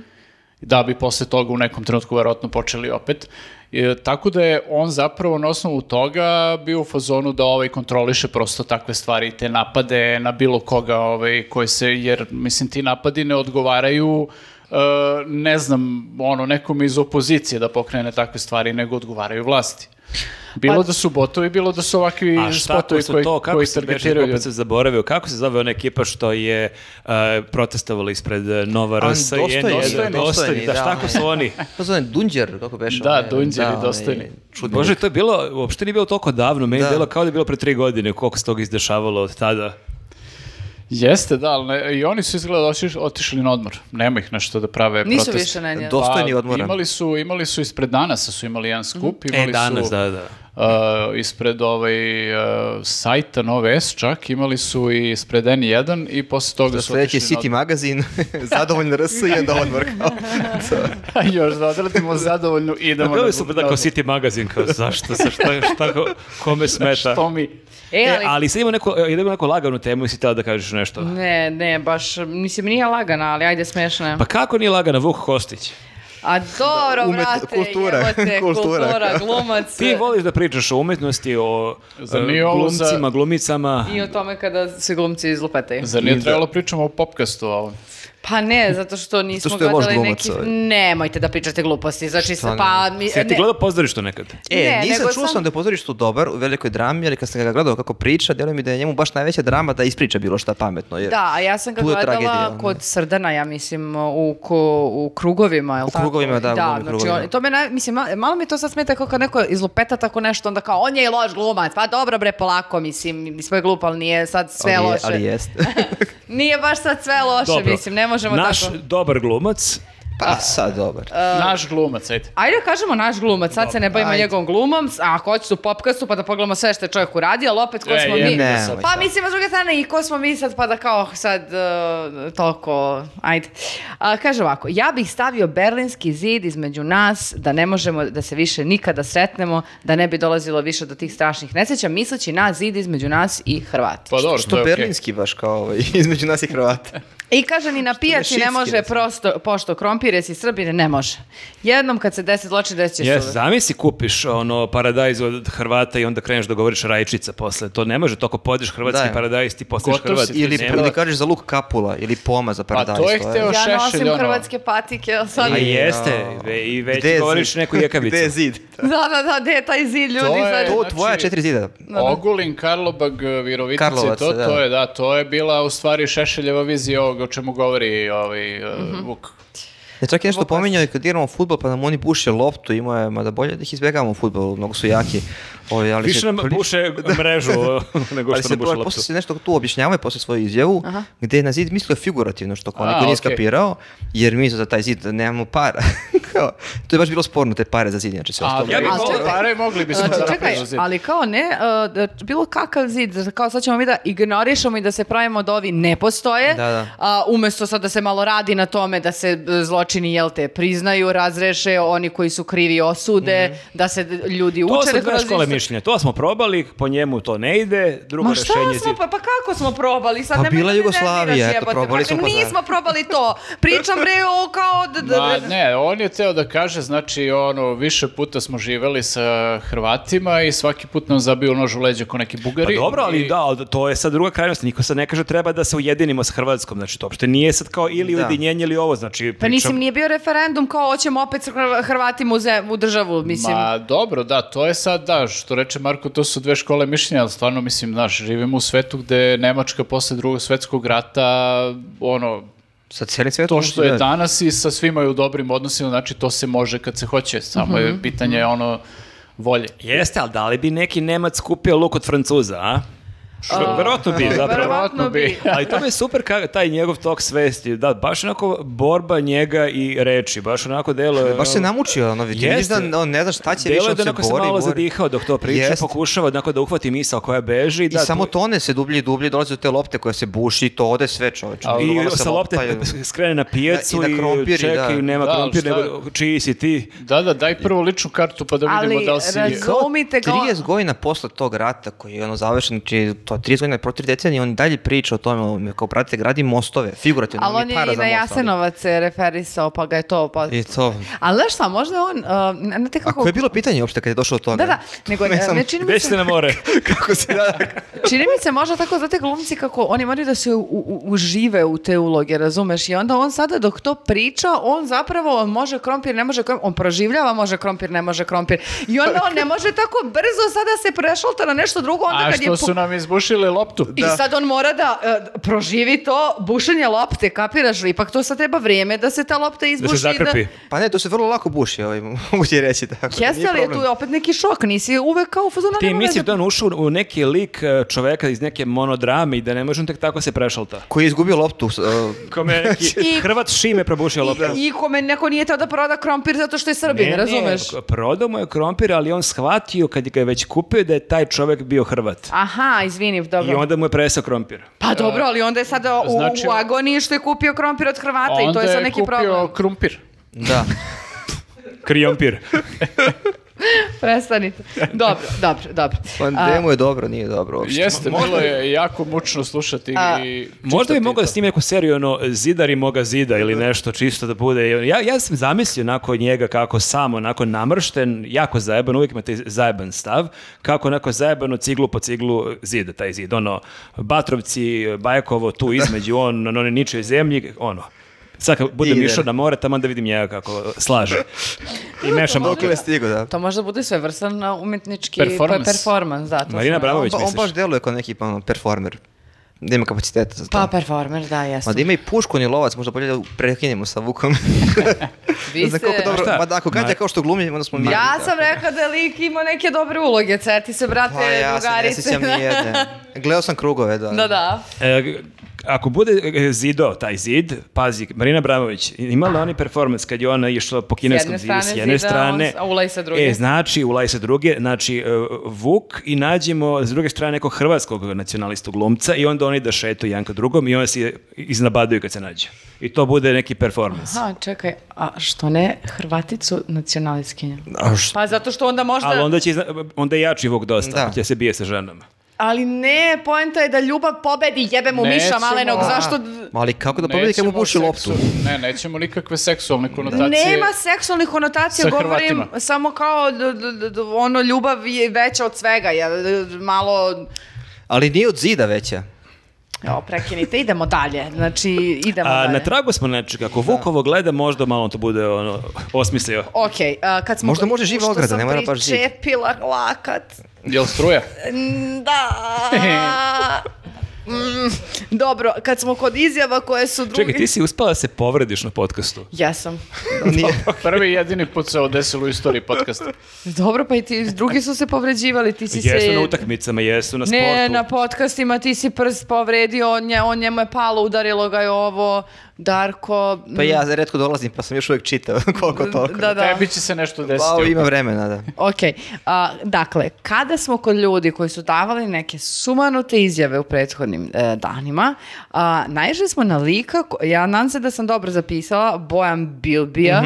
da bi posle toga u nekom trenutku verovatno počeli opet. E, tako da je on zapravo na osnovu toga bio u fazonu da ovaj kontroliše prosto takve stvari i te napade na bilo koga ovaj, koji se, jer mislim ti napadi ne odgovaraju e, ne znam, ono, nekom iz opozicije da pokrene takve stvari, nego odgovaraju vlasti. Bilo
Pa-
da su botovi, bilo da su ovakvi
A šta
spotovi
ako
koji,
su to, kako
koji
se beže,
targetiraju
opet
ljudi.
sam zaboravio, kako se zove ona ekipa što je uh, protestovala ispred e, Nova
A,
RS i
dostojni,
N1?
dostojni,
dostojni, da,
da,
šta ako su oni?
To zove Dunđer, kako beše?
Da,
onaj,
Dunđer i
onaj
dostojni.
Čudni
Bože,
lik.
to je bilo, uopšte nije bilo toliko davno, meni je
Da.
bilo kao da je bilo pre tri godine, koliko se toga izdešavalo od tada.
Jeste, da, ali ne- i oni su izgleda otiš- otišli na odmor. Nema ih nešto da prave
Nisu
proteste.
više na njega.
Do- Dostojni
Pa,
odmora. Mhm.
Imali su, imali su ispred danasa su imali jedan skup, imali
E, danas,
su
da, da.
uh, ispred ovaj uh, sajta Nove S čak, imali su i ispred N1 i posle toga
Da
su
sledeći je
otišli
City magazin, zadovoljno RS i onda odmor kao.
na odmor. Još da odradimo zadovoljnu i idemo.
Bili
na-
su da kao City magazin, kao zašto, sa šta, šta, ko- kome smeta.
Što mi?
E,
E,
ali, Mhm.
ali sad imamo neku, idemo neku laganu temu i si htjela da kažeš nešto.
Ne, ne, baš, mislim, nije lagana, ali ajde smešna je.
Pa kako nije lagana Vuk Kostić?
A dobro,
umet-
brate,
kultura,
jebote,
kultura.
kultura, glumac.
Ti voliš da pričaš o umetnosti, o
Zar
e,
nije ovo za-
glumcima, glumicama.
I o tome kada se glumci izlupetaju.
Zar nije trebalo da pričamo o popkastu ovom?
Pa ne, zato što nismo
što je loš
gledali
glumac,
neki...
ovaj.
Nemojte da pričate gluposti, znači se
Šta
pa... Mi,
Si ti
ne-
gledao pozorištu nekad?
E,
Ne,
nisam
nego
čuo
sam-
sam da je pozorištu dobar u velikoj drami, ali kad sam ga gledao kako priča, djeluje mi da je njemu baš najveća drama da ispriča bilo šta pametno. Jer
Da, a ja sam ga
Tu je
gledala
tragedija, ono.
kod Srdana, ja mislim, u, ko- u krugovima, je li
U
tako?
krugovima, da, u
da
glavnim
znači,
krugovima.
on- to me, naj- mislim, ma- malo mi to sad smeta kao kad neko izlupeta tako nešto, onda kao, on je i loš glumac, pa dobro bre, polako, mislim, sve je glup, ali nije sad sve
ali, je-
loše.
ali jeste.
Nije baš sad sve loše,
Dobro.
mislim, ne možemo
Naš
tako.
dobar glumac,
pa sad dobar.
Naš glumac, ajde.
Ajde da kažemo naš glumac, sad se ne bavimo njegovom glumom, s- a ako hoćete u popkastu pa da pogledamo sve što je čovjek uradio, ali opet ko
E,
smo
je,
mi...
ne, nemoj
pa
sad.
mislim, s druge strane, i ko smo mi sad, pa da kao sad uh, toliko, ajde. A, kaže ovako, ja bih stavio berlinski zid između nas, da ne možemo da se više nikada sretnemo, da ne bi dolazilo više do tih strašnih nesreća, misleći na zid između nas i Hrvata.
Pa dobro,
Što
to je okej.
berlinski baš kao ovaj, između nas i Hrvata.
I kaže ni na pijaci ne
šipski,
može
recimo.
prosto, pošto krompir, jesi srbine, ne može. Jednom kad se desi zločin, desit će se
jes,
uvek.
zamisli kupiš ono paradajz od Hrvata i onda kreneš da govoriš rajčica posle. To ne može, toko podiš hrvatski
Da, je.
paradajz, ti postaneš
Gotov
Hrvat.
si ti,
Ili,
Ne,
Nema.
ili kažeš za luk kapula ili poma za paradajz.
Pa to je hteo-
Ja
Šešelj,
nosim
ono.
hrvatske patike, ali sad...
A
I-
jeste, ve- i već
Gde je
govoriš
zid?
neku jekavicu.
Gde je zid?
Da, da, da, gde je taj zid ljudi?
To je-
sad-
To
Znači-
tvoja četiri zida.
Ogulin, Karlobag, Virovitica,
Karlovac,
to,
da.
to je, da, to je bila u stvari Šešeljeva vizija ovoga o čemu govori ovaj, e, Vuk.
Ja čak je nešto pominjao i kad igramo futbol pa nam oni buše loptu, imao je, mada bolje da ih izbjegamo u futbolu, mnogo su jaki. Ovi, ali
Više
se
nam
pri-
buše mrežu
Da.
nego
Ali
što
se
nam buše
posle
loptu.
se nešto tu objašnjavao je posle svoju izjavu, gdje je na zid mislio figurativno, što kao
A,
niko nije
okej.
skapirao, jer mi za taj zid nemamo para. Kao, to je baš bilo sporno, te pare za zid, inače sve ostalo.
Ali,
ja bih
volio-
ove pare mogli bismo da
Znači, čekaj,
napravimo zid.
ali kao ne, uh, da bilo kakav zid, znači kao sad ćemo mi da ignorišemo i da se pravimo da ovi ne postoje,
Da, da.
a, umesto sad da se malo radi na tome da se e, zločini, jel te, priznaju, razreše, oni koji su krivi osude, da se d- ljudi
To
uče. da
su dve
kroz
škole
isto-
mišljenja. To smo probali, po njemu to ne ide. Drugo
Ma šta
rešenje
smo,
zid.
pa, pa kako smo probali? Sad
Pa
nemoj
bila
da me
Jugoslavija,
nerviraš,
eto,
jebote,
probali
pa
smo, pa da.
Nismo probali to. Pričam bre o kao... d- d-
Ma ne, on je teo da kaže, znači, ono, više puta smo živeli sa Hrvatima i svaki put nam zabiju nož u leđa ko neki
Pa
bugari.
dobro, ali
I-
da, ali to je sad druga krajnost. Niko sad ne kaže treba da se ujedinimo s Hrvatskom. Znači, to uopšte nije sad kao ili
Da.
ujedinjenje ili ovo. Znači,
Pa
pričam-
mislim, nije bio referendum kao hoćemo opet sa Hrva- Hrvatima u, ze- u državu, mislim.
Ma dobro, da, to je sad, da, što reče Marko, to su dve škole mišljenja, ali stvarno, mislim, znaš, živimo u svetu gde je Nemačka posle drugog svetskog rata, ono,
Sa cijelim svijetom. da
to što je danas i sa svima je u dobrim odnosima, znači to se može kad se hoće, samo je pitanje, ono, volje.
Jeste, ali da li bi neki Nemac kupio luk od Francuza, a? Što, verovatno bi,
Pa
zapravo.
Verovatno bi.
Ali to mi je super ka, taj njegov tok svesti. Da, baš onako borba njega i reči. Baš onako delo...
Baš se namučio, ono, ti vidiš
Jeste.
da on ne zna šta će
Delo
više,
je
on
da
se
onako se
bori,
malo
bori.
zadihao dok to priča,
Jeste.
pokušava onako da uhvati misao koja beži.
I
da,
samo
tu-
tone se dublje i dublje, dolazi do te lopte koja se buši i to ode sve čoveče. Ono
I
se
sa lopte
lopta je-
skrene na pijacu
Da, i
i,
na krompir i da.
čekaju, nema
Da, ali
krompir,
šta-
nego čiji si ti.
Da, da, daj prvo ličnu kartu pa da vidimo
Ali
da li si...
raz-
Kao
Zaumite ga-
30 godina posle tog rata koji je ono završen, znači to je 30 godina pro 3 decenije, on dalje priča o tome, on, kao pratite, gradi mostove, figurativno,
Ali
on
on
mi
je
para
i
za
na
most, ali-
Jasenovac se referisao, pa ga je to... Pa...
I to.
Ali znaš šta, možda je on... Uh, n- znate
A
kako...
koje je bilo pitanje uopšte kad je došlo do toga?
Da, da, nego
Ne znam
ne čini mi
Gde
se,
ćete na more?
Kako se da...
čini mi se možda tako, znate glumci kako oni moraju da se u- u- užive u te uloge, razumeš? I onda on sada dok to priča, on zapravo on može krompir, ne može krompir, on proživljava može krompir, ne može krompir. I onda on ne može tako brzo sada se prešalta na nešto drugo, onda
A
kad je...
što
pu-
su nam izbušili loptu?
I sad on mora da e, proživi to bušenje lopte, kapiraš li? Ipak to sad treba vrijeme da se ta lopta
Da
izbuši.
se zakrpi.
Pa ne, to se vrlo lako buši, ovaj, mogu ti reći tako. da
Jeste
nije
li je
problem.
tu opet neki šok? Nisi uvek kao u fazonu,
Ti
nema
misliš
veze.
da je on ušao u neki lik e, čoveka iz neke monodrame i da ne može on tek tako se prešalta?
Koji je izgubio loptu. s- e,
Kome je neki
I-
Hrvat Šime probušio loptu.
I, I kome neko nije teo da proda krompir zato što je Srbin, razumeš?
Da. Ne, prodao mu je krompir, ali on shvatio kad ga je već kupio da je taj čovek bio Hrvat.
Aha, izvini, dobro.
I onda mu je presao krompir.
Pa dobro, ali onda je sada u,
znači-
u agoniji što je kupio krompir od Hrvata i to
Onda
je sad neki
kupio
problem.
krumpir.
da.
Kriompir.
Prestanite. Dobro, dobro, dobro.
Pa
A,
demo je dobro, nije dobro uopšte.
Jeste, bilo je jako mučno slušati
A,
i
Možda bi
čitati
mogao da
to.
snime neku seriju, ono, zidari moga zida ili nešto čisto da bude. Ja, ja sam zamislio onako njega kako sam onako namršten, jako zajeban, uvijek imate zajeban stav, kako onako zajebano ciglu po ciglu zida, taj zid, ono, Batrovci, Bajakovo, tu između, on, na onoj ničoj zemlji, ono. Sad kad budem
Ide.
išao na more, tamo da vidim njega kako slaže. I mešam.
Dokle je stigo, da.
To možda bude svevrstan a, umetnički
Performans.
performans. performans da, to
Marina
smo-
Abramović,
on, ba- on
misliš?
baš deluje kao neki pa, ono, performer. Da ima kapaciteta za to.
Pa performer, da, jeste.
Ma da ima i pušku, ni lovac, možda bolje da prekinemo sa Vukom.
Vi
ne znam koliko
ste-
dobro,
Šta?
ma da, ako gađa kao što glumi, onda smo mi.
Ja
tako.
sam rekla da je lik imao neke dobre uloge, ceti se, brate,
Pa ja se ne
drugarice.
sjećam ni jedne. Gledao sam krugove, da.
da, da.
E, g- ako bude e, zidao taj zid, pazi, Marina Bramović, imala oni performans kad je ona išla po kineskom zidu
strane
s jedne
zida,
strane.
on s- a Ulaj sa druge.
E, znači, ulaj sa druge, znači e, Vuk i nađemo s druge strane nekog hrvatskog nacionalistu glumca i onda oni da šetu jedan ka drugom i onda se iznabadaju kad se nađe. I to bude neki performans.
Ha, čekaj, a što ne Hrvaticu nacionalistkinja?
A š-
Pa zato što onda možda...
Ali onda, će, izna- onda je jači Vuk dosta,
Da.
će se bije sa ženama.
Ali ne, poenta je da ljubav pobedi, jebe mu miša
Nećemo.
malenog,
A.
zašto...
Ma ali kako da pobedi kad mu
Nećemo
puši
seksu-
loptu?
Ne, nećemo nikakve seksualne konotacije.
Nema seksualnih konotacija,
Sa
govorim
Hrvatima.
samo kao d- d- d- d- ono ljubav je veća od svega, je d- d- malo...
Ali nije od zida veća.
Evo, prekinite, idemo dalje. Znači, idemo
A
dalje.
na tragu smo nečega, ako Vuk ovo gleda, možda malo to bude ono, osmislio.
Ok, a, kad smo...
Možda može živa
Pošto
ograda,
sam
ne mora baš zid.
pričepila lakat.
Jel struja?
Mm, Da. Mm, dobro, kad smo kod izjava koje su drugi...
Čekaj, ti si uspela da se povrediš na podcastu.
Jesam.
Nije.
Prvi i jedini put se ovo desilo u istoriji podcasta.
Dobro, pa i ti, drugi su se povređivali, ti si se...
Jesu na utakmicama, jesu na sportu.
Ne, na podcastima ti si prst povredio, on, nje, on njemu je palo, udarilo ga je ovo, Darko... mm,
Pa ja redko dolazim, pa sam još uvijek čitao koliko toliko.
Da, da.
Tebi će se nešto
Pa
desiti.
ima vremena, da.
Ok, a, dakle, kada smo kod ljudi koji su davali neke sumanute izjave u prethodnim e, danima, a, naišli smo na lika, ko- ja nadam se da sam dobro zapisala, Bojan Bilbija,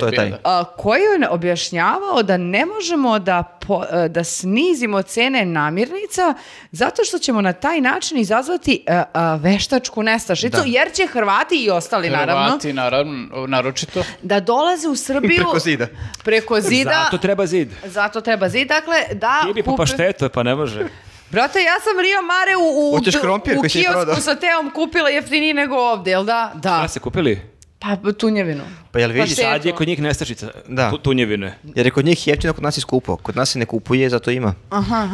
To je taj.
Bilbija,
a, koji je objašnjavao da ne možemo da, po- e, da snizimo cene namirnica zato što ćemo na taj način izazvati e, a, veštačku nestašicu, jer će Hrvati i ostali naravno
Hrvati, naravno, naročito.
da dolaze u Srbiju
Preko zida.
preko zida,
Zato treba zid.
zato treba zid, dakle, da...
Ili po
kupe-
paštetu, pa ne može.
Brate, ja sam Rio Mare u, u,
Hoćeš krompir
u
koji si mi prodao?
kiosku sa teom kupila jeftiniji nego ovdje, jel da? Da.
Šta ste kupili?
Pa tunjevinu.
Pa jel vidiš?
Pa se-
Sad je kod njih nestašica
Da.
tu- tunjevine.
Jer je kod njih jeftino, kod nas je skupo. Kod nas se ne kupuje, zato ima.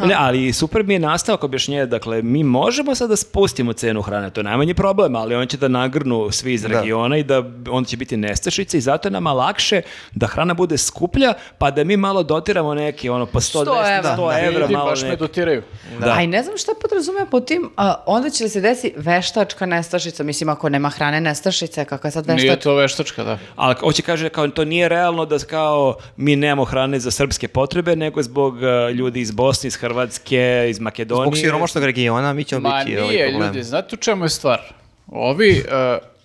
Ne, ali super mi je nastavak objašnjenja. Dakle, mi možemo sad da spustimo cenu hrane, to je najmanji problem, ali on će da nagrnu svi iz
Da.
regiona i da on će biti nestašica i zato je nama lakše da hrana bude skuplja, pa da mi malo dotiramo neki, ono, po 120, 100
evra.
evra,
Da, Pa,
Ljudi
malo
baš me
neki.
dotiraju.
Da.
A i ne znam šta podrazumeva po tim, a, onda će se desi veštačka nestašica. Mislim, ako nema hrane nestašice, kakva je sad
Nije
veštačka?
to veštačka, da.
Ali hoće kaže kao to nije realno da kao mi nemamo hrane za srpske potrebe, nego zbog uh, ljudi iz Bosne, iz Hrvatske, iz Makedonije.
Zbog siromašnog regiona mi ćemo
Ma
biti ovaj
nije,
problem.
ljudi, znate u čemu je stvar? Ovi e,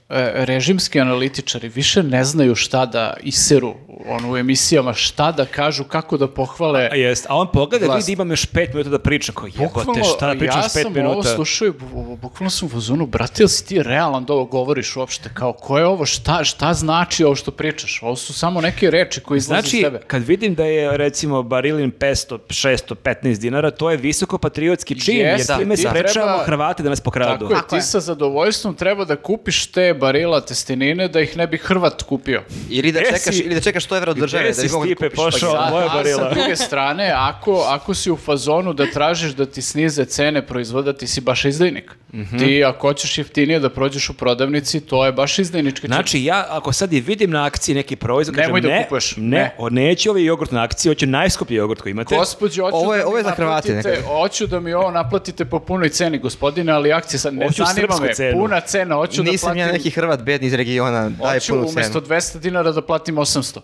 e, režimski analitičari više ne znaju šta da iseru ono, u emisijama, šta da kažu, kako da pohvale.
A jest, a on pogleda,
Vlast.
vidi imam još pet minuta da pričam, kao jebote,
Bukvalno,
šta da pričam
ja
još pet
sam ovo
minuta.
slušao i bu- bu- bukvalno sam u fazonu, brate, jel si ti realan da ovo govoriš uopšte? Kao, ko je ovo, šta, šta znači ovo što pričaš? Ovo su samo neke reči koje izlaze iz
Znači,
tebe.
kad vidim da je recimo barilin 500, 615 dinara, to je visoko patriotski čin,
Jeste,
jer time
ti treba-
sprečavamo Hrvate da nas pokradu.
Tako je,
Tako je.
ti sa zadovoljstvom treba da kupiš te barila testenine da ih ne bi Hrvat kupio.
Ili da
Gde
čekaš,
si-
ili da čekaš 100 evra od države.
Gde
da
si,
bi mogao da
Stipe,
kupiš, pa
pošao?
da.
Da,
moja
a
barila.
sa druge strane, ako, ako si u fazonu da tražiš da ti snize cene proizvoda, ti si baš izdajnik.
Mhm.
Ti ako hoćeš jeftinije da prođeš u prodavnici, to je baš izdajnički čin.
Znači, ja ako sad i vidim na akciji neki proizvod, kažem,
Nemoj da
ne,
kupuješ,
ne,
ne.
o, neću ovaj jogurt na akciji, hoću najskuplji jogurt koji imate.
Gospodje, hoću
Ovo je-
da mi
ovo je za Hrvate
naplatite-
nekako.
Hoću da mi ovo naplatite po punoj ceni, gospodine, ali akcija sad ne
Hoću
zanima
srpsku
me.
cenu.
Puna cena, hoću da
Nisam
platim...
ja neki Hrvat bedni iz regiona, daj
Hoću
punu
umjesto
cenu.
200 dinara da platim 800.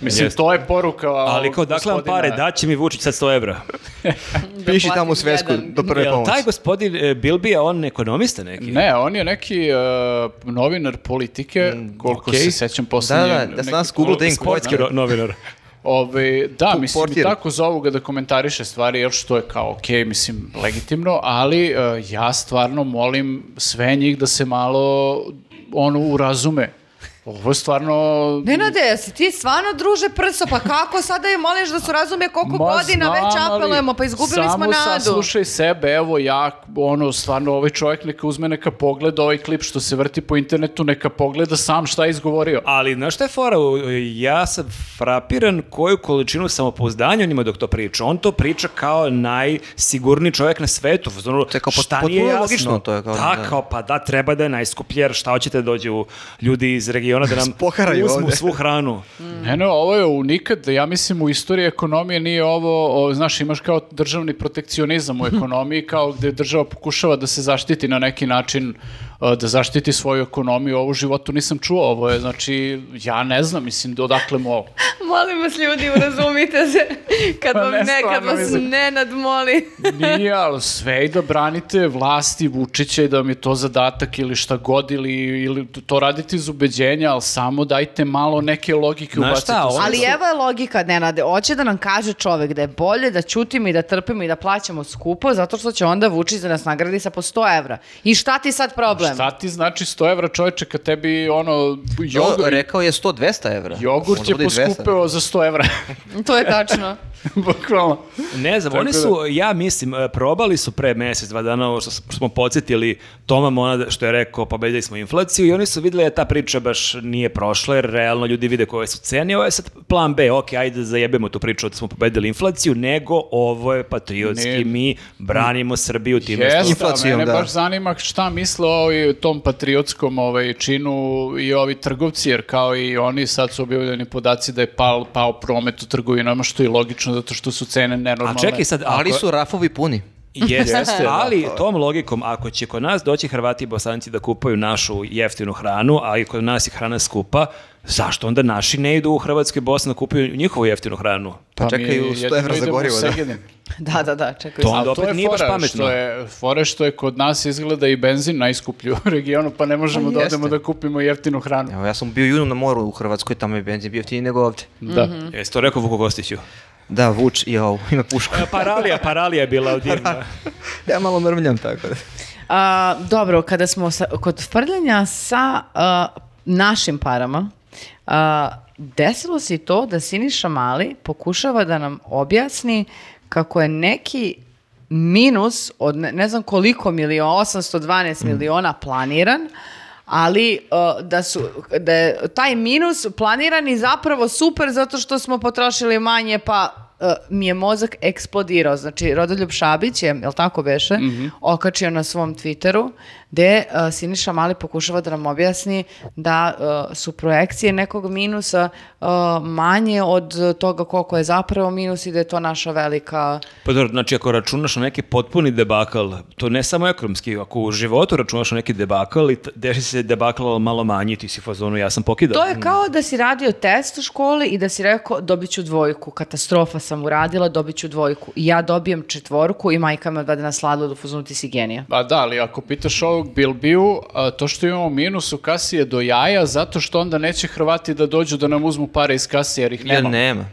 Mislim,
Jeste.
to je poruka
Ali kao, dakle vam
gospodina-
pare, daće mi Vučić sad 100 evra.
da
Piši tamo u
platim
svesku
jedan.
do prve
Jel
pomoći.
taj gospodin e, Bilbija, on ekonomista neki?
Ne, on je neki e, novinar politike, koliko
okej.
se sećam
Da,
posljednje.
da, da sam nas Google da im
Sportski ro- novinar.
Ove, da,
Tu
mislim
portir.
i tako zovu ga da komentariše stvari, jer što je kao ok, mislim, legitimno, ali e, ja stvarno molim sve njih da se malo ono urazume. Ovo je stvarno...
Nenade, jesi ti stvarno druže prso, pa kako sada je moliš da se razume koliko
Ma,
godina
znam,
već
ali
apelujemo, pa izgubili smo
Samo
nadu.
saslušaj sebe, evo ja, ono, stvarno ovaj čovjek neka uzme, neka pogleda ovaj klip što se vrti po internetu, neka pogleda sam šta je izgovorio.
Ali, znaš šta je fora? U- Ja sam frapiran koju količinu samopouzdanja on ima dok to priča. On to priča kao najsigurniji čovjek na svetu. Znači,
To je kao pot-
šta nije
potpuno
jasno?
logično, to je kao,
da,
da.
kao, pa da, treba da je najskuplje, jer šta hoćete da dođu ljudi iz regiona da nam
Spoharaju
uzmu
ovde.
svu hranu.
Ne, ne, ovo je unikad, ja mislim u istoriji ekonomije nije ovo, o, znaš, imaš kao državni protekcionizam u ekonomiji, kao gde država pokušava da se zaštiti na neki način, e, da zaštiti svoju ekonomiju, ovo u životu nisam čuo, ovo je, znači, ja ne znam, mislim, odakle mu ovo.
Molim vas ljudi, urazumite se kad
Pa
vam
ne,
ne, kad
stvarno
vas
mislim.
Nenad moli.
Nije, ali sve i da branite vlasti Vučića i da vam je to zadatak ili šta god, ili, ili to radite iz ubeđenja, ali samo dajte malo neke logike
Znaš
ubacite.
šta,
u
ovo-
sve
Ali
to.
evo je logika, Nenade, hoće da nam kaže čovek da je bolje da ćutimo i da trpimo i da plaćamo skupo, zato što će onda Vučić da nas nagradi sa po 100 evra. I šta ti sad problem?
Šta ti znači 100 evra čoveče kad tebi ono
Jogurt.
jogurt,
Rekao je 100-200 evra.
jogurt
Možda
je
da bude i 200.
poskupeo za 100 evra.
To je tačno.
Bukvalno.
Ne znam,
Tako
oni
da-
su, ja mislim, e, probali su pre mjesec, dva dana ovo što s- smo podsjetili Toma Mona da- što je rekao pobedili smo inflaciju i oni su vidjeli da ta priča baš nije prošla jer realno ljudi vide koje su cene. Ovo je sad plan B, ok, ajde zajebemo tu priču da smo pobedili inflaciju, nego ovo je patriotski,
Ne.
mi branimo Srbiju tim
Jeste, a
inflacijom,
mene
da.
baš zanima šta misle o ovaj, tom patriotskom ovaj, činu i ovi trgovci, jer kao i oni sad su objavljeni podaci da je pal, pao promet u trgovinama, što je logično zato što su cene
A
nenormalne.
čekaj sad,
Ali
ako-
su rafovi puni.
Jeste,
Jeste, da.
ali tom logikom, ako će kod nas doći Hrvati i Bosanci da kupaju našu jeftinu hranu, a i kod nas je hrana skupa, zašto onda naši ne idu u Hrvatsku i Bosnu da kupuju njihovu jeftinu hranu?
Pa, čekaj,
mi
u 100
jedino
evra za
idemo u
gorivo, da.
Segedin.
Da, da, da, čekaj.
To
Ali
onda
to
opet
je
nije baš
fora
pametno.
Što je, fora što je kod nas izgleda i benzin najskuplji u regionu, pa ne možemo da
jeste.
odemo da kupimo jeftinu hranu.
Evo, ja sam bio junom na moru u Hrvatskoj, tamo je benzin bio jeftiniji nego ovdje.
Da.
Jesi E, to rekao Vuko Gostiću?
Da, Vuč, jau, ima pušku.
Paralija, paralija je bila divna.
ja malo mrmljam tako da.
A, dobro, kada smo sa- kod frljanja sa a, našim parama, a, desilo se i to da Siniša Mali pokušava da nam objasni kako je neki minus od ne, ne znam koliko miliona, 812 miliona planiran, ali a, da su da je taj minus planiran i zapravo super zato što smo potrošili manje pa Uh, mi je mozak eksplodirao. Znači, Rodoljub Šabić je, jel tako beše, okačio na svom Twitteru, gde uh, Siniša Mali pokušava da nam objasni da uh, su projekcije nekog minusa uh, manje od uh, toga koliko je zapravo minus i da je to naša velika...
Pa dobro, znači ako računaš na neki potpuni debakal, to ne samo ekonomski, ako u životu računaš na neki debakal i t- deši se debakal ali malo manji, ti si u fazonu, ja sam pokidao.
To je kao da si radio test u školi i da si rekao dobit ću dvojku, katastrofa sam uradila, dobit ću dvojku. I ja dobijem četvorku i majka me odvede na sladlo do fuzonu ti si genija.
Pa da, ali ako pitaš ovog Bilbiju, a, to što imamo minus u kasi je do jaja, zato što onda neće Hrvati da dođu da nam uzmu pare iz kasi, jer ih
Ja
nema.
nema.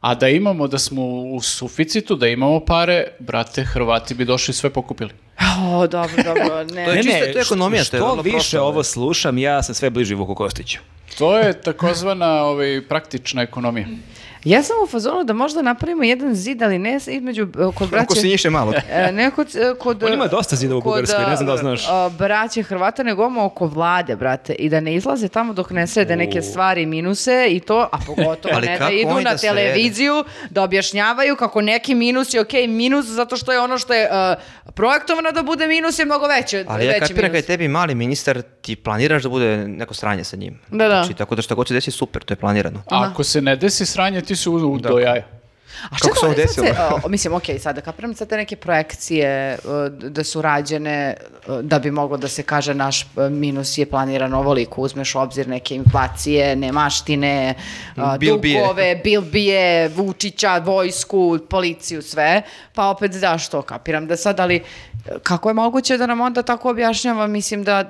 A da imamo, da smo u suficitu, da imamo pare, brate, Hrvati bi došli i sve pokupili.
O, dobro, dobro, ne.
To je čisto- to je ekonomija, to
što,
je vrlo
više
prosto,
ovo
ovaj.
slušam, ja sam sve bliži Vuku Kostiću.
To je takozvana ovaj, praktična ekonomija.
Ja sam u fazonu da možda napravimo jedan zid, ali ne između e, kod braće...
Ako si njiše malo.
e, ne kod, e, kod,
On ima dosta zidova u
kod,
Bugarskoj, ne znam da li
e,
znaš.
e, braće Hrvata, nego ono oko vlade, brate, i da ne izlaze tamo dok ne srede neke stvari i minuse i to, a pogotovo
Ali
ne da
kako
idu
oni
na
da srede?
televiziju, da objašnjavaju kako neki minus je okej minus, zato što je ono što je e, projektovano da bude minus je mnogo veće,
Ali ja
veći
kapiram kad je
minus.
tebi mali ministar, ti planiraš da bude neko sranje sa njim.
Da, da.
Znači, tako da šta god se desi, super, to je planirano.
A ako se ne desi sranje, ti su u-
Dakle.
do jaja.
A
Kako
čekaj,
se ovo
sad se,
desilo?
o, mislim, okej, sada kapiram sad te neke projekcije e, d- da su rađene e, da bi moglo da se kaže naš e, minus je planiran ovoliko, uzmeš u obzir neke inflacije, nemaštine, a,
Bilbije.
dugove, bilbije, Vučića, vojsku, policiju, sve, pa opet daš to, kapiram da sad, ali e, kako je moguće da nam onda tako objašnjava, mislim da,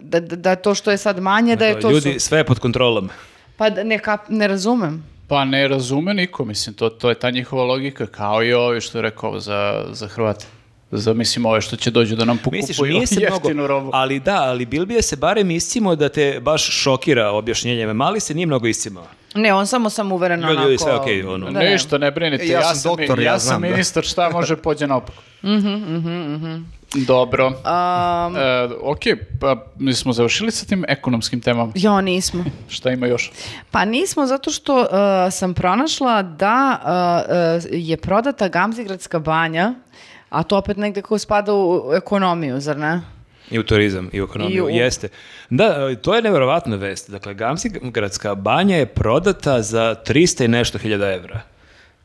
da, da, da to što je sad manje, da je to... su-
Ljudi, sve je pod kontrolom.
Pa da, ne, kap- ne razumem.
Pa ne razume niko, mislim, to, to je ta njihova logika, kao i ovi što je rekao za, za Hrvate. Za, mislim, ove što će dođu da nam pokupuju
Misliš, nije se
jeftinu
mnogo,
robu.
ali da, ali Bilbije se barem iscimo da te baš šokira objašnjenjem. Mali se nije mnogo iscimao.
Ne, on samo sam uveren
Ljudi,
onako.
ljudi, sve okej, ono.
Da, da.
Pa Ništa, ne brinite,
E, ja
ja,
sam
sam,
doktor,
ja,
ja
sam
znam, da.
ministar, šta može pođe naopako.
Mhm,
Dobro.
Um,
E, ok, pa mi smo završili sa tim ekonomskim temama.
jo, nismo.
Šta ima još?
Pa nismo, zato što uh, sam pronašla da uh, uh, je prodata Gamzigradska banja, a to opet negde ko spada u ekonomiju, zar ne?
I u turizam, i u ekonomiju,
I u-
jeste. Da, e, to je nevjerovatna vest. Dakle, Gamsigradska banja je prodata za 300 i nešto hiljada evra.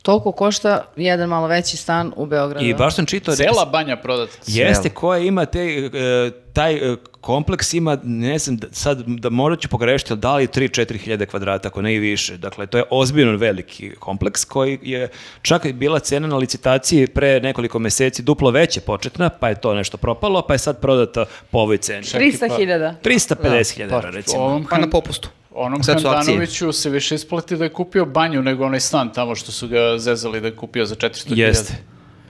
Toliko košta jedan malo veći stan u Beogradu.
I baš sam čitao... da
Da, Cela banja prodata.
Jeste,
Smelo.
koja ima te, e, taj e, kompleks ima, ne znam, da- sad da morat ću pogrešiti, ali da li 3-4 hiljade kvadrata, ako ne i više. Dakle, to je ozbiljno veliki kompleks koji je čak i bila cena na licitaciji pre nekoliko meseci duplo veće početna, pa je to nešto propalo, pa je sad prodata po ovoj ceni.
Čekaj, pa-
300.000.
350 hiljada
Pa,
evra, recimo.
Ovom,
Pa
Han-
na popustu.
Onom
Sad su akcije.
Handanoviću se više isplati da je kupio banju nego onaj stan tamo što su ga zezali da je kupio za 400.000.
Jeste.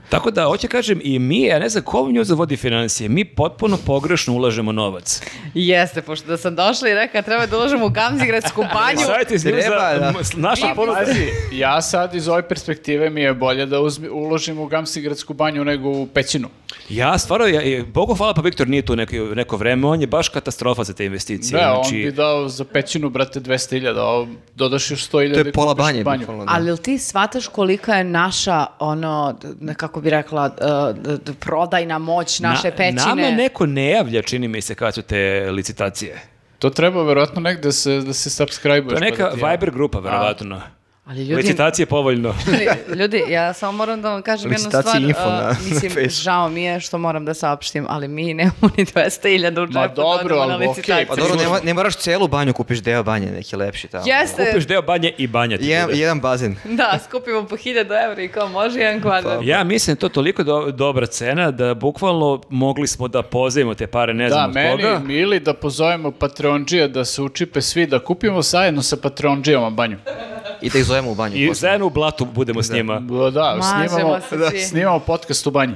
Tako da, hoće kažem, i mi, ja ne znam ko nju zavodi financije, mi potpuno pogrešno ulažemo novac.
Jeste, pošto da sam došla i rekao treba da uložimo u Gamzigradsku banju.
Savjeti s njim za
Treba, da.
m, s- naša
Mi-
poruka-
Pazi, ja sad iz ove perspektive mi je bolje da uzmi, uložim u Gamsigradsku banju nego u pećinu.
Ja stvarno, ja, ja- Bogu hvala, pa Viktor nije tu neko, neko vreme, on je baš katastrofa za te investicije.
Da, on
znači,
bi dao za pećinu, brate, 200.000, a ovo dodaš još 100.000.
To
i
je pola
kupiš
banje.
banju.
bukvalno, da.
Ali jel ti shvataš kolika je naša, ono, d- ne, kako bi rekla, d- d- d- prodajna moć naše
na-
pećine?
Nama neko ne javlja, čini mi se, kad su te licitacije.
To treba verovatno negde se, da se subscribe-uješ.
To je
pa
neka
da ti ja-
Viber grupa, verovatno.
Ali ljudi,
Licitacije povoljno.
ljudi, ja samo moram da vam kažem jednu
Licitacije
stvar.
info
uh,
na- na
mislim,
Facebooku.
žao mi je što moram da saopštim, ali mi nemamo ni 200.000 u džepu.
Ma
da
dobro,
odemo na
ali okej,
licitaciju.
Pa dobro,
Slušaj.
ne, mo- ne moraš celu banju, kupiš deo banje, neki lepši tamo.
Jeste,
Kupiš deo banje i banja ti
Jedan,
bude.
jedan bazen.
da, skupimo po 1000 evra i kao može jedan
Pa,
kvadrat.
Ja mislim da je to toliko do- dobra cena da bukvalno mogli smo da pozajemo te pare, ne
Da,
znam od
meni
koga.
ili da pozovemo Patreondžija da se učipe svi, da kupimo zajedno sa Patreondžijama banju.
I da ih zovemo u banju.
I
posle.
zajedno u blatu budemo s njima.
Da, da,
Mažemo
snimamo,
se
da,
svi.
snimamo podcast u banji.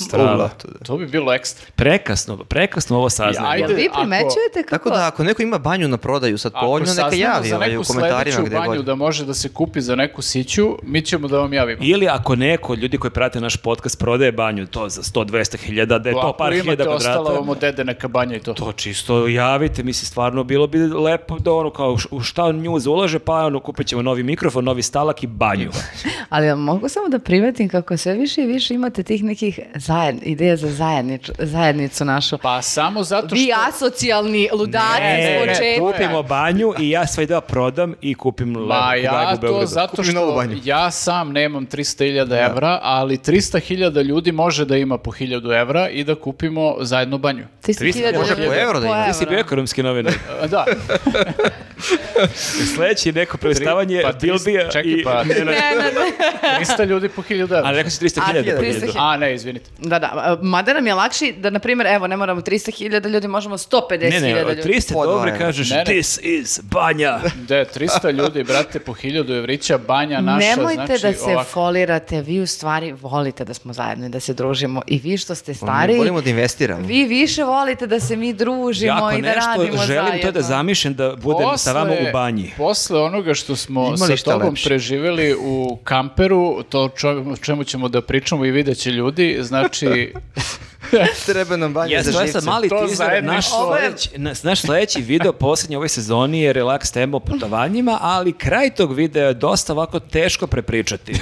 U
Strava.
blatu, da.
To bi bilo ekstra.
Prekasno, prekasno ovo saznanje.
Ajde,
Vi
ako-
primećujete kako...
pa, Tako da, ako neko ima banju na prodaju sad
Ako
povoljno, neka
saznamo
javi
za
ovaj,
neku
u komentarima
sledeću
gde je
banju
bolje.
da može da se kupi za neku siću, mi ćemo da vam javimo.
Ili ako neko, od ljudi koji prate naš podcast, prodaje banju, to za 100-200 hiljada, da je to
Ako
par
imate,
hiljada
ostala
kvadrata.
vam od dede neka banja i to.
To čisto javite, mislim, stvarno bilo bi lepo da ono kao š- u šta njuz ulaže, pa ono kupit ćemo novi mikrofon, novi stalak i banju.
Ali ja mogu samo da primetim kako sve više i više imate tih nekih zajedn, ideja za zajednič, zajednicu našu.
Pa samo zato što...
Vi asocijalni ludaci
E,
s početka.
kupimo banju i ja svoj deo prodam i kupim lebu,
Ma ja
u
to
Beogradu.
zato
Kupi novu
što
banju.
ja sam nemam 300.000 evra, ali 300.000 ljudi može da ima po 1.000 evra i da kupimo zajedno banju.
300.000
Može
po evro da ima.
Ti si bio ekonomski novinar.
E, Da,
Sledeći neko predstavanje
pa
pa,
tri-
Bilbija
čekaj,
i...
pa-
Ne, ne,
300 ljudi po 1.000 evra.
ali rekao si 300
A,
hiljada.
300 hiljada.
A ne, izvinite.
Da, da. Mada nam je lakši da, na primjer, evo, ne moramo 300.000 ljudi, možemo 150.000
Ne, ne, od
ljudi.
300
Po
dobre
dva,
kažeš
ne, ne.
this is banja.
De, 300 ljudi, brate, po 1000 evrića, banja naša,
Nemojte
znači
da se
ovako.
folirate, vi u stvari volite da smo zajedno i da se družimo. I vi što ste
Pa
Mi
stariji,
volimo da investiramo.
vi više volite da se mi družimo
Ako
i da
nešto
radimo
želim, to je da
zajedno.
zamišljam da budem sa vama u banji.
Posle onoga što smo
Ima li
sa
šta
tobom
lepše?
preživjeli u kamperu, to čo- o čemu ćemo da pričamo i vidjet će ljudi, znači
Treba nam banja
Jeste,
za
to je
živce.
sad mali
To
teaser,
zajedništvo.
naš
Ovo je-
sledeći, na- naš sledeći video posljednji ove sezoni je relaks tema o putovanjima, ali kraj tog videa je dosta ovako teško prepričati.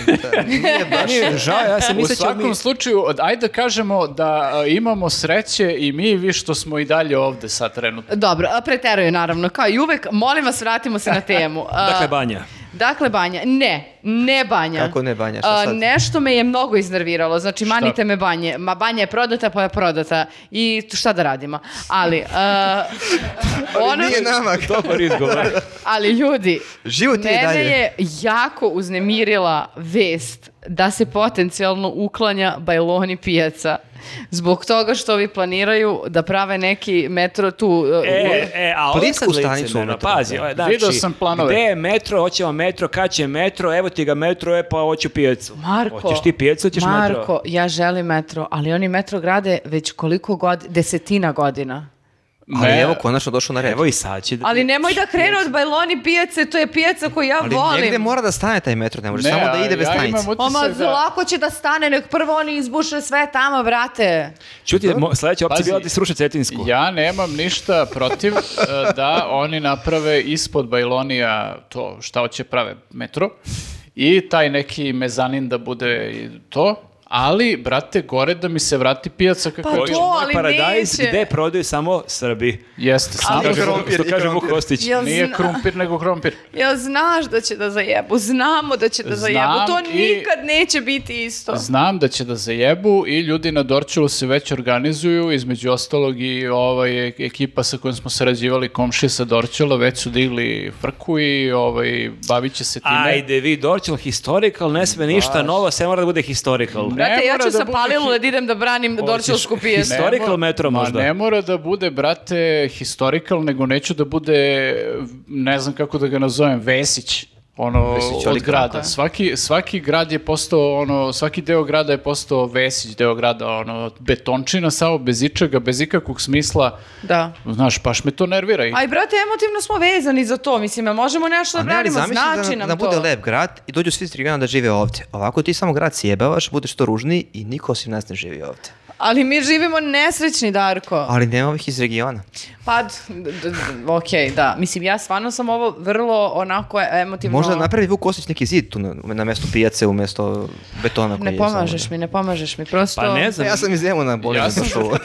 Nije baš.
Meni je žao, ja sam
u
mislio da ćemo
svakom
mi...
slučaju, od- ajde da kažemo da a, imamo sreće i mi i vi što smo i dalje ovde sad trenutno.
Dobro, a preteruju naravno, kao i uvek. Molim vas, vratimo se na temu. A,
Dakle, banja.
Dakle, Banja. Ne, ne Banja.
Kako ne Banja, šta
A,
sad?
nešto me je mnogo iznerviralo, znači
Šta?
manite me Banje. Ma Banja je prodata pa je prodata i šta da radimo. Ali, a, ono,
Nije nama.
Dobar
Da,
izgovor.
ali ljudi,
Život je i
mene
dalje.
je jako uznemirila vest da se potencijalno uklanja Bajloni pijaca Zbog toga što ovi planiraju da prave neki metro tu. uh,
E, e, a ovo je
Plitku
sad
stanicu
licemerno,
unutra.
pazi.
Da.
ovo je, Znači,
da. Video sam planove.
Gde je metro, hoćemo metro, kad će metro, evo ti ga metro, e pa hoću pijacu.
Marko,
Hoćeš ti pijacu, hoćeš
Marko,
metro?
ja želim metro, ali oni metro grade već koliko god, desetina godina.
Ali
Ne,
evo, konačno došao na red.
Evo i sad će da...
Ali nemoj da krenu od Bajloni pijace, to je pijaca koju ja
Ali
volim.
negde mora da stane taj metro, ne može samo da
a
ide bez
ja imam
stanice.
Oma,
utisak da-
lako će da stane, nek prvo oni izbuše sve tamo, brate.
Čuti, mo- sledeća opcija
Pazi,
je bila da ti sruše Cetinsku.
Ja nemam ništa protiv eh, da oni naprave ispod Bajlonija to šta hoće prave metro i taj neki mezanin da bude i to, ali, brate, gore da mi se vrati pijaca kako
Pa
je
Hoćeš
to,
bilo.
moj
ali
paradajz
neće.
gde prodaju samo Srbi.
Jeste,
Što
samo
kaže,
što-
što kaže Vuk Kostić.
Jel
nije
zna-
krumpir nego krompir.
Jel znaš da će da zajebu? Znamo da će da zajebu.
Znam
To
i-
nikad neće biti isto.
Znam da će da zajebu i ljudi na Dorčulu se već organizuju, između ostalog i ovaj, e- ekipa sa kojom smo sarađivali komšije sa Dorčula već su digli frku i ovaj, bavit će se time.
Ajde, vi Dorčel historical, ne sme ništa novo, sve mora da bude historical.
Ne
Brate, ja
mora
ću
da
sa
bude
palilu
hi-
da idem da branim Dorčilsku pijesu.
Ne
Historical
mora-
metro
ma
možda.
ne mora da bude, brate, historical, nego neću da bude, ne znam kako da ga nazovem, Vesić. Ono, od
ali
grada. Svaki, svaki grad je postao, ono, svaki deo grada je postao Vesić, deo grada, ono, betončina, samo bez ičega, bez ikakvog smisla.
Da.
Znaš, baš me to nervira. I
Aj, brate, emotivno smo vezani za to. Mislim, a možemo nešto da
A ne, ali
branimo,
zamisli
znači
da,
nam
da
to.
bude lep grad i dođu svi Strigana da žive ovdje. Ovako ti samo grad sjebavaš, budeš to ružniji i niko osim nas ne živi ovdje.
Ali mi živimo nesrećni, Darko.
Ali nema ovih iz regiona.
Pa, d- d- d- okej, da. Mislim, ja stvarno sam ovo vrlo onako emotivno...
Možda napravi Vuk Kostić neki zid tu na, na mesto pijace, umjesto betona koji
Ne
je
pomažeš
samo-
mi, ne pomažeš mi. Prosto...
Pa ne znam,
Ja sam iz Zemuna bolje
Ja
ja
sam-
čuo.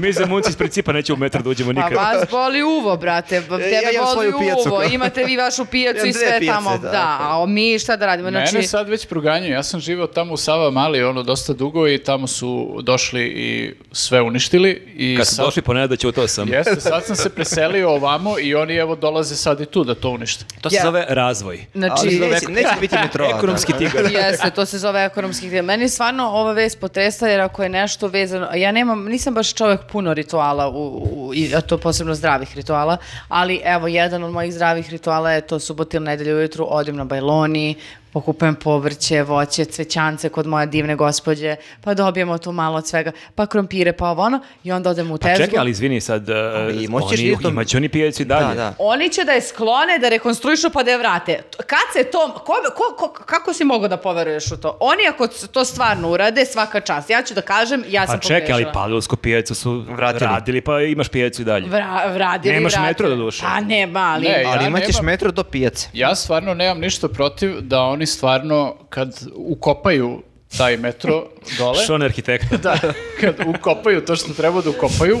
mi za munci iz principa nećemo u metar da uđemo
Pa
nikad.
vas boli uvo, brate. b-
Ja
Tebe
imam
boli
svoju pijacu.
uvo. Imate vi vašu pijacu
Imam
i
dve
sve
pijace,
tamo.
da,
Da,
okej.
a o- mi šta da radimo? Znači,
Mene sad već proganjaju, ja sam živeo tamo u Sava Mali, ono, dosta dugo i tamo su došli i sve uništili. I
Kad sam
sad-
došli da po Nenada, ćutao sam.
Jeste, sad sam se preselio ovamo i oni evo dolaze sad i tu da to unište.
To se
Ja.
zove razvoj.
Ali
znači
neće, neće biti metroa. da.
Ekonomski tigar.
Jeste, to se zove ekonomski gdje. Meni stvarno ova vest potresla jer ako je nešto vezano, ja nemam, nisam baš čovjek puno rituala, u, u- i- a to posebno zdravih rituala, ali evo, jedan od mojih zdravih rituala je to subot ili nedelju ujutru, odim na Bajloni, pokupujem povrće, voće, cvećance kod moje divne gospođe, pa dobijemo tu malo od svega, pa krompire, pa ovo ono, i onda odemo u
Pa
tezgu.
čekaj, ali izvini sad, uh,
Ali moći ćeš
oni,
vidjeti to-
imaće oni pijacu i dalje.
Da, da.
Oni će da je sklone, da rekonstruišu pa da je vrate. T- Kad se to, ko- ko- ko- kako si mogao da poveruješ u to? Oni ako c- to stvarno urade, svaka čast. Ja ću da kažem, ja sam
Pa čekaj, ali
pogrešila.
palilsku pijacu su
Vratili.
radili, pa imaš pijacu i dalje.
Vra, vradili,
Nemaš
vratili.
metro doduše.
Pa nema, ali...
Ne,
Ali
Ja
imat ćeš
nemam-
metro do pijace.
Ja stvarno nemam ništa protiv da oni stvarno kad ukopaju taj metro dole,
Šon arhitekta.
da, kad ukopaju to što treba da ukopaju,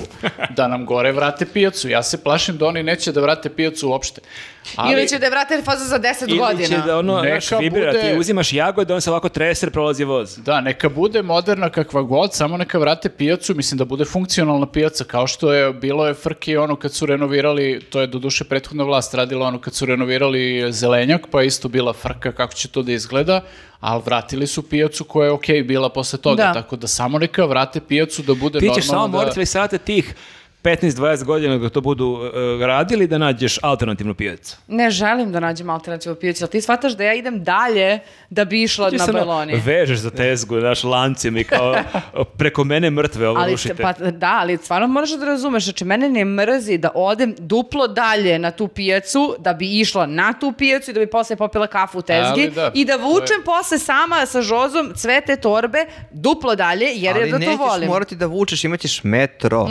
da nam gore vrate pijacu. Ja se plašim da oni neće da vrate pijacu uopšte. Ali,
Ili će da je vrate fazu za 10
Ili
godina.
će da ono,
Neka
znaš, vibrira,
bude-
ti uzimaš jagode, on se ovako treser, prolazi voz.
Da, neka bude moderna kakva god, samo neka vrate pijacu, mislim da bude funkcionalna pijaca, kao što je bilo je frke ono kad su renovirali, to je doduše prethodna vlast radila ono kad su renovirali zelenjak, pa je isto bila frka kako će to da izgleda, ali vratili su pijacu koja je okej bila posle toga,
Da.
tako da samo neka vrate pijacu da bude
Ti
normalno
ćeš samo
da...
morati li sate tih 15-20 godina dok to budu uh, radili da nađeš alternativnu pijacu.
Ne želim da nađem alternativu pijuću, ali ti shvataš da ja idem dalje da bi išla
Ti
na
se ono
Bajloni.
Vežeš za tezgu, daš lancem i kao preko mene mrtve ovo
Ali,
rušite.
pa, da, ali stvarno moraš da razumeš, znači mene ne mrzi da odem duplo dalje na tu pijacu, da bi išla na tu pijacu i da bi posle popila kafu u tezgi
Ali da,
i da
to je-
vučem posle sama sa žozom sve te torbe duplo dalje jer je
Ali
da to
nećeš
volim. Mhm.
morati da vučeš, imat ćeš metro.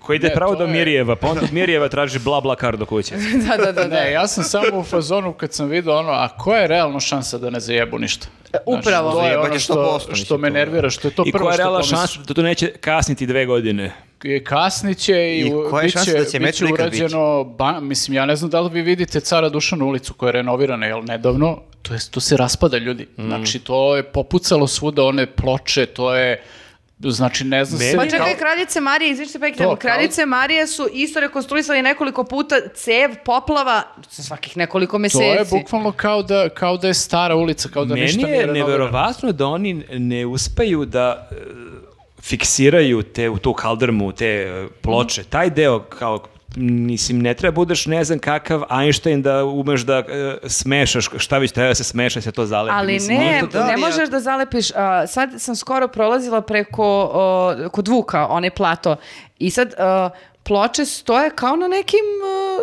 Koji ide
Ne,
pravo
to
do
je-
Mirjeva, pa onda od Mirjeva tražiš bla bla kar do kuće.
da, da, da, da.
Ne, ja sam samo u fazonu kad sam vidio ono, a koja je realno šansa da ne zajebu ništa? Znaš,
upravo.
to je
Zajebanje
ono
100%,
što,
mislim,
što me
to-
nervira, što je to
I
prvo
koja je
što
realna
pomisliš.
šansa da to neće kasniti dve godine?
je kasniće i,
I
u-
koja je
biće,
šansa da će
biće
metro ikad
urađeno, ba- mislim, ja ne znam da li vi vidite Cara Dušanu ulicu koja je renovirana, jel nedavno, to, je, to se raspada ljudi.
Mm.
Znači, to je popucalo svuda one ploče, to je, znači, ne znam
Meni-
se...
Pa
I
čekaj,
kao-
kraljice Marije, izvinite peknem,
To, kao-
kraljice Marije su isto rekonstruisali nekoliko puta cev poplava svakih nekoliko
To
meseci.
je bukvalno kao da, kao da je stara ulica, kao da
Meni
ništa nije
je
renovirano.
neverovatno da oni ne uspeju da e, fiksiraju te u tu kaldrmu, te e, ploče, taj deo kao mislim, ne treba budeš ne znam kakav Einstein da umeš da e, smešaš, šta već treba da se smeša, se to zalepi.
Ali
mislim,
ne,
ono to-
da,
ne
ali ja-
možeš da zalepiš. a, sad sam skoro prolazila preko, a, kod Vuka, onaj plato. I sad a, ploče stoje kao na nekim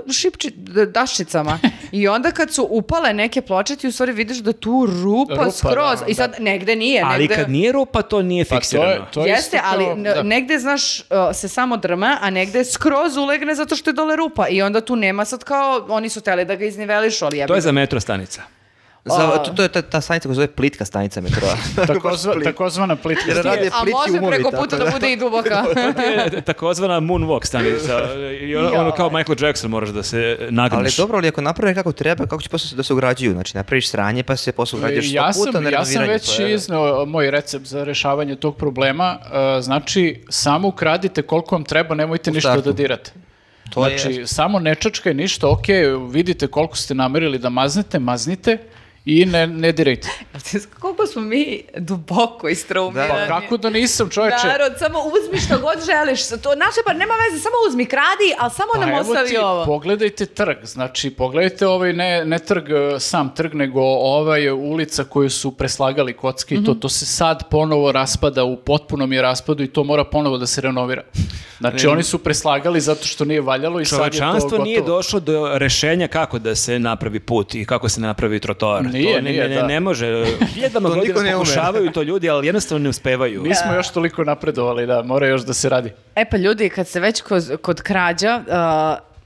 a, šipči, d- daščicama. I onda kad su upale neke ploče, ti u stvari vidiš da tu rupa,
Rupa,
skroz.
da,
I sad negde nije.
ali
negde...
kad nije rupa, to nije
Pa to
fiksirano.
je, to je
Jeste,
isto
ali
kao-
n-
da.
negde, znaš, uh, se samo drma, a negde skroz ulegne zato što je dole rupa i onda tu nema sad kao, oni su teli da ga iznivelišu, ali ja
To je za metro stanica.
Za, to, to je ta, ta stanica koja se zove plitka stanica metroa.
Takozva, takozvana plitka.
Jer radi-
A
plitki
može
umovi,
preko
tako
puta
da.
da bude i duboka.
E, takozvana moonwalk stanica. I ono, ono kao Michael Jackson moraš da se e,
Ali
nagneš.
dobro, ali ako naprave kako treba, kako će posle da se ugrađuju? Znači, napraviš sranje, pa se posle ugrađuješ sto
ja
puta
sam,
na
ja sam
renoviranje,
već
to je-
izneo e, moj recept za rešavanje tog problema. E, Znači, samo ukradite koliko vam treba, nemojte ništa
startu.
da dirate.
To je-
znači, samo ne čačkaj ništa, ok, vidite koliko ste namerili da maznete, maznite i ne, ne dirajte.
Koliko smo mi duboko istraumirani.
Da.
Pa kako da nisam, čoveče?
Narod, samo uzmi što god želiš. To, naše, pa nema veze, samo uzmi, kradi, ali samo
Pa
nam
Pa evo
da ostavi
ti,
ovo.
pogledajte trg, znači pogledajte ovaj, ne, ne trg, e, sam trg, nego ovaj ulica koju su preslagali kocke i to,
Mhm.
to se sad ponovo raspada, u potpunom je raspadu i to mora ponovo da se renovira. Znači oni su preslagali zato što nije valjalo i sad je to
Čovečanstvo
gotovo.
nije došlo do rešenja kako da se napravi put i kako se napravi trotoar.
Nije,
to ne,
nije,
ne, ne,
da.
ne može. Hiljadama
To niko ne
godina
ume.
pokušavaju to ljudi, ali jednostavno ne uspevaju.
Da.
Nismo još toliko napredovali, da, mora još da se radi.
E pa ljudi, kad se već kod, kod krađa,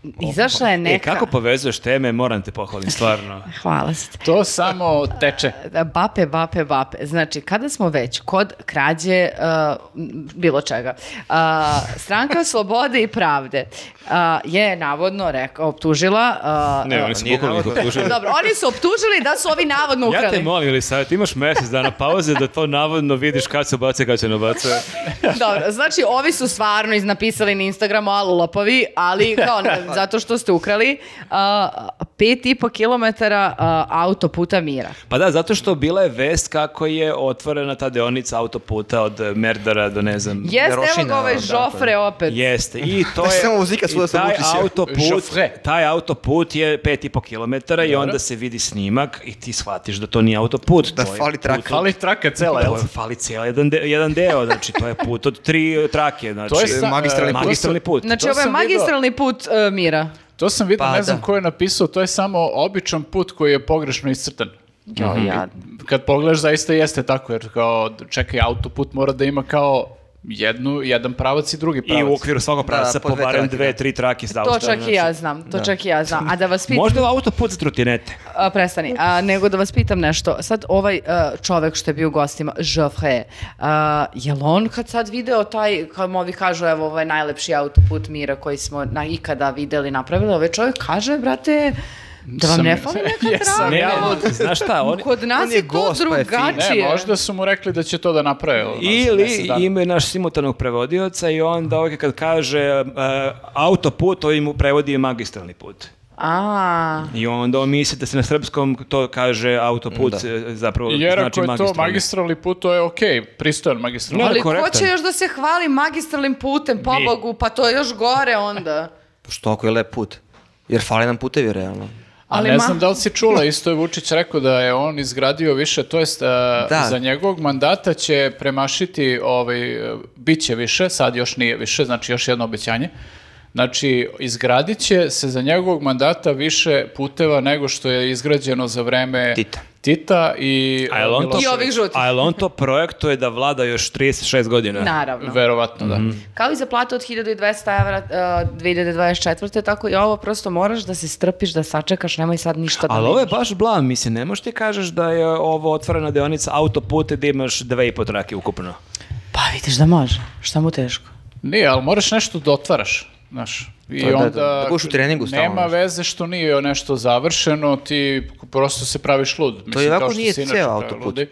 uh, izašla je
E,
neka...
kako povezuješ teme, moram te pohvalim, stvarno.
Hvala se.
To samo teče.
Da, Bape, bape, bape. Znači, kada smo već kod krađe uh, m, bilo čega, uh, stranka Slobode i Pravde uh, je navodno rekao, optužila... Uh,
Ne,
uh,
oni su
nije
bukvalno ih
navodno.
optužili.
Dobro, oni su optužili da su ovi navodno ukrali.
Ja te molim, ili sad, imaš mesec dana pauze da to navodno vidiš kad se obaca i kad se ne obaca.
Dobro, znači ovi su stvarno iznapisali na Instagramu alu lopovi, ali kao ne, zato što ste ukrali uh, pet i po kilometara uh, autoputa mira.
Pa da, zato što bila je vest kako je otvorena ta deonica autoputa od eh, Merdara do ne znam...
Jeste, evo
Jarošina,
ga ovaj
da,
Žofre opet.
Jeste, i to je...
Znači, Samo muzika svuda
i
se
taj
vuči se.
autoput,
Joffre.
taj autoput je pet i po kilometara i onda se vidi snimak i ti shvatiš da to nije autoput.
Da
to je
fali
put-
traka.
Fali traka cela, jel?
To je, fali cijel jedan, de- jedan deo, znači to je put od tri trake, znači
To je
sa- magistralni
e,
put.
to
magistralni
su-
put.
Znači,
To
ovo je
sam video.
magistralni put uh, mira.
To sam vidio,
Pa
ne znam
da.
ko je napisao, to je samo običan put koji je pogrešno iscrtan.
Jo, ja.
Kad pogledaš, zaista jeste tako, jer kao, čekaj, autoput mora da ima kao jednu, jedan pravac i drugi
I
pravac.
u okviru svakog pravca
po
po
dve
barem
trake,
dve,
da.
tri trake sa
To čak
autostrade,
i
znači.
ja znam, to čak i ja znam. A da vas pitam,
Možda je autoput za trotinete.
a, prestani, a, nego da vas pitam nešto. Sad ovaj a, čovek što je bio u gostima, Joffre, a, je li on kad sad video taj, kad mu ovi kažu, evo, ovaj najlepši autoput mira koji smo na, ikada videli, napravili, ovaj čovek kaže, brate, da vam
Sam-
ne fali neka
Jesam
trava.
Ne,
ja.
ali, znaš šta, oni,
Da, Kod nas
on
je, to
je gost, pa je fin.
drugačije.
Ne, možda su mu rekli da će to da naprave. ono, za
Ili
deset dana.
imaju naš simultanog prevodioca i onda ovaj kad kaže uh, autoput, ovaj mu prevodi magistralni put.
A,
I onda on misli da se na srpskom to kaže autoput,
Da.
e, zapravo
Jer
znači
ako je to
magistralni.
magistralni put, to je okej, pristojan magistralni
Ne,
put.
ali ko
korektan.
će još da se hvali magistralnim putem, pobogu, pa to je još gore onda.
Što ako je lep put? Jer fali nam putevi, realno.
A
Ali
ne
ma-
znam da li si čula, isto je Vučić rekao da je on izgradio više, to jest e,
Da.
za njegovog mandata će premašiti, ovaj, e, bit će više, sad još nije više, znači još jedno obećanje. Znači, izgradit će se za njegovog mandata više puteva nego što je izgrađeno za vreme
Tita.
Tita i
A jel on to,
I ovih žutih.
a jel on to projektuje da vlada još 36 godina?
Naravno.
Verovatno,
Mhm.
da.
Kao i za platu od 1200 evra uh, 2024. Tako i ovo prosto moraš da se strpiš, da sačekaš, nemoj sad ništa da
Ali ovo je
vidiš.
baš blam, mislim, ne možeš ti kažeš da je ovo otvorena deonica autoputa gdje imaš dve i po trake ukupno.
Pa vidiš da može, šta mu teško.
Nije, ali moraš nešto da otvaraš, znaš. I
To je da,
onda
da, da budeš u treningu stalno,
Nema
znaš.
veze što nije nešto završeno, ti prosto se praviš lud. Mislim,
i ovako
kao što
nije
se inače
ceo
prave
autoput.
ludi.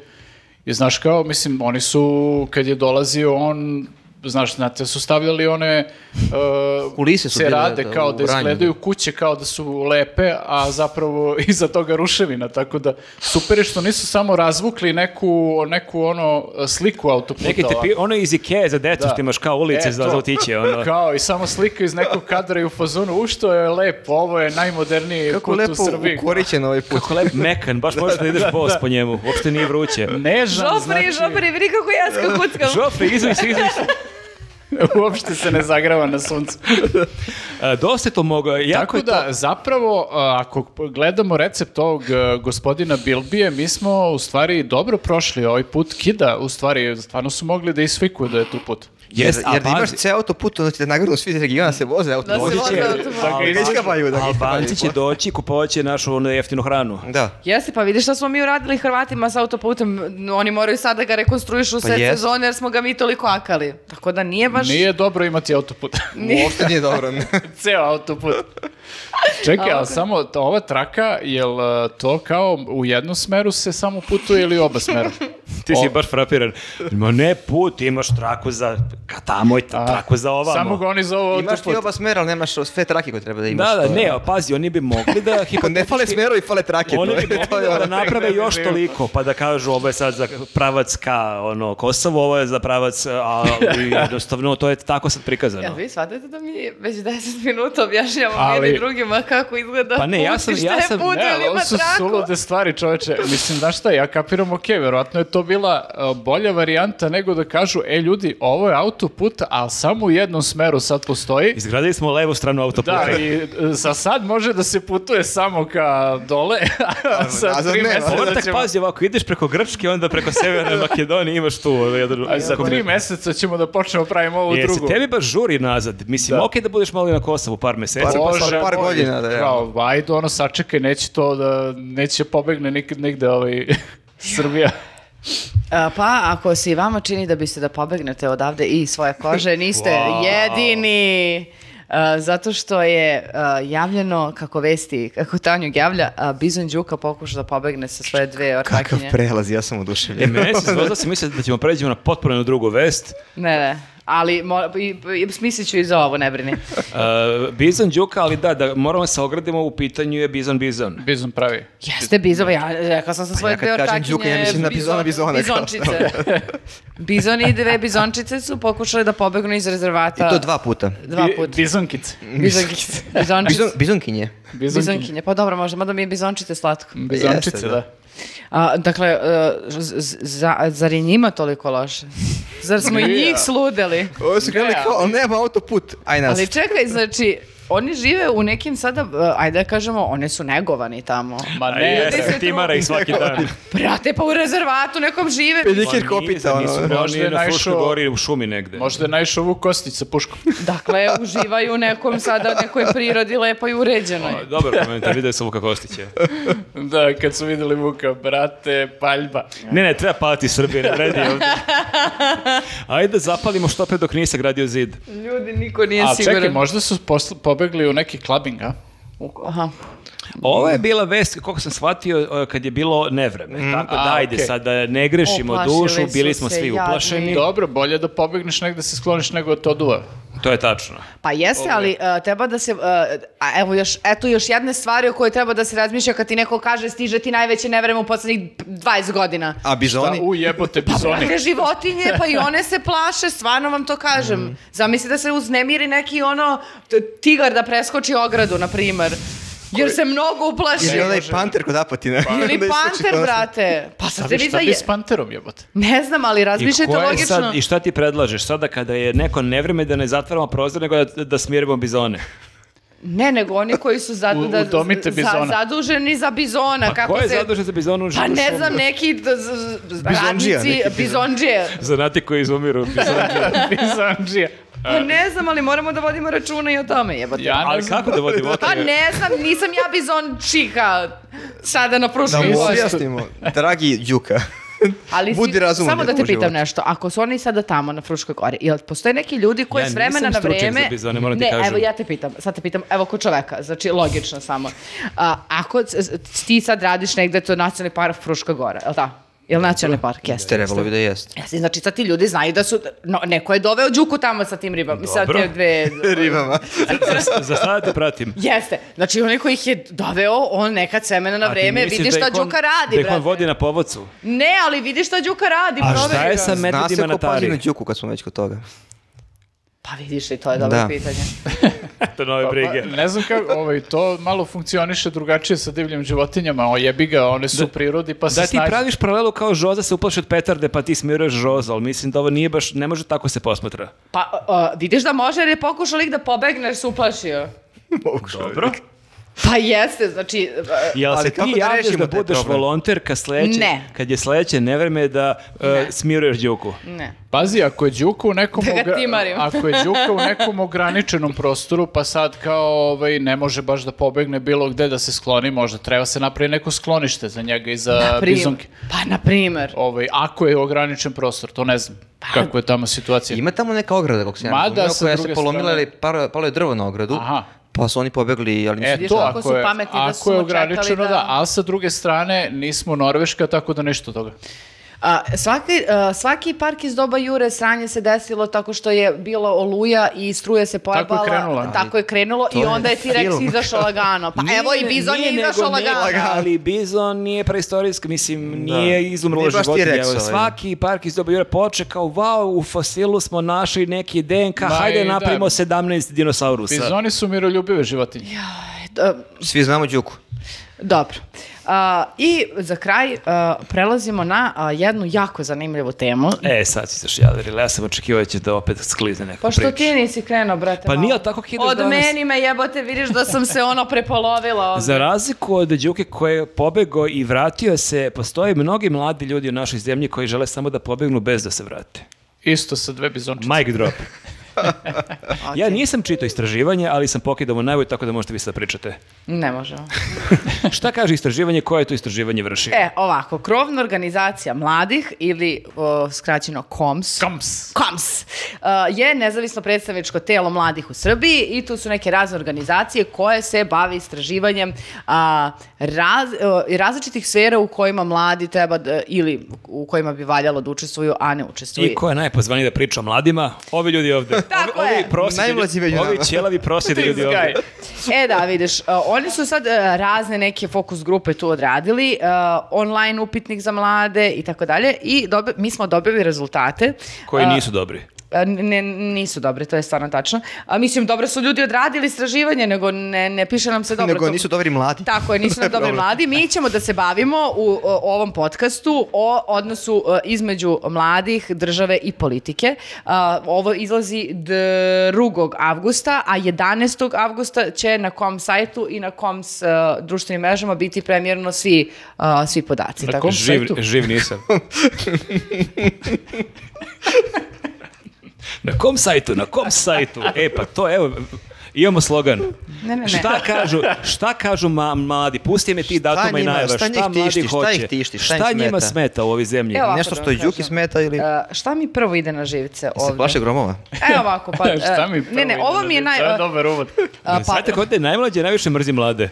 I znaš kao, mislim, oni su, kad je dolazio on, znaš, znate, su stavljali one uh,
Kulise su bile,
cerade
da,
kao
u
da
Vranju.
izgledaju kuće kao da su lepe, a zapravo iza toga ruševina, tako da super je što nisu samo razvukli neku, neku ono sliku autoputa.
Neki te
ovako.
pi, ono iz Ikea za decu
Da.
što imaš kao ulice
E,
za,
to.
za otiće. Ono.
Kao i samo slika iz nekog kadra i u fazonu, u što je lepo, ovo je najmoderniji
Kako
kut
lepo
u Srbiji.
ukorićen ovaj put.
Kako lep mekan, baš možeš da ideš bos po njemu, uopšte nije vruće.
Nežan,
Žopri,
znači,
žopri, vidi kako ja skakuckam.
Žofre, izvuj se, izvuj se.
uopšte se ne zagrava na suncu.
A, E, Dosta je to mogao. Jako
Tako
je to-
da, zapravo, a, ako p- gledamo recept ovog e, gospodina Bilbije, mi smo u stvari dobro prošli ovaj put kida, u stvari, stvarno su mogli da isfikuju da je tu put.
Jer,
a
jer da imaš
pazi,
ceo autoput, onda ćete nagradu svi iz regiona se voze
Da se
autobusom.
Doći će-
voze automobil.
Tako i
Albanci-
iskapaju, da ga
Albanci
iskapaju.
će doći i kupovaće našu ono jeftinu hranu.
Da.
Jeste, pa vidiš šta smo mi uradili Hrvatima sa autoputem. Oni moraju sad da ga rekonstruišu sve
jest.
sezone jer smo ga mi toliko akali. Tako da nije baš...
Nije dobro imati autoput.
Nije.
Uopšte nije dobro.
Ceo autoput. Čekaj, ali samo ta- ova traka, jel e, to kao u jednom smeru se samo putuje ili oba smera?
Ti si
O-
baš frapiran. Ma ne put, imaš traku za ka tamo i ta- traku za ovamo.
Samo ga oni zovu
Imaš ti
autoput.
oba smera, ali nemaš sve trake koje treba da imaš.
Da, da,
To je-
ne, a pazi, oni bi mogli da
Ako ne fale
hipotetički-
smerovi, fale trake.
Oni
to
bi
je- to
mogli
je
da, da
ono.
naprave još toliko, pa da kažu ovo je sad za pravac ka ono, Kosovo, ovo je za pravac, a i jednostavno to je tako sad prikazano.
Jel vi shvatate da mi već 10 minuta objašnjavamo
Ali-
jedni drugima kako izgleda
Pa ne, ja
put i
sam-
šta
ja
je
sam-
put
Ne,
ili
ali
ima
ovo su
traku.
sulude stvari, čoveče. Mislim, znaš šta, ja kapiram, ok, verovatno je to bila e, bolja varijanta nego da kažu, e, ljudi, ovo je autoput, ali samo u jednom smeru sad postoji.
Izgradili smo levu stranu autoputa.
Da, i e, za sad može da se putuje samo ka dole, a sa
nazad
tri
nema.
meseca
Povratak,
ćemo-
pazi ovako, da ideš preko Grčke, onda preko Severne Makedonije imaš tu. ono, jednu-
a za tri meseca ćemo da počnemo pravimo ovu
Jesi,
drugu.
E, tebi baš žuri nazad. Mislim,
Da.
okej da budeš malo i na Kosovu par meseci.
Par-
pa-
posle
Bože
par
moj,
godina, da, ja.
Kao, ajde, ono, sačekaj, neće to da, neće pobegne nikad negde ovaj... Srbija.
A, pa ako se i vama čini da biste da pobegnete odavde i svoje kože, niste
Wow.
jedini. A, zato što je a, javljeno, kako vesti, kako Tanjug javlja, a, Bizon Đuka pokuša da pobegne sa svoje dve
Kakav
ortakinje.
prelaz, ja sam
E,
oduševljen.
meni se zvozda se misle da ćemo pređemo na potpuno jednu drugu vest.
Ne, ne. Ali mo, i, i, smislit ću i za ovo, ne brini.
Uh, bizon Đuka, ali da, da moramo se ogradimo u pitanju je Bizon Bizon.
Bizon pravi.
Jeste bizova, ja rekao sam sa svoje
Pa
dve
ja kad kažem
ortakinje.
đuka, ja mislim na bizona, bizona, kao
Bizončice. Bizoni i dve bizončice su pokušali da pobegnu iz
I
rezervata.
to dva puta.
Dva
Bi-
puta.
Bizonkice.
Bizonkice. Bizončice.
Bizon, bizonkinje.
Bizonkinje, pa dobro, možda, mada mi je bizončite slatko.
Bizončice,
Jeste,
da.
da.
A, dakle, e, z- z- za, zar je njima toliko loše? Zar smo i
Nije.
njih sludeli?
Ovo su krenuli
Ne,
kao, ali nema autoput, aj nas.
Ali čekaj, znači, oni žive u nekim sada, e, ajde da kažemo, one su negovani tamo.
Ma
A
ne,
jeste,
ljudi se
timara ih svaki dan.
Brate, pa u rezervatu nekom žive.
Pedikir
Pa nije,
kopita,
nisu,
ono.
oni
Možda je
na Fruškoj
naišao-
gori u šumi negde.
Možda je naišao ovu kostić sa puškom.
Dakle, uživaju u nekom sada, nekoj prirodi lepoj i uređenoj.
O, Dobar komentar, vidio sam Vuka Kostića.
da, kad su videli Vuka, brate, paljba.
Ne, ne, treba paliti Srbije, ne vredi ovde. Ajde da zapalimo što pre dok nije sagradio zid.
Ljudi, niko nije
A
siguran.
čekaj, možda su posl- pobegli u neki clubbing, a?
Aha.
Ovo je bila vest, koliko sam shvatio, e, kad je bilo nevreme. Tako da,
a,
ajde,
okej.
sad da ne grešimo
Oplašili
dušu,
su
bili smo
se,
svi
jadni.
uplašeni.
Dobro, bolje da pobegneš negde se skloniš nego da to duva.
To je tačno.
Pa jeste, ali e, treba da se, e, a evo još, eto još jedne stvari o kojoj treba da se razmišlja kad ti neko kaže stiže ti najveće nevreme u poslednjih 20 godina.
A
Da,
bizoni?
u jebote bizoni.
Brate, životinje, pa i one se plaše, stvarno vam to kažem.
Mm.
Zamisli da se uznemiri neki ono t- tigar da preskoči ogradu, na primer. Jer se mnogo uplaši.
Ili onaj panter kod Apatina.
Pa- Ili
Onda iskoči
panter,
konačno.
brate. Pa
Šta
sad
bi,
vi za
šta bi
je...
s panterom jebote?
Ne znam, ali razmišljajte
koje
logično.
sad, I šta ti predlažeš? Sada kada je neko nevreme da ne zatvaramo prozor, nego da, da smirimo bizone.
Ne, nego oni koji su za-
U-
da-
udomite
za-
bizona.
zaduženi za bizona.
Pa
kako
ko je
se...
zadužen za bizonu? u
Pa ne
šumi?
znam, neki d- z- z-
Bizondžija,
radnici,
da- neki
bizondžije.
Zanati koji izumiru bizone.
Bizonđija.
Pa ne znam, ali moramo da vodimo računa i o tome, jebote.
Ja ne
Ali
znam.
kako da vodimo o
Pa
tome?
ne znam, nisam ja bizončika sada na
Da
prušnoj
mu
koži.
objasnimo, dragi Đuka.
Ali si-
Budi razuman
Samo da te
u životu.
pitam nešto, ako su oni sada tamo na Fruškoj gori, jel postoje neki ljudi koji
Ja
s vremena
nisam
na
stručnjak
vreme...
za bizone, moram ti
ne,
kažem.
evo ja te pitam, sad te pitam, evo ko čoveka, znači logično samo. A, ako c- c- ti sad radiš negde, to je nacionalni park Fruška gora, jel ta? Jel nacionalni park? Jeste.
Jeste, trebalo bi da jeste.
Jeste, znači sad ti ljudi znaju da su, no, neko je doveo Đuku tamo sa tim ribama, sa
Dobro.
te dve...
Ribama.
Za- Za sada te pratim.
Jeste, znači onaj koji ih je doveo, on nekad semena na
A ti
vreme,
misliš
vidi
da
šta
ih on-
Đuka radi,
Da ih on
brate.
vodi na povodcu.
Ne, ali vidi šta Đuka radi,
A
proveri
šta je
ga.
sa
Zna se
medvedima
ko
na
pazi na
tari?
Đuku kad smo već kod toga.
Pa vidiš i to je dobro
Da.
pitanje.
To nove brige.
Pa, ne znam kako, ovaj, to malo funkcioniše drugačije sa divljim životinjama, o jebi ga, one su u prirodi pa se
Da ti
snađu.
praviš paralelu kao Žoza se uplaši od petarde pa ti smiruješ Žoza, ali mislim da ovo nije baš, ne može tako se posmatra.
Pa a, vidiš da može jer je pokušao lik da pobegne jer se uplašio.
Dobro.
Pa jeste, znači... a,
Jel se
Ali kako
ti
da
javljaš da,
rešimo taj
budeš
problem?
volonter kad, sledeće,
Ne.
kad je sledeće nevreme da e,
Ne.
smiruješ djuku?
Ne.
Pazi, ako je Đuka u nekom,
Da ga
ogra-
timarim.
ako je Đuka u nekom ograničenom prostoru, pa sad kao ovaj, ne može baš da pobegne bilo gde da se skloni, možda treba se napravi neko sklonište za njega i za
Da,
Na prim-
bizonke.
Pa, na primer.
Ovaj, ako je ograničen prostor, to ne znam
Pa,
kako je tamo situacija.
Ima tamo neka ograda, kako se ja
Mada
razumio,
sa
koja
druge
se polomila
strane-
ili par- palo je drvo na ogradu,
Aha.
pa su oni pobegli, ali nisu
E,
Vidiš
to
kako
ako,
su
je,
pametni da su
ako je
mu čekali
ograničeno,
da-
da. ali sa druge strane nismo Norveška, tako da ništa od toga.
A, svaki, a, svaki park iz doba Jure sranje se desilo tako što je bila oluja i struja se pojebala.
krenula.
Tako je krenulo i
je
onda je T-Rex
film.
izašao lagano. Pa evo i Bizon je izašao lagano.
Ali Bizon nije preistorijski, mislim,
Da.
nije izumrlo
Nije baš
životinje.
T-Rex
Evo,
ovaj, da.
Svaki park iz doba Jure poče kao, vau, u fosilu smo našli neki DNK,
Ma
hajde
i da.
napravimo 17 dinosaurusa.
Bizoni su miroljubive životinje.
E,
Svi znamo Đuku.
Dobro. A, I za kraj a, prelazimo na a, jednu jako zanimljivu temu.
E, sad si se jader, ja sam očekivao da će da opet sklize neka
Pa što
priča.
ti nisi krenuo, brate?
Pa
malo?
nije, ali tako kidaš
Od
danas.
meni me jebote, vidiš da sam se ono prepolovila ovde.
Za razliku od Đuke koji je pobegao i vratio se, postoje mnogi mladi ljudi u našoj zemlji koji žele samo da pobegnu bez da se vrate.
Isto sa dve bizončice.
Mic drop. ja nisam čitao istraživanje, ali sam pokidao mu najbolje, tako da možete vi sad pričate.
Ne možemo.
Šta kaže istraživanje, koje je to istraživanje vrši?
E, ovako, krovna organizacija mladih ili o, skraćeno KOMS.
Kams.
KOMS a, je nezavisno predstavničko telo mladih u Srbiji i tu su neke razne organizacije koje se bave istraživanjem a, raz- a, i različitih sfera u kojima mladi treba da- ili u kojima bi valjalo da učestvuju, a ne učestvuju.
I ko je najpozvaniji da priča o mladima? Ovi ljudi ovde.
Tako
ovi,
je.
ovi prosjedi-
Najmlađi među nama.
Ovi ćelavi prosjedi ljudi ovde.
E da, vidiš, uh, oni su sad uh, razne neke fokus grupe tu odradili, uh, online upitnik za mlade i tako dalje i dobi- mi smo dobili rezultate.
Koji
Uh,
nisu dobri.
a, Ne, nisu dobre, to je stvarno tačno. A, mislim, dobro su ljudi odradili istraživanje, nego ne, ne piše nam se dobro.
Nego
to-
nisu dobri mladi.
Tako je, nisu nam dobri mladi. Mi ćemo da se bavimo u o, ovom podcastu o odnosu e, između mladih, države i politike. A, Ovo izlazi 2. avgusta, a 11. avgusta će na kom sajtu i na kom s e, društvenim mrežama biti premjerno svi, a, svi podaci.
Na
tako.
kom
Živ,
sajtu?
živ nisam. na kom sajtu, na kom sajtu? E pa to, evo, imamo slogan.
da- Ne, ne, ne.
Šta kažu, šta kažu ma, mladi? Pusti me ti datuma i
njima-
najava. Šta,
šta njih
mladi
tišti, šta
hoće?
ih tišti, šta
šta,
im
njima
smeta?
smeta u ovoj zemlji?
Evo,
Nešto
da vam
što je
kažem.
Đuki smeta ili
E, šta mi prvo ide na živce
se plaše
ovdje?
gromova?
Evo ovako, pa... e,
Šta mi prvo
ne, ne,
ide
ovo
na
mi je
živce?
naj...
To je dobar uvod.
a, pa-
Znate kod je najmlađe, najviše mrzi mlade.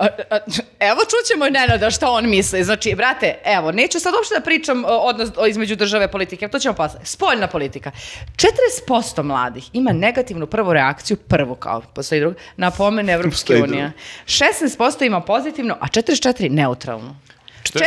A, a, Evo čućemo i Nenada šta on misli. Znači, brate, evo, neću sad uopšte da pričam o, odnos o- između države i politike, to ćemo posle. Spoljna politika. 40% mladih ima negativnu prvu reakciju, prvu kao, postoji druga, na pomene Evropske
Postoji
unije. 16% ima pozitivno, a 44% neutralno. 40%.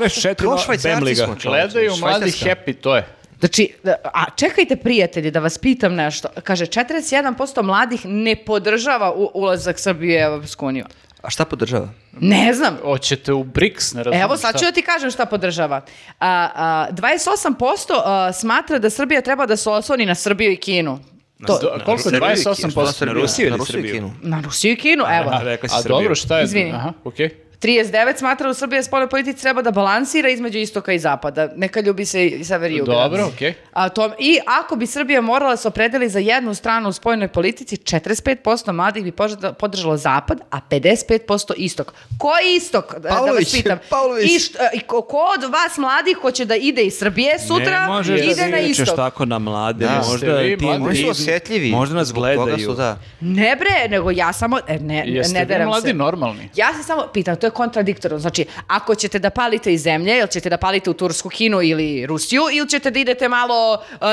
44
Kao
na
švajcarci
Bemliga.
smo, čoveče.
Gledaju mladi
Švajcarska.
happy, to je.
Znači, da- a čekajte prijatelji da vas pitam nešto. Kaže, 41% mladih ne podržava u- ulazak Srbije u Evropsku uniju.
A šta podržava?
Ne znam.
Hoćete u BRICS, ne razumijem
Evo, sad ću
šta.
da ti kažem šta podržava. A, a, 28% a, smatra da Srbija treba da se osloni na Srbiju i Kinu. To,
Do- koliko je? 28%?
Na Rusiju ili
Na Rusiju i
Srbiju?
Kinu.
na Rusiju i Kinu, evo.
A, rekla si
A
Srbiju.
dobro, šta je?
Izvini.
Aha, okej.
39 smatra da Srbija spoljnoj politici treba da balansira između istoka i zapada. Neka ljubi se i sever i jug.
Dobro, okej.
A to, I ako bi Srbija morala da se opredeli za jednu stranu u spoljnoj politici, 45% mladih bi požada- podržalo zapad, a 55% istok. Ko je istok? Da- da vas
Pavlović,
pitam.
Pavlović.
I št- i ko, ko od vas mladih hoće da ide iz Srbije
ne
sutra,
možeš
ide
da
na
vičeš
istok?
tako na mlade,
Da.
možda
Jeste vi
ti...
mladi?
Oni su
Pa I-
osjetljivi.
možda nas
zbog toga
gledaju.
Su, da.
Ne bre, nego ja samo, e, ne,
Jeste
ne
vi
deram
mladi
se.
normalni?
Ja se samo pitam, to je kontradiktorno. Znači, ako ćete da palite iz zemlje, ili ćete da palite u Tursku, Kinu ili Rusiju, ili ćete da idete malo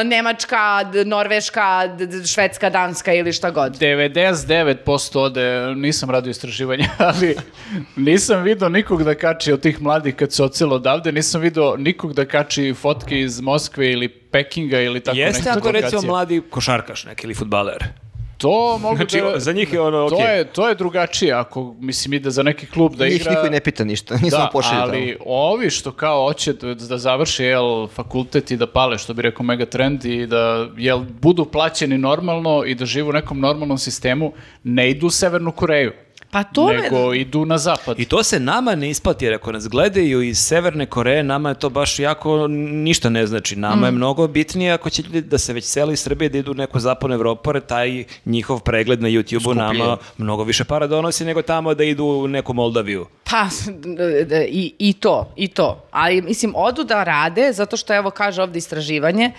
e, Nemačka, d- Norveška, d- d- Švedska, Danska ili šta god.
99% ode, nisam radio istraživanja, ali nisam video nikog da kači od tih mladih kad se ocelo odavde, nisam video nikog da kači fotke iz Moskve ili Pekinga ili tako
Jeste
neke
ako recimo
lokacije.
mladi košarkaš neki ili futbaler.
To mogu
Znači,
da...
za njih je ono,
To
okej.
je, to je drugačije, ako, mislim, ide za neki klub da
Njih
igra...
niko i ne pita ništa, njih samo
Da,
pošalje tamo.
ali ovi što kao hoće da, da završe jel, fakultet i da pale, što bi rekao Megatrend, i da jel, budu plaćeni normalno i da žive u nekom normalnom sistemu, ne idu u Severnu Koreju,
Pa to me-
nego idu na zapad.
I to se nama ne isplati, jer ako nas gledaju iz Severne Koreje, nama je to baš jako ništa ne znači. Nama
Mm.
je mnogo bitnije ako će ljudi da se već seli iz Srbije, da idu u neku zapadnu Evropu, jer taj njihov pregled na YouTube-u nama mnogo više para donosi nego tamo da idu u neku Moldaviju.
Pa, d- d- i, i to, i to. Ali, mislim, odu da rade, zato što, evo, kaže ovdje istraživanje,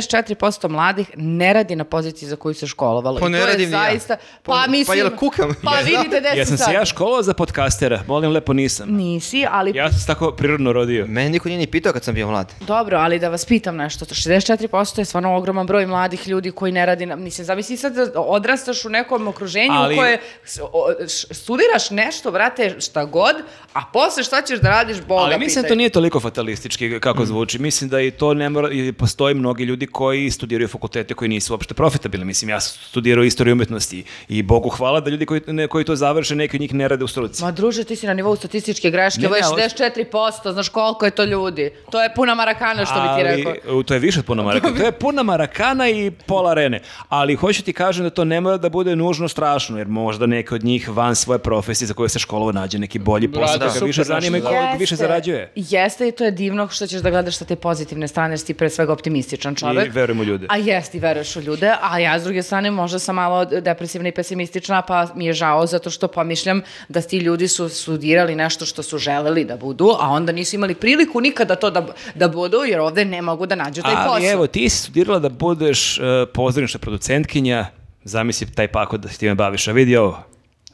64% mladih ne radi na poziciji za koju se školovalo.
Pa
I
ne
to je
radim ni ja.
zaista...
Pa-
Pa,
pa
mislim...
jel kukam?
Pa vidite
E,
decu
Ja sam se
sad.
ja školovao za podcastera, molim lepo nisam.
Nisi, ali...
Ja sam se tako prirodno rodio.
Mene niko nije ni pitao kad sam bio mlad.
Dobro, ali da vas pitam nešto, 64% je stvarno ogroman broj mladih ljudi koji ne radi, na, mislim, zamisli sad da odrastaš u nekom okruženju
Ali-
u koje s- o- š- studiraš nešto, brate, šta god, a posle šta ćeš da radiš, Boga
Ali mislim da
pitaj.
to nije toliko fatalistički kako
Mm.
zvuči. Mislim da i to ne mora, i postoji mnogi ljudi koji studiraju fakultete koji nisu uopšte profitabilni. Mislim, ja sam studirao istoriju umetnosti i Bogu hvala da ljudi koji, ne- koji to završe, neki od njih ne rade u struci.
Ma druže, ti si na nivou statističke greške,
Ne,
ovo je
ne, ali-
64%, znaš koliko je to ljudi. To je puna marakana što bi ti
Ali,
rekao.
u, to je više od puna marakana. To je puna marakana i pola rene. Ali hoću ti kažem da to ne mora da bude nužno strašno, jer možda neki od njih van svoje profesije za koje se školovo nađe neki bolji posao,
Rade
da ga
super
više
nešto,
zanima i
da.
koliko više
Jeste.
zarađuje.
Jeste i to je divno što ćeš da gledaš sa te pozitivne strane, jer si ti pre svega optimističan čovek.
I verujem u ljude.
A jesti, veruješ u ljude, a ja s druge strane možda sam malo depresivna i pesimistična, pa mi je žao zato što pomišljam da ti ljudi su studirali nešto što su želeli da budu, a onda nisu imali priliku nikada to da, da budu, jer ovde ne mogu da nađu taj
Ali
posao.
evo, ti si studirala da budeš uh, pozorišna producentkinja, zamisli taj pakot da se time baviš, a vidi ovo.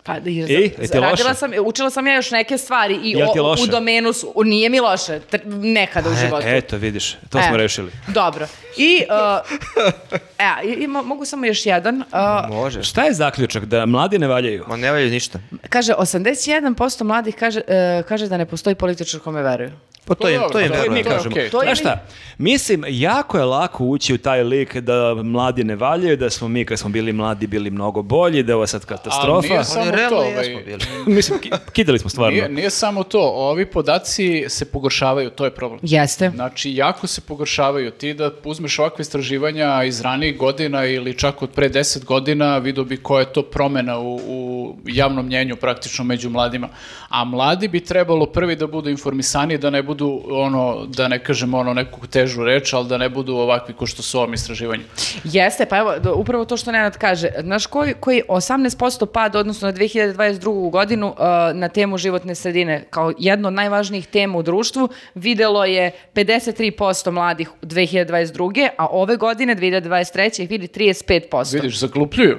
Pa, jer,
I?
za-
Je ti
radila
loše?
sam, učila sam ja još neke stvari i
Jel ti
o-
loše?
u domenu su, o, nije mi loše, tr- nekada u životu.
E, eto, vidiš, to
E,
smo rešili.
Dobro. I, uh, e, i- i mo- mogu samo još jedan. Uh,
Može.
Šta je zaključak? Da mladi ne valjaju?
Ma ne valju ništa.
kaže, 81% mladih kaže, e, kaže da ne postoji političar kome veruju.
Pa to,
To je
im,
dobro, da,
to im
To
to je
i mi
verujem.
to je
Da kažemo.
okej.
To je
Znaš
mi-
šta, mislim, jako je lako ući u taj lik da mladi ne valjaju, da smo mi kad smo bili mladi bili mnogo bolji, da je ovo sad
Ali
katastrofa.
nije
Ali
samo to,
realno
ovaj,
jesmo bili.
mislim, ki- kidali smo stvarno.
nije, nije samo to, ovi podaci se pogoršavaju, to je problem.
Jeste.
Znači, jako se pogoršavaju. Ti da uzmeš ovakve istraživanja iz ranijih godina ili čak od pre 10 godina, vidio bi koja je to promena u, u javnom mnjenju praktično među mladima. A mladi bi trebalo prvi da budu informisani, da ne budu, ono, da ne kažem ono neku težu reč, ali da ne budu ovakvi ko što su u ovom istraživanju.
Jeste, pa evo, do- upravo to što Nenad kaže. Znaš koji, koji 18% pad, odnosno na 2022. godinu uh, na temu životne sredine, kao jedno od najvažnijih tema u društvu, videlo je 53% mladih 2022. a ove godine, 2023. ih vidi 35%.
Vidiš, zaglupljuju.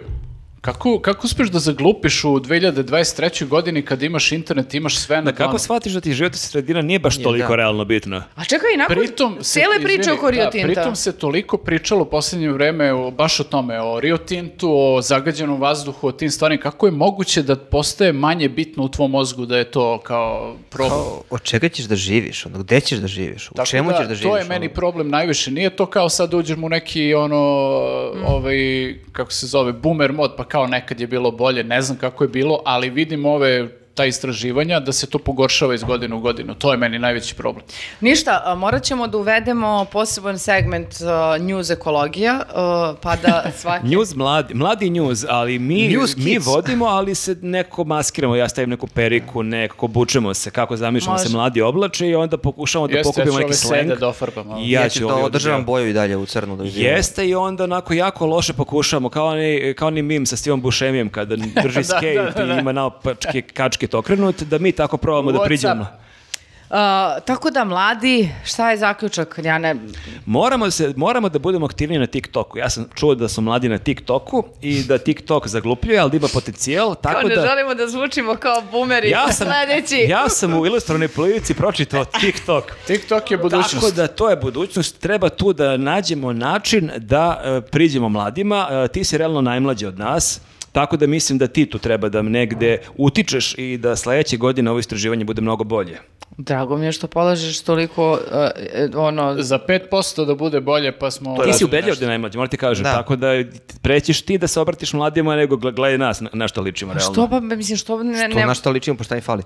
Kako, kako uspeš da zaglupiš u 2023. godini kad imaš internet, imaš sve na
Da, kako
dlanu?
shvatiš da ti životna sredina nije baš toliko
da.
realno bitna?
A čekaj, nakon
Pritom se,
cele priče
izvini,
oko Rio
da,
Tinta.
pritom se toliko pričalo u posljednje vreme o, baš o tome, o Rio Tintu, o zagađenom vazduhu, o tim stvarima. Kako je moguće da postaje manje bitno u tvom mozgu da je to kao problem?
Od čega ćeš da živiš? Ono, gde ćeš da živiš? U
Tako
čemu
da,
ćeš da živiš?
To je
ono?
meni problem najviše. Nije to kao sad uđeš mu neki ono,
Mm.
ovaj, kako se zove, boomer mod, pa kao nekad je bilo bolje, ne znam kako je bilo, ali vidim ove ta istraživanja da se to pogoršava iz godine u godinu. To je meni najveći problem.
Ništa, a, morat ćemo da uvedemo poseban segment a, news ekologija, a, pa da svaki...
News mladi, mladi news, ali mi,
News
mi
kids.
vodimo, ali se neko maskiramo, ja stavim neku periku, nekako bučemo se, kako zamišljamo da se
Može.
mladi oblače i onda pokušamo da
Jeste, ja
pokupimo
ću
neki
ove sve
sleng.
da dofarbam, ali.
I
Ja, ću da
ovdje
održavam
odbijati.
boju i dalje u crnu da bi bilo.
Jeste i onda onako jako loše pokušavamo, kao ni, kao ni mim sa Stevom Bušemijem kada drži skate i ima naopačke kačke to okrenut, da mi tako probamo da
What's
priđemo.
up?
tako da, mladi, šta je zaključak? Ja ne...
Moramo, da se, moramo da budemo aktivniji na TikToku. Ja sam čuo da su mladi na TikToku i da TikTok zaglupljuje, ali da ima potencijal. Tako
Kao ne
da,
želimo da zvučimo kao bumeri.
ja sam,
Sledeći.
ja sam u ilustranoj politici pročitao TikTok.
TikTok je budućnost.
Tako da to je budućnost, treba tu da nađemo način da e, priđemo mladima. E, ti si realno najmlađi od nas. Tako da mislim da ti tu treba da negde utičeš i da sledeće godine ovo istraživanje bude mnogo bolje.
Drago mi je što polažeš toliko, e, e, ono,
Za 5% da bude bolje, pa smo...
Ti si
uradili
ubedljiv
nešto.
da je najmlađi, moram ti kažem.
Da.
Tako da prećiš ti da se obratiš mladima nego gle- gledaj nas na, na što ličimo realno.
što pa, mislim, što ne...
To
ne-
na šta ličimo, pa šta im fali?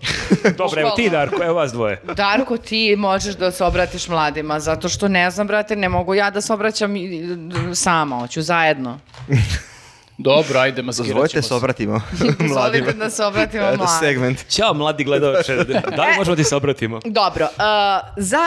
Dobro, evo ti Darko, evo vas dvoje.
Darko, ti možeš da se obratiš mladima, zato što ne znam, brate, ne mogu ja da se obraćam i- i- sama, hoću zajedno.
Dobro, ajde, maskirat ćemo
Dozvojite se obratimo mladima.
Zvolite da se obratimo
Eto,
mladima.
segment.
Ćao mladi gledalče, da li možemo ti se obratimo?
Dobro, e, za,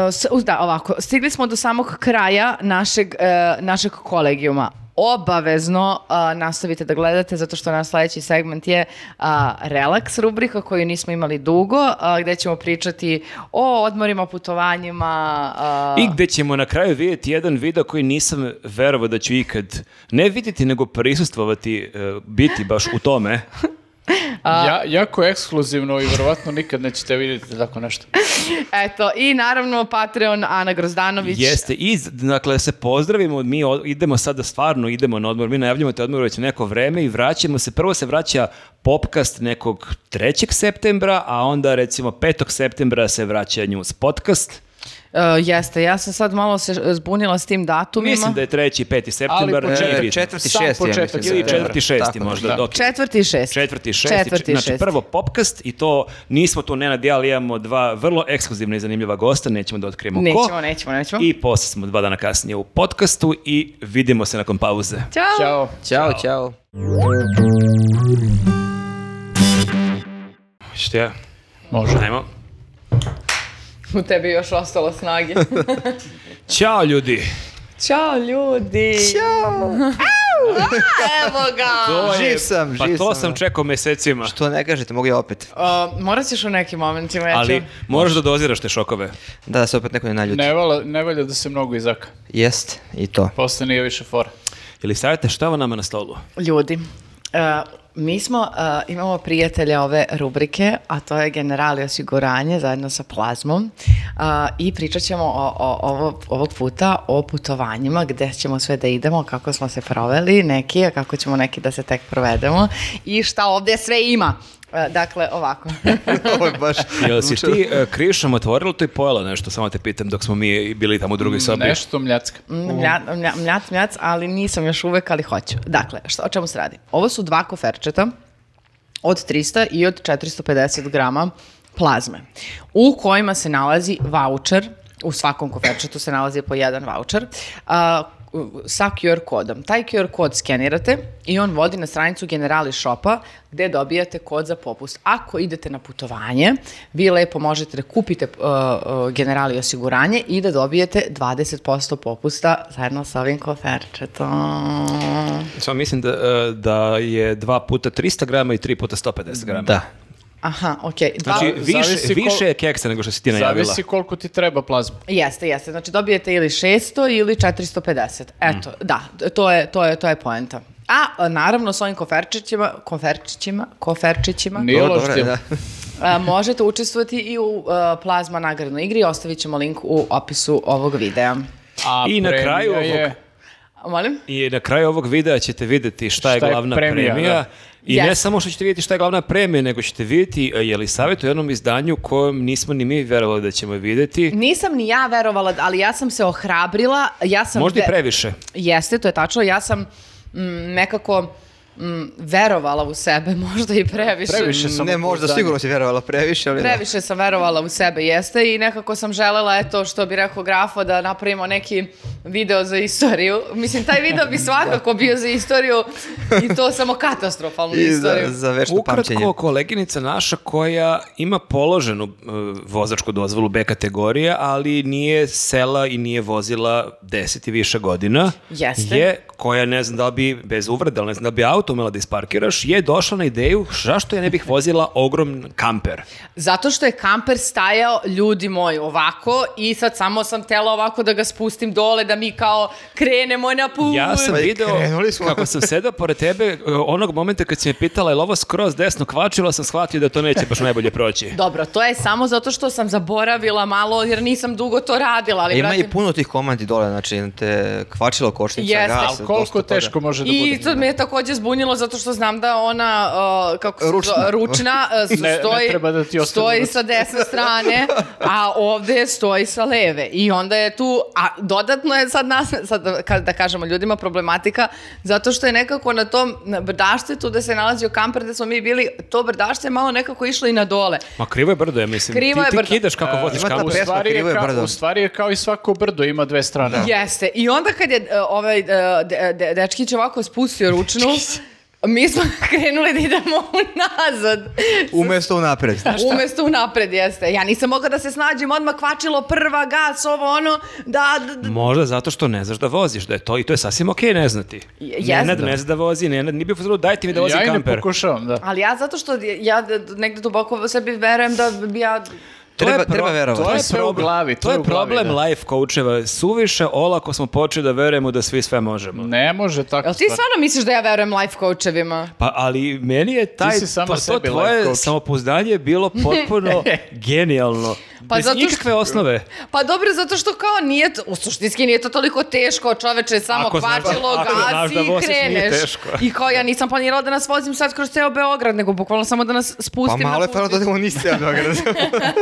e, e, s- uz- da, ovako, stigli smo do samog kraja našeg, e, našeg kolegijuma. Obavezno e, nastavite da gledate zato što naš sledeći segment je a, relaks rubrika koju nismo imali dugo, a, gde ćemo pričati o odmorima, putovanjima. uh, a-
I gde ćemo na kraju vidjeti jedan video koji nisam verovao da ću ikad ne vidjeti, nego prisustvovati, e, biti baš u tome.
Ja, jako ekskluzivno i verovatno nikad nećete vidjeti tako nešto.
Eto, i naravno Patreon Ana Grozdanović.
Jeste, i z- dakle se pozdravimo, mi o- idemo sada stvarno, idemo na odmor, mi najavljamo te odmor već neko vreme i vraćamo se, prvo se vraća popkast nekog 3. septembra, a onda recimo 5. septembra se vraća news podcast.
E, jeste, ja sam sad malo se e, zbunila s tim datumima.
Mislim da je 3. i 5. septembar,
početak-
nije
E,
bitno.
četvrti,
Sam
šesti, ja
početak
mislim.
Ili
septembra.
četvrti, šesti
Tako,
možda.
da.
ok.
Četvrti i šesti.
Četvrti, šesti.
Četvrti i
znači
šesti.
prvo popkast i to nismo tu Nenad i ja, ali imamo dva vrlo ekskluzivna i zanimljiva gosta, nećemo da otkrijemo
Nećemo,
ko.
nećemo, nećemo.
I posle smo dva dana kasnije u podcastu i vidimo se nakon pauze.
Ćao.
Ćao.
Ćao, ćao.
Što ja?
Može.
Ajmo.
U tebi je još ostalo snage.
Ćao ljudi.
Ćao ljudi.
Ćao.
Evo ga.
To
Živ sam,
pa
živ
to
sam,
sam
da.
čekao mesecima.
Što ne kažete, mogu ja opet.
Uh, morat ćeš u nekim momentima, ja ću-
Ali moraš da doziraš te šokove.
Da, da se opet neko ne naljuti.
Ne valja, ne valja da se mnogo izaka.
Jest, i to.
Posle nije više fora.
Ili savjete šta je ovo nama na stolu?
Ljudi, e, mi smo, e, imamo prijatelja ove rubrike, a to je Generali osiguranje zajedno sa Plazmom a, i pričat ćemo o, o- ovo- ovog puta o putovanjima, gde ćemo sve da idemo, kako smo se proveli neki, a kako ćemo neki da se tek provedemo i šta ovde sve ima. E, dakle, ovako.
Ovo je baš...
Jel si ti e, krišom otvorila to i pojela nešto? Samo te pitam dok smo mi bili tamo u drugoj sobi.
Nešto mljacka.
Mm.
Mm, Mlja, mlja, mljac, mljac, ali nisam još uvek, ali hoću. Dakle, što, o čemu se radi? Ovo su dva koferčeta od 300 i od 450 grama plazme, u kojima se nalazi voucher, u svakom koferčetu se nalazi po jedan voucher, a, u- sa QR kodom. Taj QR kod skenirate i on vodi na stranicu Generali Shopa gde dobijate kod za popust. Ako idete na putovanje, vi lepo možete da kupite uh, uh, Generali osiguranje i da dobijete 20% popusta zajedno sa ovim koferčetom.
Samo mislim da, e, da je dva puta 300 grama i tri puta 150 grama.
Da.
Aha, okej. Dva-
Znači, više,
zavisi ko-
više je keksa nego što si ti najavila.
Zavisi koliko ti treba plazma.
Jeste, jeste. Znači dobijete ili 600 ili 450.
Mm.
Eto, da, to je, to je, to je poenta. A, a, naravno, s ovim koferčićima, koferčićima, koferčićima,
Nije
Dobro,
loš
dobro,
tim.
da.
a, možete učestvovati i u a, Plazma nagradnoj igri. Ostavit ćemo link u opisu ovog videa.
A
I na
premija
kraju ovog-
je-
Molim?
I na kraju ovog videa ćete vidjeti šta je
Šta je
glavna premija.
premija, da.
I ne
Yes.
samo što ćete vidjeti šta je glavna premija, nego ćete vidjeti e, je li savjet u jednom izdanju kojem nismo ni mi verovali da ćemo vidjeti.
Nisam ni ja verovala, ali ja sam se ohrabrila. Ja sam
Možda i
ve-
previše.
Jeste, to je tačno. Ja sam mm, nekako mm, verovala u sebe, možda i previše.
Previše sam.
Ne, možda,
upoznanje.
sigurno si vjerovala previše, ali... da.
Previše sam verovala u sebe, jeste, i nekako sam želela, eto, što bi rekao Grafo, da napravimo neki video za istoriju. Mislim, taj video bi svakako bio za istoriju i to samo katastrofalnu
Da. I za,
istoriju.
za vešto pamćenje.
Ukratko, koleginica naša koja ima položenu e, vozačku dozvolu B kategorije, ali nije sela i nije vozila 10 i više godina,
Jeste.
je koja ne znam da li bi, bez uvreda, ali ne znam da li bi auto auto umela da isparkiraš, je došla na ideju zašto ja ne bih vozila ogrom kamper.
Zato što je kamper stajao, ljudi moji, ovako i sad samo sam tela ovako da ga spustim dole, da mi kao krenemo na put.
Ja sam
Pa i
video
krenuli smo.
kako sam sedao pored tebe e, onog momenta kad si me pitala je li ovo skroz desno kvačilo, sam shvatio da to neće baš najbolje proći.
Dobro, to je samo zato što sam zaboravila malo, jer nisam dugo to radila. Ali,
Ima
brate,
i puno tih komandi dole, znači te kvačilo košnica,
Jeste.
gas,
Ali
dosta
Koliko
toga.
teško može da bude?
I to me je takođe zbunilo zato što znam da ona uh, kako se zove,
Ručna.
ručna uh, s-
Ne- ne
stoji,
treba da ti ostane
stoji
ručna.
sa desne strane, a ovde stoji sa leve. I onda je tu, a dodatno je sad, nas, sad da, ka- da kažemo ljudima problematika, zato što je nekako na tom na brdaštetu da se nalazio kamper gde smo mi bili, to brdašte je malo nekako išlo i na dole.
Ma krivo je brdo, ja mislim.
Krivo
ti,
je
ti
brdo.
kidaš kako
E,
voziš
ima ta
kamu.
pesma,
stvari je
krivo je
kao-
brdo.
u stvari je kao i svako brdo, ima dve strane.
Jeste. I onda kad je e, ovaj e, de- de- dečkić ovako spustio ručnu, mi smo krenuli da idemo unazad.
Umesto unapred.
Umesto unapred, jeste. Ja nisam mogla da se snađem, odmah kvačilo prva, gas, ovo, ono, da, da, da.
Možda zato što ne znaš da voziš, da je to i to je sasvim okej ne znati.
Jeste.
Nenad ne zna da vozi, Nenad nije bio pozvalo, dajte mi da vozim
ja i ne
kamper.
pokušavam, da.
Ali ja zato što je- ja d- d- negde duboko u sebi verujem da bi ja...
To je
Treba-
pro-
treba verovati.
to je
Sve u
problem.
glavi,
To je
u glavi,
problem
da.
life coacheva. Suviše olako smo počeli da verujemo da svi sve možemo.
Ne može tako
Jel ti stvarno misliš da ja verujem life coachevima?
Pa ali meni je taj pa
si sama
to, to
sebi life
tvoje
coach.
samopouzdanje je bilo potpuno genijalno.
Pa
Bez
zato što-
ikakve osnove.
Pa dobro, zato što kao nije, t- u suštinski nije to toliko teško, čoveče, samo
Ako znaš da-
kvačilo,
ako znaš
gasi
da
i
voziš, nije
kreneš.
teško.
I kao ja nisam planirala da nas vozim sad kroz ceo Beograd, nego bukvalno samo da nas
Pa
spustim
malo
na
je faro
put.
da temo niste ja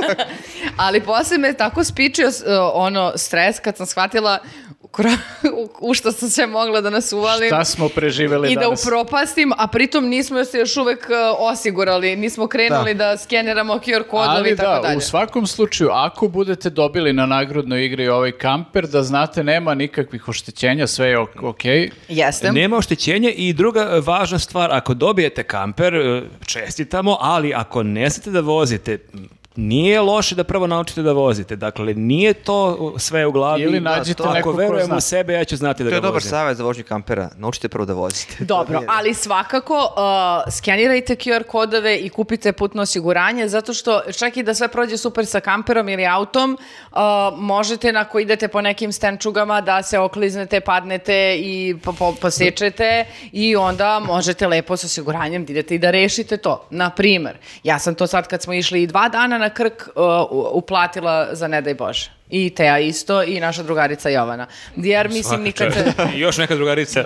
Ali posle me tako spičio s- e, ono stres kad sam shvatila u kro- u- u što sam sve mogla da nas uvalim.
Šta smo preživeli
I da
danas?
upropastim, a pritom nismo se još uvek e, osigurali, nismo krenuli da, skeneramo QR kodovi i
Ali
tako
da,
dalje.
u svakom slučaju, ako budete dobili na nagradnoj igri ovaj kamper, da znate, nema nikakvih oštećenja, sve je ok. okay.
Jeste.
Nema oštećenja i druga e, važna stvar, ako dobijete kamper, e, čestitamo, ali ako ne znate da vozite, m, nije loše da prvo naučite da vozite. Dakle, nije to e, sve u glavi.
Ili
Da,
nađite
to-
nekog
Ako
ko
verujem
zna.
u sebe, ja ću znati da
To
ga
je dobar
vozim.
savjet za vožnju kampera. Naučite prvo da vozite.
Dobro, ali svakako uh, skenirajte QR kodove i kupite putno osiguranje, zato što čak i da sve prođe super sa kamperom ili autom, uh, možete ako idete po nekim stenčugama da se okliznete, padnete i po, po, posečete i onda možete lepo sa osiguranjem da idete i da rešite to. Na primer, ja sam to sad kad smo išli i dva dana na Krk uh, u- uplatila za ne daj Bože. I Teja isto i naša drugarica Jovana. Jer mislim nikad...
I Još neka drugarica.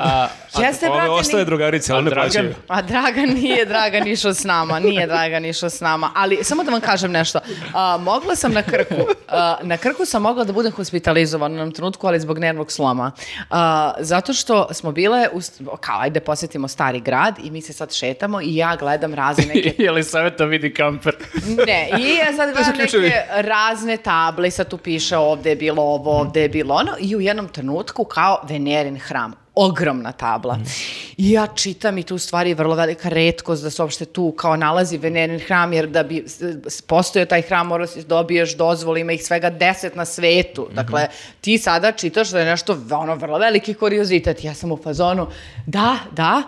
Jeste,
Ove
brate,
ostaje
ni-
drugarice, ali ne
Dragan?
plaćaju.
a Dragan nije Dragan išao s nama, nije Dragan išao s nama, ali samo da vam kažem nešto. A, mogla sam na Krku, a, na Krku sam mogla da budem hospitalizovana u jednom trenutku, ali zbog nervnog sloma. A, zato što smo bile, u, s- kao ajde posjetimo stari grad i mi se sad šetamo i ja gledam razne neke
Je li savjeta vidi kamper?
ne, i ja sad gledam
ključevi.
neke razne table i sad tu piše ovde je bilo ovo, ovde je bilo ono i u jednom trenutku kao Venerin hram ogromna tabla. I ja čitam i tu u stvari je vrlo velika retkost da se uopšte tu kao nalazi Venerin hram, jer da bi s- s- postojao taj hram moraš da dobiješ dozvol, ima ih svega deset na svetu. Dakle, ti sada čitaš da je nešto v- ono vrlo veliki kuriozitet. Ja sam u fazonu, da, da,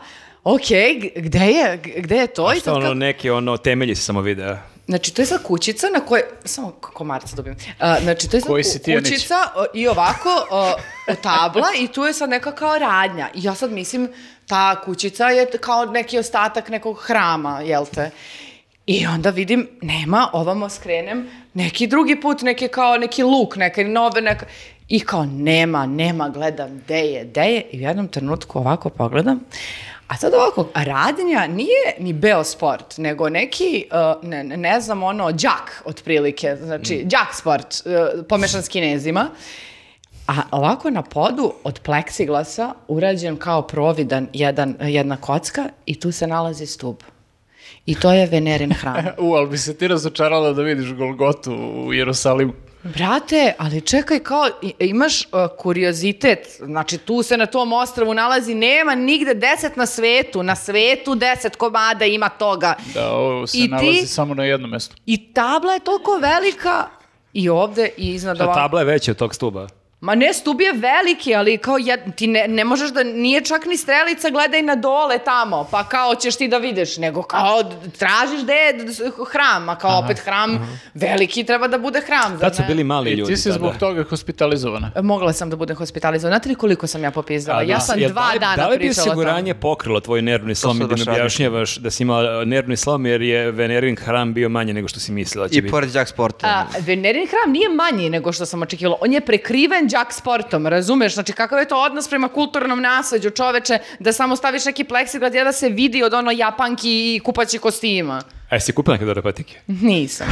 okej, g- gde je, g- gde je to? I
Što
sad
ono,
kako-
neki ono, temelji se samo vide.
Znači, to je sad kućica na kojoj... Samo k- komarca dobijem. A, znači, to je sad
Koji
ku-
si ti, Janić?
kućica o, i ovako o, tabla i tu je sad neka kao radnja. I ja sad mislim, ta kućica je t- kao neki ostatak nekog hrama, jel te? I onda vidim, nema, ovamo skrenem, neki drugi put, neki kao neki luk, neke nove, neka... I kao nema, nema, gledam, gde je, gde je. I u jednom trenutku ovako pogledam. A sad ovako, radnja nije ni Beosport, nego neki, uh, ne, ne- ne znam, ono, đak otprilike, znači đak sport, uh, pomešan s kinezima. A ovako na podu od pleksiglasa urađen kao providan jedan, jedna kocka i tu se nalazi stub. I to je Venerin hram.
U, ali bi se ti razočarala da vidiš Golgotu u Jerusalimu.
Brate, ali čekaj, kao i- imaš uh, kuriozitet, znači tu se na tom ostravu nalazi, nema nigde deset na svetu, na svetu deset komada ima toga.
Da, ovo se
I ti-
nalazi samo na jednom mestu.
I tabla je toliko velika i ovde i iznad
Ta
ovako.
Da,
tabla je veća od tog stuba.
Ma ne, stub je veliki, ali kao jed- ti ne, ne možeš da, nije čak ni strelica, gledaj na dole tamo, pa kao ćeš ti da vidiš, nego kao d- tražiš gde je d- s- hram, a kao opet hram, veliki treba da bude hram. zar
Tad su
ne?
bili mali
I
ljudi.
E,
da,
ti si
tada.
zbog toga hospitalizovana.
Mogla sam da budem hospitalizovana. Znate li koliko sam ja popizdala?
A
Pa ja
da,
sam
jel-
dva dana
Da li bi
pričala o tome.
osiguranje pokrilo tvoj nervni slom i
sad
da mi
baš radim.
objašnjavaš da si imala nervni slom jer je Venerin hram bio manje nego što si mislila da će
I
biti?
pored Jack Sporta.
A, Venerin hram nije manji nego što sam očekivala. On je prekriven đak sportom, razumeš? Znači, kakav je to odnos prema kulturnom nasleđu, čoveče, da samo staviš neki pleksiglas i da se vidi od ono japanki i kupaći kostima.
A jesi kupila neke dobre patike?
Nisam.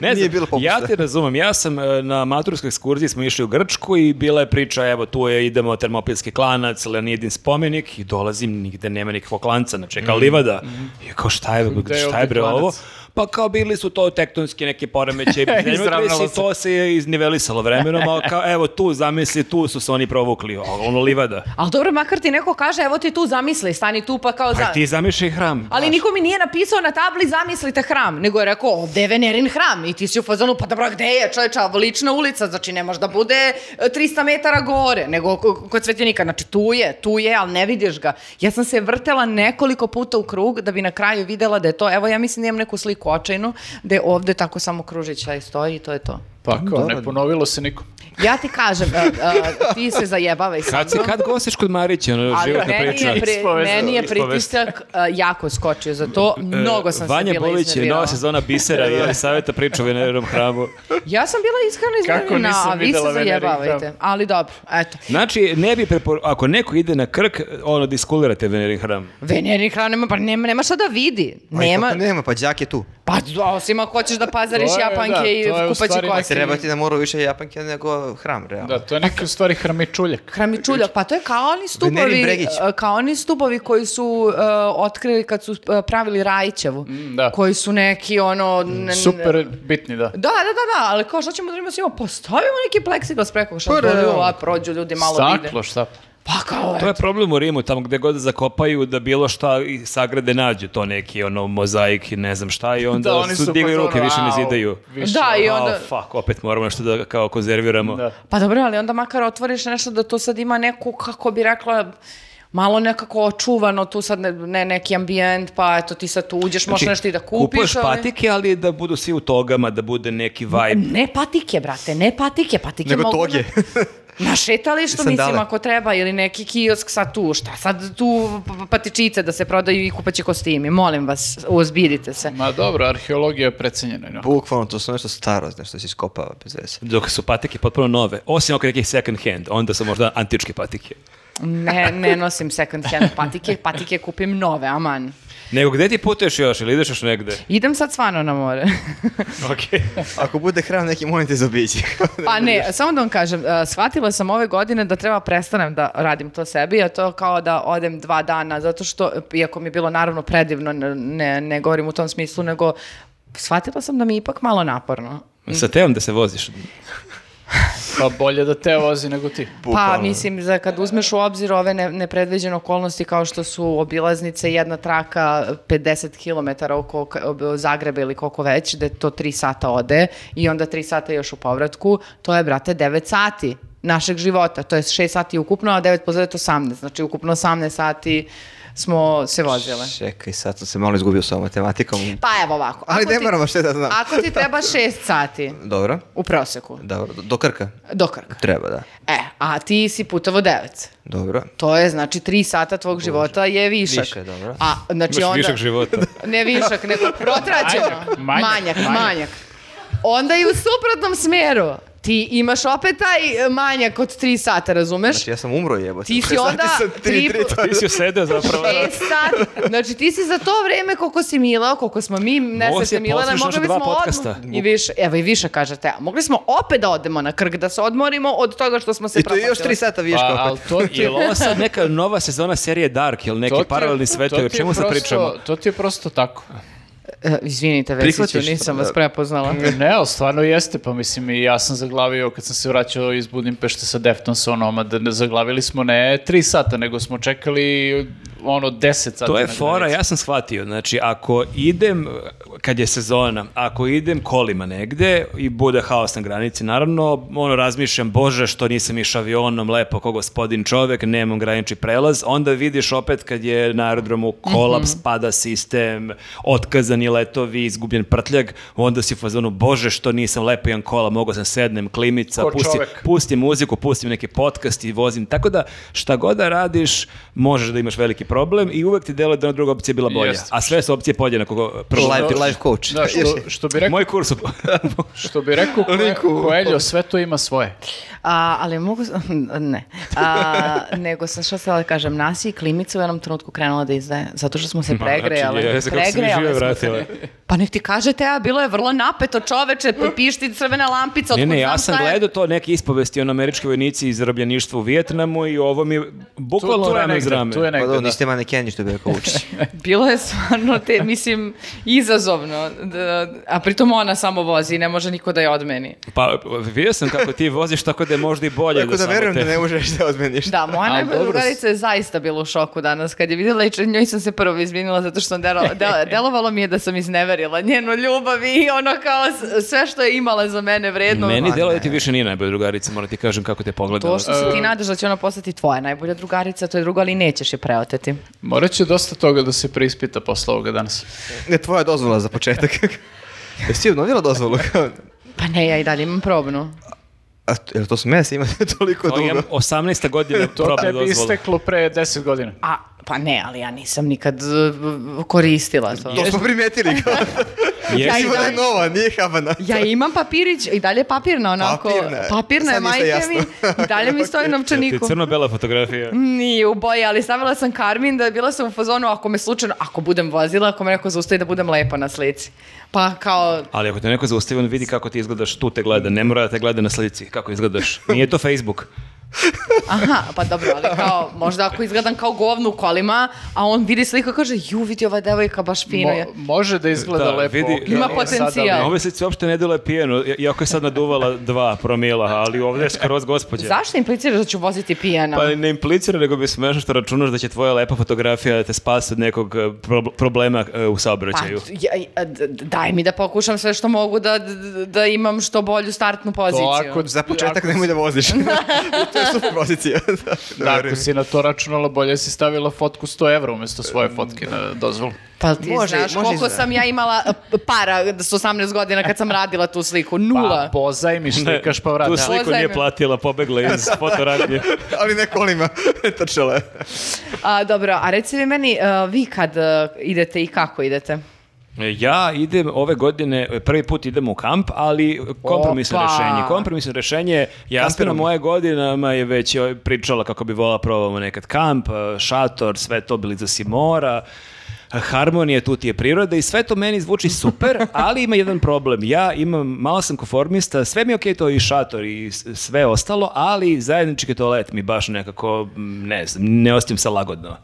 Ne
Nije
znam,
bilo popusta.
ja te razumem, ja sam e, na maturskoj ekskurziji smo išli u Grčku i bila je priča, evo tu je, idemo Termopilski klanac, Leonidin spomenik i dolazim, nigde nema nikakvog klanca, znači je kao livada. I kao šta je,
Mhm. Gde je
šta je
ovdje
bre
klanac?
ovo? Pa kao bili su to tektonski neke poremeće i zemljotresi,
Izravnalo
i
se.
to se je iznivelisalo vremenom, a kao evo tu zamisli, tu su se oni provukli, a ono livada.
Ali dobro, makar ti neko kaže, evo ti tu zamisli, stani tu pa kao...
Pa
za-
ti zamišljaj hram.
Ali niko mi nije napisao na tabli zamislite hram, nego je rekao ovde je Venerin hram i ti si u fazonu pa dobro gde je čovječa, lična ulica, znači ne može da bude e, 300 metara gore, nego k- kod svećenika, znači tu je, tu je, ali ne vidiš ga. Ja sam se vrtela nekoliko puta u krug da bi na kraju videla da je to, evo ja mislim da imam neku sliku očajnu, da je ovde tako samo kružića i stoji i to je to.
Pa
da,
kao,
Dobro.
ne ponovilo se nikom.
Ja ti kažem, e, e, ti se zajebavaj sa
Kad si
mnom.
kad gostiš kod Marića, ono,
Ali
životna
meni
priča.
je, pri,
Ispovest.
meni je
Ispovest.
pritisak e, jako skočio za to. Mnogo sam se
E, Vanja
bila
Bović je
iznervirala.
nova sezona bisera i Elisaveta priča o Venerom hramu.
Ja sam bila iskreno
Kako
iznervina,
nisam
a vi se
videla Venerin da.
zajebavajte.
hram?
Ali dobro, eto.
Znači, ne bi prepor... ako neko ide na krk, ono, diskulirate Venerin hram.
Venerin hram nema, pa nema, nema šta da vidi.
Pa i kako
Nema,
nema, pa đak je tu.
pa do- osim ako hoćeš da pazariš
To je, da,
japanke
to je
i
u
kupaći
stvari neki-
kosti.
Treba ti da mora više japanke nego hram, realno.
Da, to je neki u stvari hramičuljak.
Hramičuljak, pa to je kao oni
Venerin
stubovi,
Bregić.
e, kao oni stubovi koji su e, otkrili kad su e, pravili Rajićevu,
da.
koji su neki ono... n- n-
Super bitni, da.
Da, da, da, da, ali kao što ćemo da imamo svima, postavimo neki pleksiglas preko što dođu, a prođu ljudi malo vide.
Pa, Staklo, šta?
Pa kao,
To je problem u Rimu, tamo gde god zakopaju da bilo šta i sagrade nađu to neki ono mozaik i ne znam šta i onda su digli ruke, više ne zidaju.
Da, i onda-
Oh, fuck, opet moramo nešto da kao konzerviramo.
Da.
Pa dobro, ali onda makar otvoriš nešto da to sad ima neku, kako bi rekla, malo nekako očuvano, tu sad ne, ne- neki ambijent, pa eto ti sad tu uđeš,
Znači,
možeš nešto i da kupiš.
Znači, Kupuješ
ali-
patike, ali da budu svi u togama, da bude neki vibe.
Ne patike, brate, ne patike, patike
Nego
mogu
toge.
Na, na šetalištu,
Sandale.
mislim, ako treba, ili neki kiosk sad tu, šta sad tu p- p- patičice da se prodaju i kupaći kostimi, molim vas, uozbiljite se.
Ma dobro, arheologija je precenjena. no.
Bukvalno, to su nešto staro, nešto se iskopava bez veze.
Dok su patike potpuno nove, osim oko nekih second hand, onda su možda antičke patike.
Ne, ne nosim second hand patike, patike kupim nove, aman.
Nego gde ti putuješ još ili ideš još negde?
Idem sad stvarno na more.
Okej.
Ako bude hram, neki molim te zaobiđi.
Pa ne, samo da vam kažem, uh, shvatila sam ove godine da treba prestanem da radim to sebi, a to kao da odem dva dana, zato što, iako mi je bilo naravno predivno, ne, ne, ne govorim u tom smislu, nego shvatila sam da mi je ipak malo naporno.
Sa teom da se voziš.
Pa bolje da te vozi nego ti.
Pa mislim, za kad uzmeš u obzir ove ne, nepredviđene okolnosti kao što su obilaznice, jedna traka 50 km oko K- ob- Zagreba ili koliko već, da to 3 sata ode i onda 3 sata još u povratku, to je, brate, 9 sati našeg života. To je 6 sati ukupno, a 9 po 9 18. Znači, ukupno 18 sati smo se vozile.
Čekaj, sad sam se malo izgubio sa ovom matematikom.
Pa evo ovako.
Ali
ako
ne
ti-
moramo što da znam.
Ako ti treba 6 sati
Dobro,
u proseku,
dobro. Do Krka?
do Krka.
Treba, da.
E, a ti si putovo 9.
Dobro.
To je znači tri sata tvog života je višak.
Više, dobro.
A znači
Imaš
onda
višak života.
ne višak, nego protraćeno.
Manjak,
manjak,
manjak, manjak.
manjak. Onda i u suprotnom smeru ti imaš opet taj e, manjak od tri sata, razumeš?
Znači, ja sam umro jebote.
Ti si onda tri put-
Ti si usedeo zapravo.
E,
Šest sati. E, Znači ti si za to vreme koliko si Milao, koliko smo mi,
Ovo
ne
si je
se Milana,
poslušao
mogli
dva
bismo
podcasta.
odmah i više, evo i više kažete, a mogli smo opet da odemo na krg, da se odmorimo od toga što smo se
I to je još
propatile.
tri sata viška
Pa, ali
opet.
to ti je...
Jel ovo sad neka nova sezona serije Dark ili neki
to ti je-
paralelni
to ti
svetovi? O
je
čemu sad
prosto-
pričamo?
To ti je prosto tako.
E, izvinite, Vesiću,
Prihvatiš to,
nisam
da.
vas prepoznala.
Ne, ali stvarno jeste, pa mislim i ja sam zaglavio kad sam se vraćao iz Budimpešte sa Deftonsonom, a da ne- zaglavili smo ne tri sata, nego smo čekali ono 10 sati.
To je
na
fora,
granici.
ja sam shvatio. Znači, ako idem, kad je sezona, ako idem kolima negde i bude haos na granici, naravno, ono, razmišljam, bože, što nisam išao avionom, lepo, ko gospodin čovek, nemam granični prelaz, onda vidiš opet kad je na aerodromu kolaps,
Mhm.
pada sistem, otkazani letovi, izgubljen prtljag, onda si u fazonu, bože, što nisam lepo imam kola, mogao sam sednem, klimica,
Ko
pusti,
čovek.
pustim muziku, pustim neki podcast i vozim. Tako da šta god da radiš, možeš da imaš veliki problem i uvek ti deluje da ona druga opcija je bila bolja.
Jeste.
A sve su opcije podjednako problematične.
Life, life coach.
Da, što, što bi rekao,
Moj kurs su... Znači,
što bi rekao Kue- Coelho, sve to ima svoje.
A, ali mogu... Ne. A, nego sam što stala da kažem, nas je i klimica u jednom trenutku krenula da izdaje, zato što smo se pregrejale.
Znači, jeste, kako se mi
Pregrejale
žive
smo se.
vratile.
Pa nek ti kažete, a bilo je vrlo napeto čoveče, pišti crvena lampica.
Ne,
otkud
ne,
znam
ja sam
šta je.
gledao to neke ispovesti o američkoj vojnici iz zarobljeništva u Vijetnamu i ovo mi je bukvalno
tu je
rame iz
negde,
rame.
tu je
Pa
negde,
dobro,
da.
niste manekeni što bi rekao učiš.
Bilo je stvarno, te, mislim, izazovno. Da, a pritom ona samo vozi, ne može niko da je odmeni.
Pa vidio sam kako ti voziš, tako da je možda i bolje.
Tako da
samo
verujem
te-
da ne možeš da odmeniš.
Da, moja
A,
najbolja
dobro
drugarica je zaista bila u šoku danas kad je vidjela i če- njoj sam se prvo izvinila zato što sam delo- de- delovalo mi je da sam izneverila njenu ljubav i ono kao s- sve što je imala za mene vredno.
Meni
Ma
delo da
ne.
ti više nije najbolja drugarica, moram ti kažem kako te pogledala.
To što se ti
E.
nadaš da će ona postati tvoja najbolja drugarica, to je drugo, ali nećeš je preoteti.
da. Morat će dosta toga da se preispita posle ovoga danas.
Ne, tvoja dozvola za početak. Jesi ti obnovila dozvolu?
Pa ne, ja i dalje imam probnu.
A, to- jel to su mene imate toliko
To imam
dugo?
18. godine
To
probne
tebi
dozvole.
isteklo pre 10 godina.
A, pa ne, ali ja nisam nikad uh, koristila to.
To smo primetili. kao-
Jesi-
Ja i
Ima da je
dalje-
nova, nije habana.
Ja imam papirić i dalje je papirna onako.
Papirna
Papirna,
je.
je,
Sad mi sve
majke mi.
jasno.
I dalje mi stoji na
Ti
novčaniku.
crno-bela fotografija.
Mm. Nije u boji, ali stavila sam karmin da bila sam u fazonu ako me slučajno, ako budem vozila, ako me neko zaustavi da budem lepa na slici. Pa kao,
Ali ako te neko zaustavi, on vidi kako ti izgledaš, tu te gleda, ne mora da te gleda na slici, kako izgledaš. Nije to Facebook.
aha, pa dobro, ali kao, možda ako izgledam kao govnu u kolima, a on vidi sliku i kaže, ju, vidi ova devojka baš fino je.
Mo- može da izgleda
Da,
lepo.
vidi-
ok,
Ima
ali sad,
potencijal.
Na ovoj slici uopšte ne deluje pijeno, i- iako je sad naduvala dva promila, ali ovdje je skroz gospođa.
Zašto impliciraš da ću voziti pijana?
Pa ne implicira, nego bi smešno što računaš da će tvoja lepa fotografija da te spasi od nekog e, prob- problema e, u
Pa,
saobraćaju.
ja- ja- d- d- daj mi da pokušam sve što mogu da, d- da imam što bolju startnu poziciju.
To ako,
Za početak
ako-
nemoj da voziš. to je super pozicija. da, da
Da, ako
verujem.
si na to računala, bolje si stavila fotku 100 evra umjesto svoje fotke na dozvolu.
Pa ti
Može-
znaš
može
koliko
izve-
sam ja imala eh, para s 18 godina kad sam radila tu sliku? Nula.
Pa pozajmiš, slikaš pa
Tu
vrata.
sliku nije
Pozajme.
platila, pobegla iz fotoradnje.
Ali ne kolima. Trčala je.
A, dobro, a reci vi meni, eh, vi kad eh, idete i kako idete?
Ja idem ove godine, prvi put idem u kamp, ali kompromisno
Opa!
rješenje. Kompromisno rješenje, Jasmina
Kamperom.
moje godinama je već joj pričala kako bi volila probamo nekad kamp, eh, šator, sve to bili za Simora, harmonije, tu ti je priroda i sve to meni zvuči super, ali ima jedan problem. Ja imam, malo sam konformista, sve mi je okej to i šator i s- sve ostalo, ali zajednički toalet mi baš nekako, mm, ne znam, ne ostim se lagodno.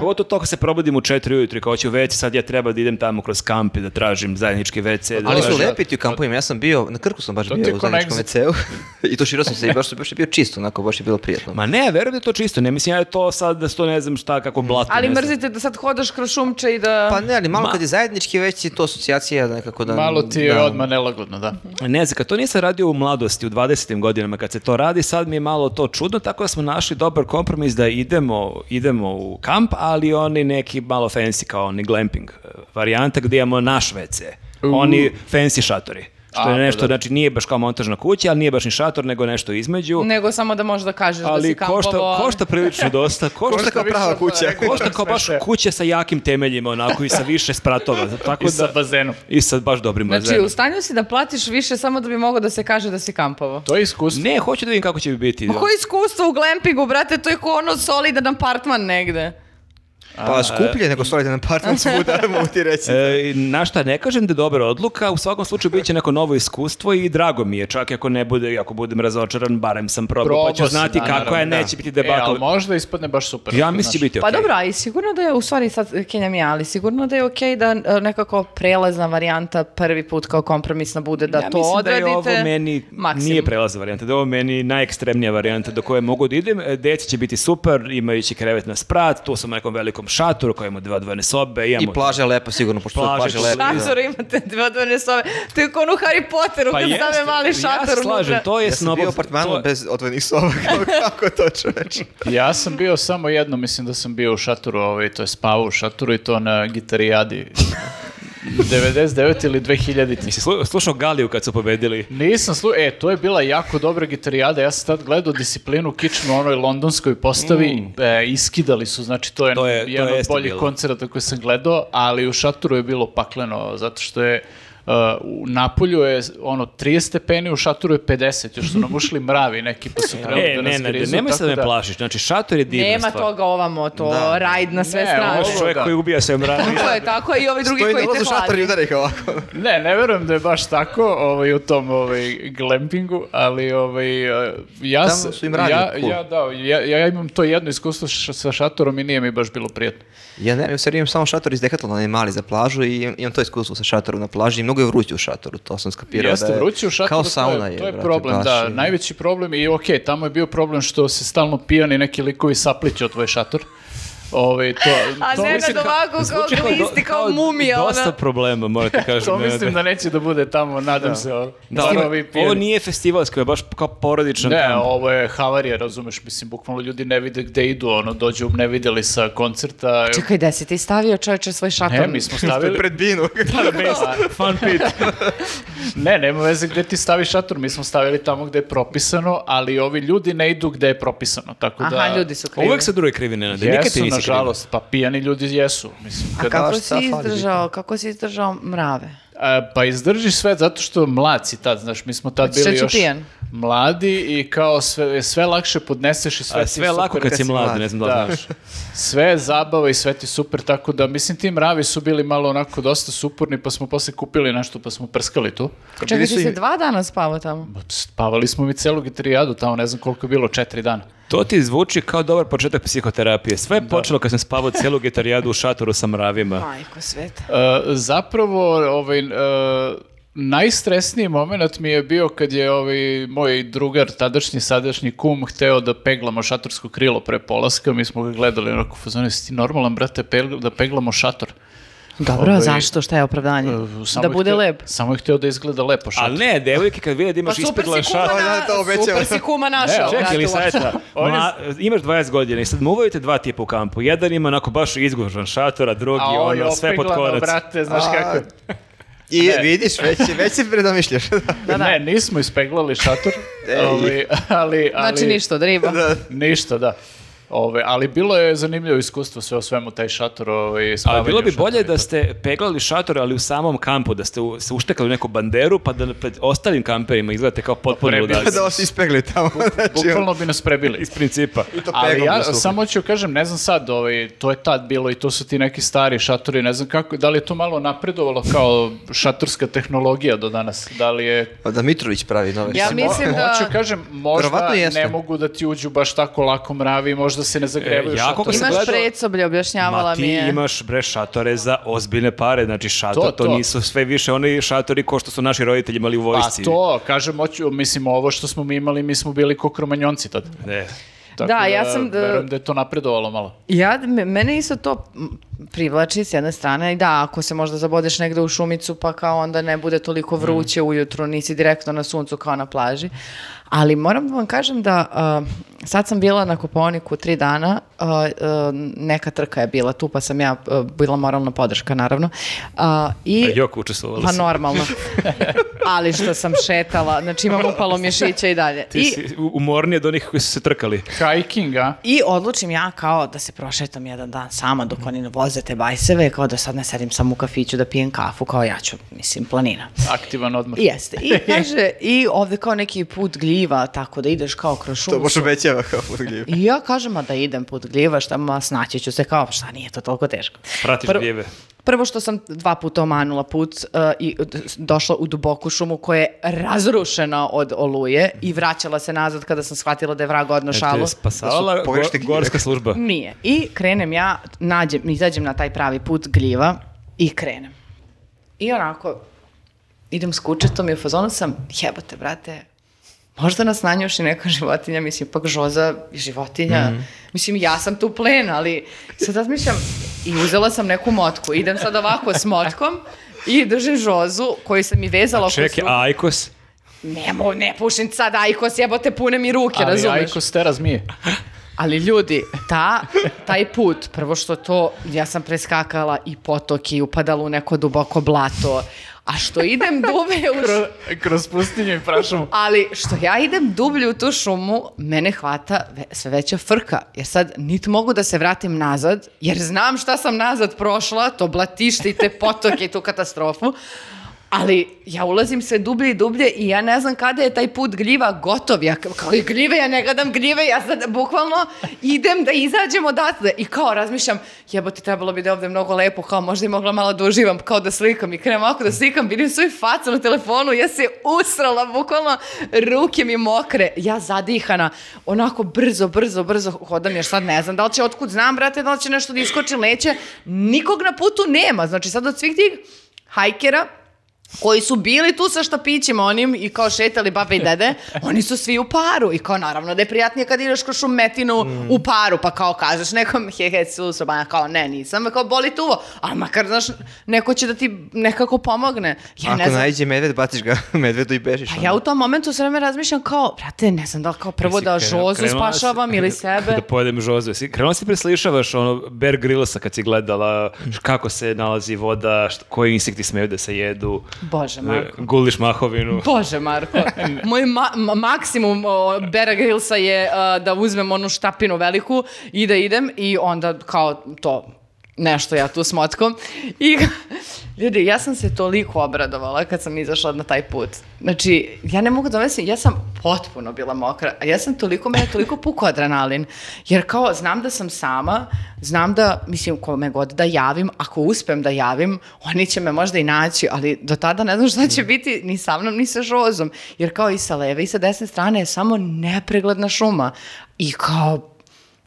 Pogotovo to kad se probudim u četiri ujutru, kao ću već, sad ja treba da idem tamo kroz kamp i da tražim zajednički WC. da
Ali su
tražim-
lepi ti u kampovima, ja sam bio, na Krku sam baš
To ti je
bio u
ko na
zajedničkom WC-u i tuširao sam se i baš, baš je bio čist, onako, baš je bilo prijatno.
Ma ne, verujem da je to čisto, ne mislim ja da je to sad, da su to ne znam šta, kako blato.
Ali
ne znam.
mrzite da sad hodaš kroz šumče i da...
Pa ne, ali malo kad je zajednički već je to asocijacija da nekako da...
Malo ti je
da.
odmah nelagodno, da.
Ne znam, kad to nisam radio u mladosti, u 20. godinama, kad se to radi, sad mi je malo to čudno, tako da smo našli dobar kompromis da idemo, idemo u kamp, ali oni neki malo fancy, kao oni glamping eh, varijanta gdje imamo naš WC. Oni fancy šatori. Što je
A,
nešto,
pa da.
znači nije baš kao montažna kuća, ali nije baš ni šator, nego nešto između.
Nego samo da možda kažeš da si
ali
kampovo.
košta, košta prilično dosta.
Košta kao prava kuća.
Košta kao baš
Smešno je.
kuće sa jakim temeljima, onako i sa više spratova. Tako
I sa
da,
bazenom.
I sa baš dobrim
Znači,
bazenom.
u stanju si da platiš više samo da bi mogao da se kaže da si kampovo.
To je iskustvo.
Ne, hoću da vidim kako će mi biti.
Pa koje iskustvo u glampingu, brate, to je ko ono solidan apartman negde.
Pa skuplje nego solidan apartman svuda, mogu ti reći.
E, na šta ne kažem da je dobra odluka, u svakom slučaju bit će neko novo iskustvo i drago mi je, čak i ako ne bude, i ako budem razočaran, barem sam probao,
Probao
pa ću
si,
znati
da,
kako
naravno,
je,
da.
neće biti
E,
debakl.
ali možda ispadne baš super.
ja mislim da će
znaš.
biti
Pa
okej.
dobro, a i sigurno da je, u stvari sad Kenjam ja, ali sigurno da je okej da e, nekako prelazna varijanta prvi put kao kompromisna bude da
ja
to
mislim
odradite.
da je ovo meni
maksimum.
nije prelazna varijanta, da je ovo meni najekstremnija varijanta do koje mogu da idem. E, Deci će biti super, imajući krevet na sprat, tu sam u nekom velikom imam šator koji ima dva dvojne sobe, imamo...
E, I plaža je lepa sigurno, pošto su
Plaže
plaže
su-
lepe. da.
Šator Pa imate dve odvojene sobe. To je kao ono Harry Potteru kad
Pa jeste,
stave mali šator
ja se slažem,
unutra.
to je
Ja sam
snobav.
bio u apartmanu
to je-
bez otvojenih soba, kako, kako to čoveče?
Ja sam bio samo jedno, mislim da sam bio u šatoru, ovaj, to je spavao u šatoru i to na gitarijadi. 99 ili 2000.
Jesi slu- slušao Galiju kad su pobedili?
Nisam slu... E, to je bila jako dobra gitarijada. Ja sam tad gledao disciplinu kičme u onoj londonskoj postavi. E, iskidali su, znači to je,
Mm. To je- to
jedan od
jeste
boljih
bilo.
koncerata koje sam gledao, ali u šatoru je bilo pakleno, zato što je Uh, u Napolju je ono 30 stepeni, u šatoru je 50, još su nam ušli mravi neki pa su trebali
E,
da
ne,
nas
ne,
grizu,
nemoj sad da me
tako da-
plašiš. Znači, šator je divna
Nema
stvar.
toga ovamo, to
Da.
rajd na sve
Ne,
strane.
ovo-
Čovjek
Da.
koji ubija se mravi.
Tako je, tako je i ovi drugi
Stoji na
koji te
ulazu šator i
hladi.
udara ih ovako.
Ne, ne verujem da je baš tako ovaj, u tom ovaj, glampingu, ali ovaj, eh, ja,
Tamo
s-
su im radili
ja,
cool.
ja, da, ja, ja imam to jedno iskustvo š- sa šatorom i nije mi baš bilo prijetno.
Ja ne, u stvari imam samo šator iz Decathlona, onaj mali za plažu i im- imam to iskustvo sa šatorom na plaži i mnogo je vruće u šatoru, to sam skapirao
Jeste,
da je
vruće u šatoru,
kao
to je-
sauna
to
je,
je,
brate,
problem,
baš
da,
je-
najveći problem i ok, tamo je bio problem što se stalno pijani neki likovi sapliću od tvoj šator. Ovaj, to,
A
to mislim
Nenad
kao-
ovako kao
Zvuči do-
glisti, kao mumija.
Dosta
ona.
problema, morate kažem.
To mislim da neće da bude tamo, nadam se. ono,
Da,
barovi
ovo- ovo
pijani.
nije festivalsko, je baš kao porodičan
Ne,
kamp.
ovo je havarija, razumeš, mislim, bukvalno ljudi ne vide gde idu, ono, dođu nevideli sa koncerta.
Čekaj, da si ti stavio čovječe svoj šator?
Ne, mi smo stavili... Pa,
Pred binu.
Fun pit.
Ne, nema veze gde ti staviš šator, mi smo stavili tamo gde je propisano, ali ovi ljudi ne idu gde je propisano, tako da...
Aha, ljudi su krivi.
Uvek se druge krivi, Nenade. Nikad ti
Jesu,
nisi kriv.
nažalost, pa pijani ljudi jesu, mislim.
A
kad-
Ka-
kako
daš, šta
si
fali
izdržao, kako si izdržao mrave?
A, pa izdržiš sve zato što mlad si tad, znaš, mi smo tad
Znači,
bili
šta ću
još
pijan?
mladi i kao sve, sve lakše podneseš i sve
A
ti
sve je
super
lako kad si mlad, ne znam da li znaš.
Sve je zabava i sve ti super, tako da mislim ti mravi su bili malo onako dosta suporni, pa smo posle kupili nešto, pa smo prskali tu.
Čekaj,
Bili
ti
su
si
i-
dva dana spavao tamo?
Spavali smo mi celu gitarijadu, tamo ne znam koliko je bilo, četiri dana.
To ti zvuči kao dobar početak psihoterapije. Sve je
Da.
počelo kad sam spavao celu gitarijadu u šatoru sa mravima.
Majko sveta.
E, zapravo, ovaj, e, najstresniji moment mi je bio kad je ovaj, moj drugar, tadašnji, sadašnji kum, hteo da peglamo šatorsko krilo pre polaska. Mi smo ga gledali onako, fazonu, "Jesi ti normalan, brate, pegl- da peglamo šator.
Dobro,
Ovaj,
zašto? Šta je opravdanje?
E, samo
da
je
bude
hteo-
lep.
Samo je hteo da izgleda lepo šator.
Ali ne, devojke kad vide da
Pa
imaš
super
ispeglan
si kuma,
šator...
Pa
na,
da, to obećava.
super si kuma našao.
Evo,
Čekaj,
brate,
ili
uopšte.
On je-
imaš 20 godina i sad muvaju te dva tipa u kampu. Jedan ima onako baš izgužan šator, a drugi
A ovo je
ono, sve pod
opeglano,
konac.
brate, znaš
A,
kako.
I
Ne.
vidiš, već, već se predomišljaš.
Da, da.
Ne, nismo ispeglali šator, ali, ali, ali...
Znači ništa od riba.
Ništa, da. Ove, ali bilo je zanimljivo iskustvo sve o svemu, taj šator ovaj,
Ali
spavanje
bilo bi
u šatoru
bolje
i
da
to.
ste peglali šator, ali u samom kampu, da ste u, se uštekali u neku banderu, pa da pred ostalim kamperima izgledate kao potpuno
Prebili.
ludaci.
da vas ispegli tamo. Znači,
Bukvalno bi nas prebili.
Iz principa.
to
Ali
pegom
ja
na suhu.
samo ću kažem, ne znam sad, ovaj, to je tad bilo i to su ti neki stari šatori, ne znam kako, da li je to malo napredovalo kao šatorska tehnologija do danas, da li je...
Pa da Mitrović pravi nove
Ja
šator.
mi- Mislim da-
Hoću kažem, možda
Verovatno jeste.
ne mogu da ti uđu baš tako lako mravi, možda se ne zagrevaju
E, ja koliko
šatori.
sam
Imaš
gledao-
predsoblje, objašnjavala
Ma
mi
ti
je.
imaš bre šatore za ozbiljne pare, znači šator to,
To, to.
nisu sve više oni šatori ko što su naši roditelji imali u
Pa
vojsci.
to, kažem, hoću, mislim, ovo što smo mi imali, mi smo bili ko kromanjonci tad.
Ne.
Tako
Da, ja sam, da-
Verujem da je to napredovalo malo.
Ja, me- mene isto to m, privlači s jedne strane i da, ako se možda zabodeš negde u šumicu pa kao onda ne bude
Mm.
toliko vruće ujutru, nisi direktno na suncu kao na plaži. Ali moram da vam kažem da a, sad sam bila na Koponiku tri dana, a, a, neka trka je bila tu pa sam ja a, bila moralna podrška naravno. A, i,
E, Joko učestvovala
pa
si.
normalno. Ali što sam šetala, znači imam upalo mišića i dalje.
Ti
I,
si u- umorniji od onih koji su se trkali.
Hiking, a?
I odlučim ja kao da se prošetam jedan dan sama dok oni ne voze te bajseve, kao da sad ne sedim samo u kafiću da pijem kafu, kao ja ću, mislim, planina.
Aktivan odmah.
I Jeste. I kaže, i ovde kao neki put gljiva, tako da ideš kao kroz šumu.
To baš obećava kao podgljiv.
I ja kažem, a da idem put gljiva, šta ma snaći ću se kao, šta nije to toliko teško.
Pratiš
Prvo-
gljeve.
Prvo što sam dva puta omanula put uh, i d- došla u duboku šumu koja je razrušena od oluje i vraćala se nazad kada sam shvatila da je vrag odno
Te
šalu.
E, je spasavala
Da su pogrešne
go-
gljive.
gorska služba.
Nije. I krenem ja, nađem, izađem na taj pravi put gljiva i krenem. I onako, idem s kučetom i u fazonu sam, jebote,
Mhm.
brate, možda nas nanjuši neka životinja, mislim, ipak žoza i životinja, Mislim, ja sam tu plen, ali sad razmišljam i uzela sam neku motku. Idem sad ovako s motkom i držim žozu koju sam i vezala. oko
Čekaj,
sluka.
a Ajkos?
Nemo, ne pušim sad ajkos, jebote, pune mi ruke,
Ali
razumeš?
Ajkos te razmije.
Ali ljudi, ta, taj put, prvo što to, ja sam preskakala i potok i upadala u neko duboko blato, a što idem dublje u šumu,
Kroz pustinju i prašumu.
ali što ja idem dublje u tu šumu, mene hvata ve- sve veća frka, jer sad niti mogu da se vratim nazad, jer znam šta sam nazad prošla, to blatište i te potoke i tu katastrofu, Ali ja ulazim sve dublje i dublje i ja ne znam kada je taj put gljiva gotov. Ja ka- kao i gljive, ja ne gledam gljive, ja sad bukvalno idem da izađem odatle. I kao razmišljam, jebote, trebalo bi da je ovde mnogo lepo, kao možda i mogla malo da uživam, kao da slikam i krenem ovako da slikam, vidim svoju facu na telefonu, ja se usrala, bukvalno ruke mi mokre, ja zadihana, onako brzo, brzo, brzo hodam, jer sad ne znam da li će, otkud znam, brate, da li će nešto da iskoči, neće, nikog na putu nema, znači sad od svih tih hajkera, koji su bili tu sa štapićima onim i kao šetali babe i dede, oni su svi u paru i kao naravno da je prijatnije kad ideš kroz šumetinu u paru, pa kao kažeš nekom he he su sobana, kao ne nisam, kao boli tu, a makar znaš neko će da ti nekako pomogne. Ja ne
Ako
znam.
najđe medved, baciš ga medvedu i bežiš.
Pa
ono.
ja u tom momentu sve vreme razmišljam kao, brate, ne znam da li kao prvo da
Jesi krenuo-
žozu
krenula si-
spašavam ili sebe.
Da pojedem žozu. Jesi krenula si preslišavaš ono Bear Grylls-a kad si gledala š- kako se nalazi voda, št- koji insekti smeju da se jedu.
Bože,
e,
Marko.
Guliš mahovinu.
Bože, Marko. Moj ma ma- maksimum o, Bera Grillsa je a, da uzmem onu štapinu veliku i da idem i onda kao to nešto ja tu s motkom. I ljudi, ja sam se toliko obradovala kad sam izašla na taj put. Znači, ja ne mogu da mislim, ja sam potpuno bila mokra, a ja sam toliko, mene toliko pukao adrenalin, jer kao znam da sam sama, znam da, mislim, kome god da javim, ako uspem da javim, oni će me možda i naći, ali do tada ne znam šta će biti ni sa mnom, ni sa žozom, jer kao i sa leve i sa desne strane je samo nepregledna šuma i kao,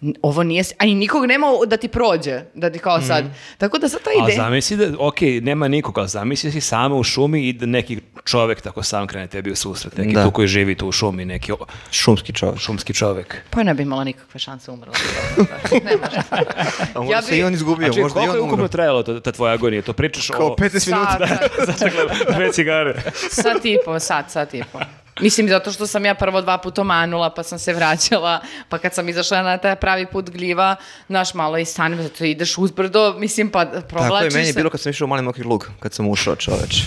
n- ovo nije, s- a i nikog nema da ti prođe, da ti kao sad, tako da sad ta
A
ideja...
zamisli da, ok, nema nikoga, ali zamisli si sama u šumi i da neki čovek tako sam krene tebi u susret, neki
Da.
tu koji živi tu u šumi, neki o-
Šumski čovjek.
šumski čovek.
Pa ne bi imala nikakve šanse umrla. Ne može.
A možda
Ja
se
bi-
i on izgubio,
A čekaj,
možda i
Znači, koliko je
on
ukupno
umro.
trajalo ta, ta tvoja agonija? To pričaš
Kao
o...
15 minuta.
Sat, da.
Dakle, dve cigare.
Sat i po, sat, sat i po. Mislim, zato što sam ja prvo dva puta omanula, pa sam se vraćala, pa kad sam izašla na taj pravi put gljiva, znaš, malo i stanem, zato ideš uzbrdo, mislim, pa provlačiš
Tako je meni je
se.
bilo kad sam išao u Mali Mokri lug, kad sam ušao čoveč.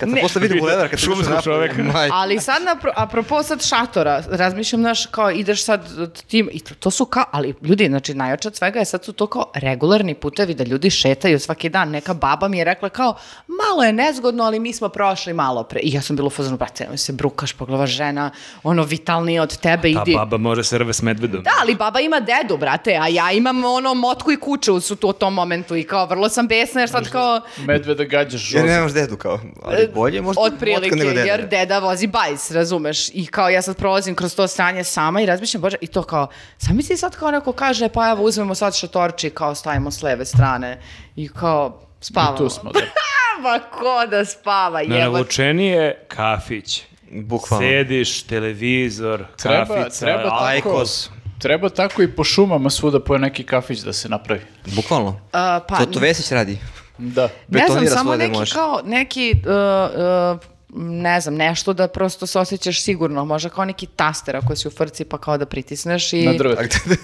Kad sam
Ne.
posle vidio bulevar, kad sam
Šumskog
ušao napolje,
čoveka.
maj-
Ali sad, na, apropo sad šatora, razmišljam, znaš, kao ideš sad tim, i to, to su kao, ali ljudi, znači, najjače od svega je sad su to kao regularni putevi da ljudi šetaju svaki dan. Neka baba mi je rekla kao, malo je nezgodno, ali mi smo prošli malo pre. I ja sam bila u fazonu, brate, nemoj se brukaš, poglava žena, ono, vitalnije od tebe,
Ta
idi.
baba može se rve s medvedom.
Da, ali baba ima dedu, brate, a ja imam ono motku i kuću su tu u tom momentu i kao vrlo sam besna jer sad kao
Medveda gađaš
Jer
žozu.
nemaš dedu kao, ali bolje je možda
otprilike,
motka nego da. deda.
E, jer deda vozi bajs, razumeš? I kao ja sad prolazim kroz to stranje sama i razmišljam, bože, i to kao, sami si sad kao neko kaže, pa evo uzmemo sad šatorči, kao stavimo s leve strane i kao spavamo.
Tu smo, da.
Ma ko da spava,
Na
jebote.
navučeni je kafić.
Bukvalno.
Sediš, televizor,
Treba-
kafica,
treba tako-
aj-
Ajkos.
Treba tako i po šumama svuda po neki kafić da se napravi.
Bukvalno.
A, pa,
To to Vesić radi.
Da.
ne znam,
betonira
samo
svoje da
neki
može.
kao, neki, uh, uh, ne znam, nešto da prosto se osjećaš sigurno, možda kao neki taster ako si u frci pa kao da pritisneš i...
Na drvetu.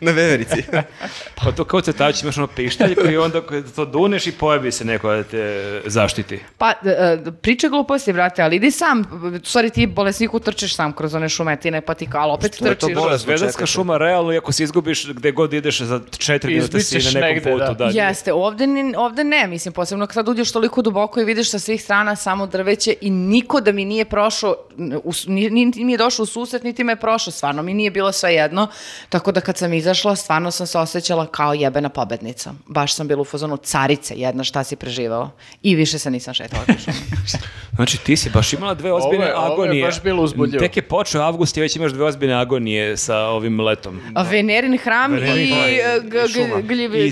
Na veverici.
Pa to kao cetač imaš ono pištalj koji onda kad to duneš i pojavi se neko da te zaštiti.
Pa, e, e, priče gluposti, brate, ali idi sam, u stvari ti bolesniku trčeš sam kroz one šumetine, pa ti kao, ali opet
Što je to
trčiš.
bolest?
Zvedanska
čekajte.
šuma, realno, iako se izgubiš gde god ideš za četiri minuta si
Izbićeš
na nekom
negde,
putu.
da.
Da.
Jeste, ovde, ni- ovde ne, mislim, posebno kad uđeš toliko duboko i vidiš sa svih strana samo drveće i niko da mi nije prošao, n- u s- ni, ni- mi je došao u susret, niti me je prošao, stvarno mi nije bilo sve jedno, tako da kad sam izašla, stvarno sam se osjećala kao jebena pobednica. Baš sam bila u fazonu carice jedna, šta si preživala. I više se nisam šetala. Da. po šumi.
Znači, ti si baš imala dve ozbiljne
Ovo je- ovo je
agonije.
baš bilo uzbudljivo.
Tek je počeo avgust i već imaš dve ozbiljne agonije sa ovim letom.
A Venerin hram
Venerin
i,
hram i
e, g-
šuma.
g- gljivi-
I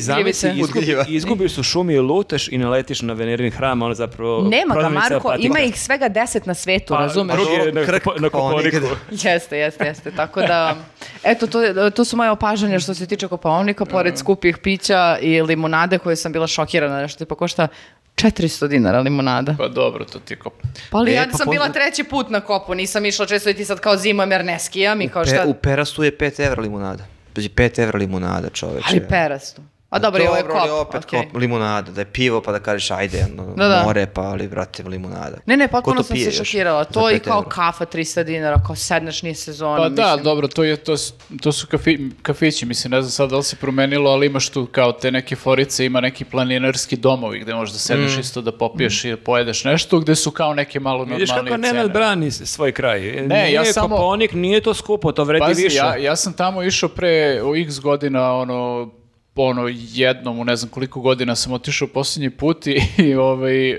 gljivice.
zamisli, izgubi,
Uzgljiva.
izgubiš u šumi, lutaš i naletiš na venerin hram, a ono zapravo...
Nema ga,
prodavnica
Marko,
patika. Pa,
ima ih ih svega deset na svetu, razumeš?
drugi je na,
Krk,
Kopo- na
pa on
Koponiku.
nikad-
Jeste, jeste, jeste. Tako da, eto, to, to su moje opažanja što se tiče kopalnika,
Mhm.
pored skupih pića i limunade koje sam bila šokirana, nešto tipa košta 400 dinara limunada.
Pa dobro, to ti kop.
Pa ali
E,
ja
pa
sam bila
pozna-
treći put na kopu, nisam išla često i ti sad kao zimam jer ne skijam i kao
Pe-
šta...
u perastu je 5 evra limunada. Znači 5 evra limunada čoveče.
Ali perastu. A dobro, i ovo je
Dobro, ali
kop.
opet
okej.
kop, limunada, da je pivo pa da kažeš ajde, ono,
Da, da.
more pa ali brate limunada.
Ne, ne,
Ko to
potpuno sam
pije
se
još
šokirala.
za
To i
pet
kao
evra?
kafa 300 dinara, kao sedneš nije sezona.
Pa da,
mislim.
dobro, to, je, to, s- to su kafi, kafići, mislim, ne znam sad da li se promenilo, ali imaš tu kao te neke forice, ima neki planinarski domovi gde možeš da
Mm.
sedneš isto da popiješ i da pojedeš nešto, gde su kao neke malo normalnije
Vidiš
cene.
kako Nenad brani s- svoj kraj.
Ne, ja
Nije
samo-
Koponik, nije to skupo, to vredi
Pazi,
više.
ja, ja sam tamo išao pre o x godina, ono, ono jednom, u ne znam koliko godina sam otišao posljednji put i, i, ovaj, e,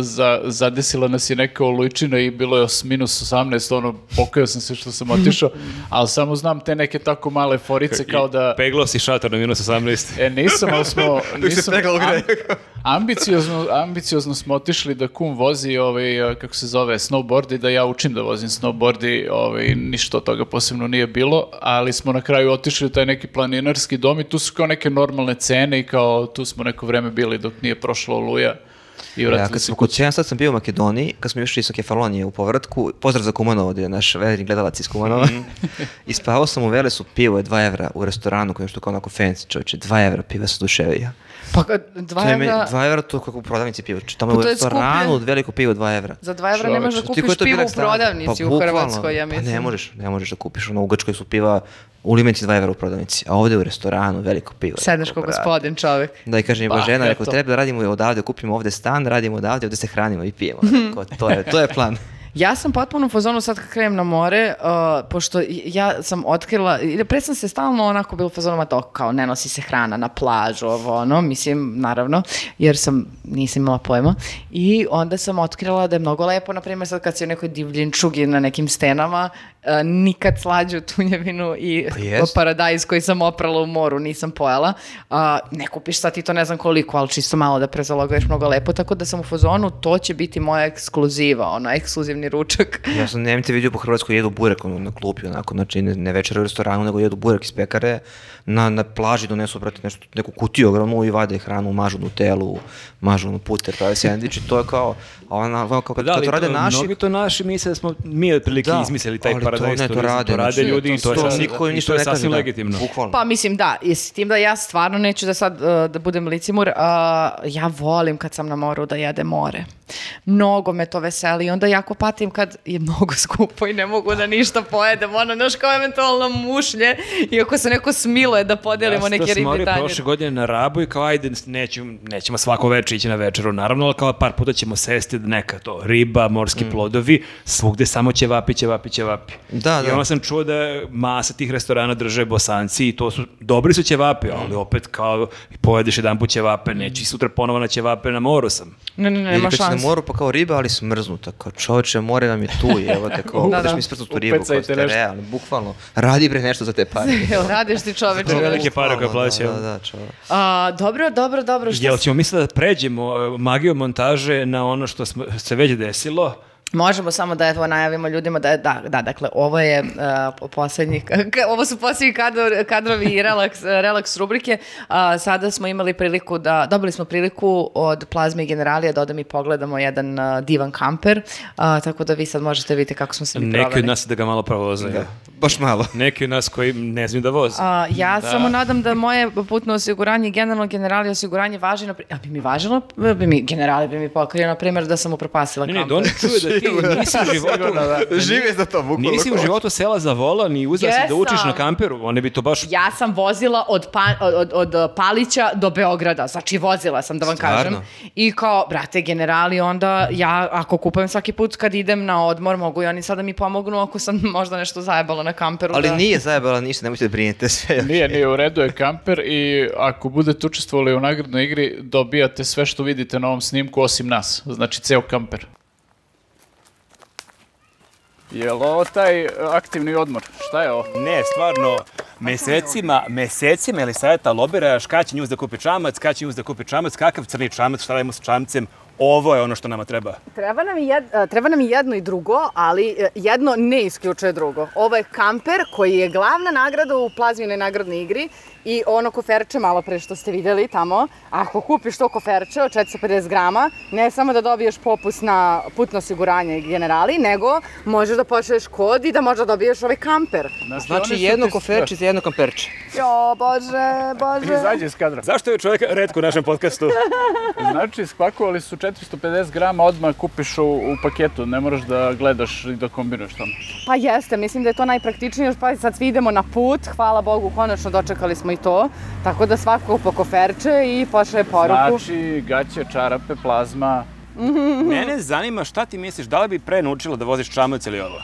za, zadesila nas je neka olučina i bilo je os, minus 18, ono, pokajao sam se što sam otišao, ali samo znam te neke tako male forice kao da...
Peglo si šator na minus 18.
E, nisam, ali smo...
Dok se
nisam-
peglao
am-
grejao.
ambiciozno, ambiciozno smo otišli da kum vozi, ovaj, eh, kako se zove, snowboard i da ja učim da vozim snowboard i ovaj, ništa od toga posebno nije bilo, ali smo na kraju otišli u taj neki planinarski dom i tu su kao neke normalne cene i kao tu smo neko vreme bili dok nije prošla oluja i
Ja,
vratili
E, Da, kad
se
smo
kući.
kod Čena, sad sam bio u Makedoniji, kad smo išli sa Kefalonije u povratku, pozdrav za Kumanova, gdje je naš verni gledalac iz Kumanova, i spavao sam u Velesu, pivo je 2 evra u restoranu, koji je što kao onako fancy čovječe, 2 evra, piva sa duševija.
Pa ka- dva
To je meni-
evra,
2 evra to kako u prodavnici pivo, če tamo
Pa
u
to je
restoranu,
skuplje.
veliko pivo 2 evra.
za dva evra ne možeš da
Ti koji
kupiš
je to
pivo
bila
u
ekstrana?
prodavnici
Pa
u
bukvalno,
Hrvatskoj, ja mislim.
Pa ne možeš, ne možeš da kupiš, ono u Grčkoj su piva, u limiti 2 evra u prodavnici, a ovdje u restoranu veliko pivo.
Sedneš
Rekao,
kao
brate.
gospodin čovjek.
Da i kaže
Pa,
pa, žena, rekao,
eto.
treba da radimo odavde, kupimo ovde stan, da radimo odavde, ovde se hranimo i pijemo. Rekao, to, je, to je plan.
Ja sam potpuno u fazonu sad kad krenem na more, uh, pošto ja sam otkrila, i pre sam se stalno onako bila u fazonu, ma to kao ne nosi se hrana na plažu, ovo ono, mislim, naravno, jer sam, nisam imala pojma. I onda sam otkrila da je mnogo lepo, na primjer sad kad si u nekoj divljinčugi na nekim stenama, uh, nikad slađu tunjevinu i
Pa jest.
paradajz koji sam oprala u moru, nisam pojela. A, ne kupiš sad ti to ne znam koliko, ali čisto malo da prezaloguješ mnogo lepo, tako da sam u fazonu, to će biti moja ekskluziva, ono, ekskluzivni ručak.
Ja sam nemite vidio po Hrvatskoj jedu burek ono, na klupi, onako, znači ne, ne večer u restoranu, nego jedu burek iz pekare, na, na plaži donesu, brate, nešto, neku kutiju ogromnu i vade hranu, mažu nutelu, mažu ono puter, prave sendvič i to je kao, a ona, kao, kad,
Pa da,
kad
ali
to rade naši,
Mnogi to naši misle da smo mi otprilike
Da,
izmislili taj
ali to
paradajz
ne, to
turizam,
rade,
to rade
znači,
ljudi i to, je
to
sasvim-
niko im
i
ništa
to je
ne kaže,
sasvim
da.
legitimno.
bukvalno.
Pa mislim da, i s tim da ja stvarno neću da sad uh, da budem licimur, a, ja volim kad sam na moru da jedem more. Mnogo me to veseli i onda jako patim kad je mnogo skupo i ne mogu da ništa pojedem, ono, znaš kao eventualno mušlje i ako se neko smiluje da podelimo neke
Ja sam to
ribe
smorio
tanjir.
prošle godine na Rabu i kao ajde, neću, nećemo svako večer ići na večeru, naravno, ali kao par puta ćemo sesti da neka to, riba,
Mm.
morski plodovi, svugde samo ćevapi, ćevapi, ćevapi.
Da,
I
da.
onda sam čuo da masa tih restorana drže bosanci i to su, dobri su ćevapi,
Mm.
ali opet kao pojedeš jedan put ćevape, neću i sutra ponovo na ćevape, na moru sam.
Ne, ne, ne,
Ili
nema
kad si na
šanse.
moru pa kao riba, ali smrznuta. Kao čoveče, more nam je tu i evo te kao,
Da,
da,
da.
mi smrznutu ribu, kao
Upecajte
ste
nešto.
realni, bukvalno. Radi bre nešto za te pare.
Jel radiš ti čoveče?
To je velike pare koje
Bukvalno,
plaćaju.
Da, da, da, čoveče.
A, dobro, dobro, dobro. Što
Jel
si-
ćemo misliti da pređemo e, magiju montaže na ono što smo, se već desilo?
Možemo samo da evo najavimo ljudima da, je- da, da dakle, ovo je uh, po- posljednji, ka- ovo su posljednji kadro- kadrovi i relaks, relaks rubrike. A, sada smo imali priliku da, dobili smo priliku od Plazme i Generalija da odem i pogledamo jedan a, divan kamper, A, tako da vi sad možete vidjeti kako smo se mi
Neki od
proveli.
nas da ga malo provozaju.
Da, Baš malo.
Neki od nas koji ne znaju da voze.
A, ja samo nadam da moje putno osiguranje, generalno generali osiguranje važi, na, pri- a bi mi važilo, bi mi, generali bi mi pokrio, na primjer, da sam upropasila
Ne,
kamper.
ne, da oni čuju da ti nisi u
Da,
životu,
Žive za to, bukvalno.
nisi u životu sela za volan i uzela si da
Jesam.
učiš na kamperu, one bi to baš...
Ja sam vozila od, pa- od, od, od Palića do Beograda, znači vozila sam da vam
Stvarno?
kažem. I kao, brate, generali, onda ja ako kupujem svaki put kad idem na odmor, mogu i oni sada mi pomognu ako sam možda nešto zajebala na kamperu.
Ali
da-
nije zajebala ništa, nemojte da brinete sve.
Nije, nije, u redu je kamper i ako budete učestvovali u nagradnoj igri, dobijate sve što vidite na ovom snimku osim nas, znači ceo kamper. Jel ovo taj aktivni odmor? Šta je ovo?
Ne, stvarno, mesecima, mesecima ili savjeta lobira, šta će njuz da kupi čamac, šta će njuz da kupi čamac, kakav crni čamac, šta radimo sa čamcem,
ovo je ono što nama treba.
Treba nam, i jed, e, treba nam i jedno i drugo, ali e, jedno ne isključuje drugo. Ovo je kamper koji je glavna nagrada u plazminoj nagradnoj igri i ono koferče malo pre što ste videli tamo, ako kupiš to koferče od 450 grama, ne samo da dobiješ popust na putno osiguranje i generali, nego možeš da počneš kod i da možda dobiješ ovaj kamper.
one
Znači
su
jedno
ti-
koferče za jedno kamperče.
Jo, bože, bože.
Izađe iz kadra.
Zašto je čovjek redko u našem podcastu?
Znači, spakovali su 450 grama, odmah kupiš u, u paketu, ne moraš da gledaš i da kombinuješ tamo.
Pa jeste, mislim da je to najpraktičnije, još pa sad svi idemo na put, hvala Bogu, konačno dočekali smo i to, tako da svako po koferče i pošle poruku.
Znači, gaće, čarape, plazma,
Mene zanima šta ti misliš, da li bi pre naučila da voziš čamac ili ovo?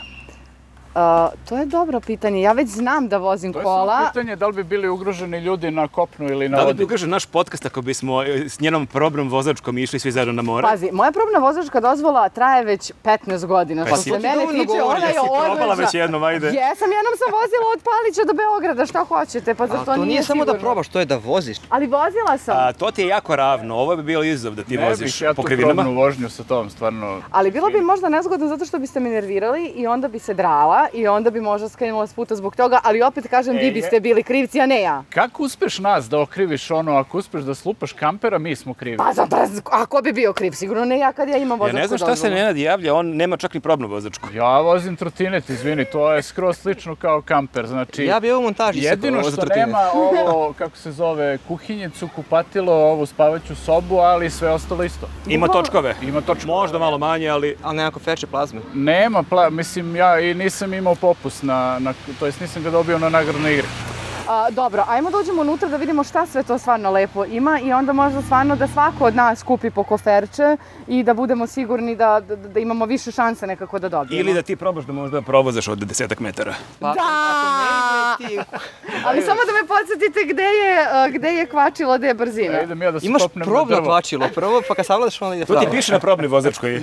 A, to je dobro pitanje, ja već znam da vozim
To je samo
kola.
pitanje da li bi bili ugroženi ljudi na kopnu ili na
Da li bi
vodi.
ugažen naš podcast ako bismo e, s njenom probnom vozačkom išli svi zajedno na more?
Pazi, moja probna vozačka dozvola traje već 15 godina, što
si-
se
Pa ti
mene
dovoljno
tiče,
govori,
ona je
jesi
probala već
odlična.
jednom, ajde.
Jesam, jednom sam vozila od Palića do Beograda, šta hoćete, pa
Ali
zar
to,
to
nije, samo da
sigurno?
probaš, to je da voziš.
Ali vozila sam.
A, to ti je jako ravno, ovo bi bio izazov da ti
Ne
voziš
bih ja
po
tu
krivinama.
probnu vožnju sa tom, stvarno.
Ali bilo bi možda nezgodno zato što biste me nervirali i onda bi se drala i onda bi možda skrenula s puta zbog toga, ali opet kažem,
E,
vi biste bili krivci, a ne ja.
Kako uspeš nas da okriviš ono, ako uspeš da slupaš kampera, mi smo krivi.
Pa zato, a ko bi bio kriv? Sigurno ne ja kad ja imam
Ja
vozačku
ne znam
da
šta se
dozvolu.
Nenad javlja, on nema čak ni probnu vozačku.
Ja vozim trotinet, izvini, to je skroz slično kao kamper, znači...
Ja bi ovo montaži
Jedino što nema ovo, kako se zove, kuhinjicu, kupatilo, ovu spavaću sobu, ali sve ostalo isto.
Ima točkove.
Ima točno.
Možda malo manje, ali
Ali nema koferče plazme.
Nema, pla, mislim, ja i nisam imao popust na, na to jest nisam ga dobio na nagradnoj igri.
A, dobro, ajmo da uđemo unutra da vidimo šta sve to stvarno lepo ima i onda možda stvarno da svako od nas kupi po koferče i da budemo sigurni da, da, da imamo više šanse nekako da dobijemo.
ili da ti probaš da možda provozaš od desetak metara.
Pa,
Da!
ako ne ide ti-
Ali samo da me podsjetite gde je, a, gde je kvačilo, gde je brzina.
E, idem ja da se
Imaš
popnem na
probno
drvo.
kvačilo prvo, pa kad savladaš onda ide
To ti
Da.
pravo.
piše na probnoj
E.
vozačkoj.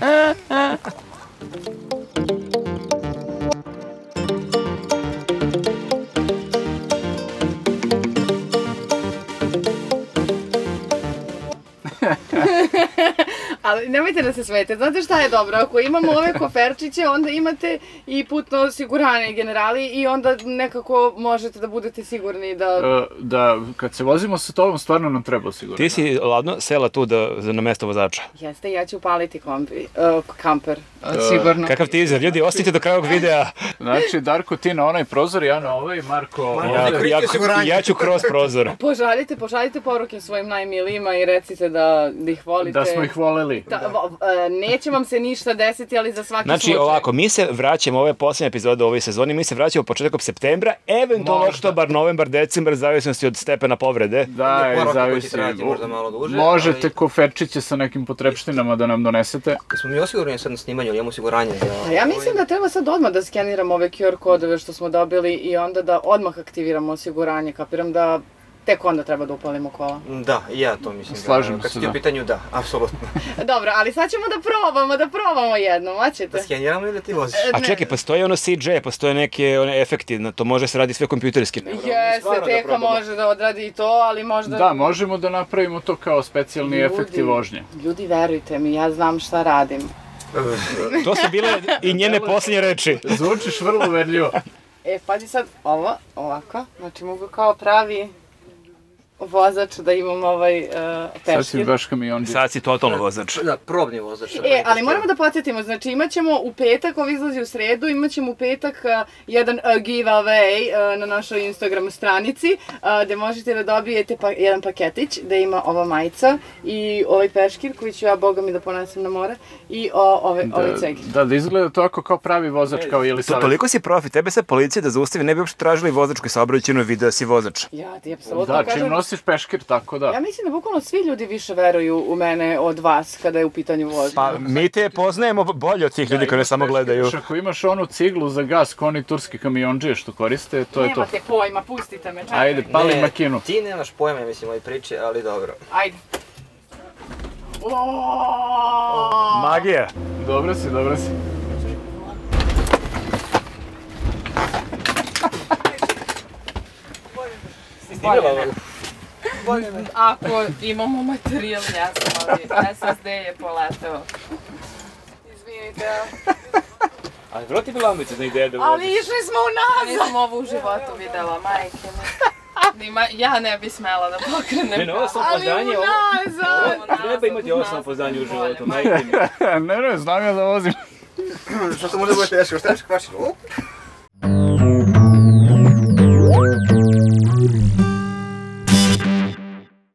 Ali nemojte da se smete, znate šta je dobro, ako imamo ove koferčiće, onda imate i putno osigurane generali i onda nekako možete da budete sigurni da...
E, da, kad se vozimo sa tobom, stvarno nam treba sigurno.
Ti si ladno sela tu da, za- na mesto vozača.
Jeste, ja ću upaliti kombi, e, kamper.
Sigurno.
Kakav ti izjel, ljudi, ostanite do kraja ovog videa.
Znači, Darko, ti na onaj prozor, ja na ovaj, Marko...
Ja,
ovde.
ja, ja ću kroz prozor.
Požaljite, pošaljite poruke svojim najmilijima i recite da, da ih volite.
Da smo ih voleli.
Da, vo- e, neće vam se ništa desiti, ali za svaki
Znači
slučaj.
ovako, mi se vraćamo, ove posljednje epizode ove sezoni, mi se vraćamo početkom septembra, eventualno oktobar, novembar, decembar, u zavisnosti od stepena povrede.
Da,
Moram
i
kako
zavisi.
će trajati, možda malo duže,
Možete
ali-
koferčiće sa nekim potrebštinama da nam donesete.
Jesmo mi osigurani sad na snimanju, ili imamo osiguranje?
A ja mislim da treba sad odmah da skeniramo ove QR kodove što smo dobili i onda da odmah aktiviramo osiguranje. Kapiram da tek onda treba da upalimo kola.
Da, i ja to mislim.
Slažem
da, kad
se,
si ti
da.
u pitanju, da, apsolutno.
Dobro, ali sad ćemo da probamo, da probamo jednom,
Da
hoćete?
skeniramo ili da ti voziš?
A čekaj, postoje ono CJ, postoje neke one efekti, na to može se radi sve kompjuterski.
Jeste,
stvarno da
teka
probamo.
može da odradi i to, ali možda...
Da, možemo da napravimo to kao specijalni
Ljudi,
efekti vožnje.
Ljudi, verujte mi, ja znam šta radim.
To su bile i njene posljednje reči.
Zvučiš vrlo verljivo.
E, pazi sad, ovo, ovako, znači mogu kao pravi vozač da imam ovaj uh,
Sad si
peškir.
baš kamionđi.
Sad si totalno vozač.
Da, probni vozač.
E, ali moramo da podsjetimo, znači imat ćemo u petak, ovo izlazi u sredu, imat ćemo u petak a, jedan a, giveaway a, na našoj Instagram stranici, uh, gde možete da dobijete pa, jedan paketić, da ima ova majica i ovaj peškir koji ću ja, boga mi, da ponesem na more, i o, ove, ovaj cegir.
Da, da izgleda to ako kao pravi vozač, kao ili
To, toliko si profi, tebe sad policija da zaustavi, ne bi uopšte tražili vozačku saobraćenu video da si vozač.
Ja ti apsolutno
Da, čim
kažem...
nosiš peškir, tako da.
Ja mislim da bukvalno svi ljudi više veruju u mene od vas kada je u pitanju vožnja.
Pa mi te poznajemo bolje od tih ljudi koji ne samo gledaju.
Još ako imaš onu ciglu za gas, ko oni turski kamionđije što koriste, to je to.
Nemate pojma, pustite me, čekaj.
Ajde, pali makinu.
Ti nemaš pojma, mislim, ove priče, ali dobro.
Ajde. O!
Magija.
Dobro si, dobro si.
Ako imamo materijal, ja sam ali SSD je poletao.
Izvinite.
Ali vrati mi lambice na ideje da
Ali išli smo u nas.
Nisam ovo u životu videla, majke mi. Nima, ja ne bi smela da pokrenem.
Ne, ne, ovo
Ali
samopouzdanje,
u
ovo...
nazad.
Treba imati ovo samopouzdanje u životu, majke mi.
ne, ne, znam ja da vozim.
Što se možda bude teško, što je teško kvačin?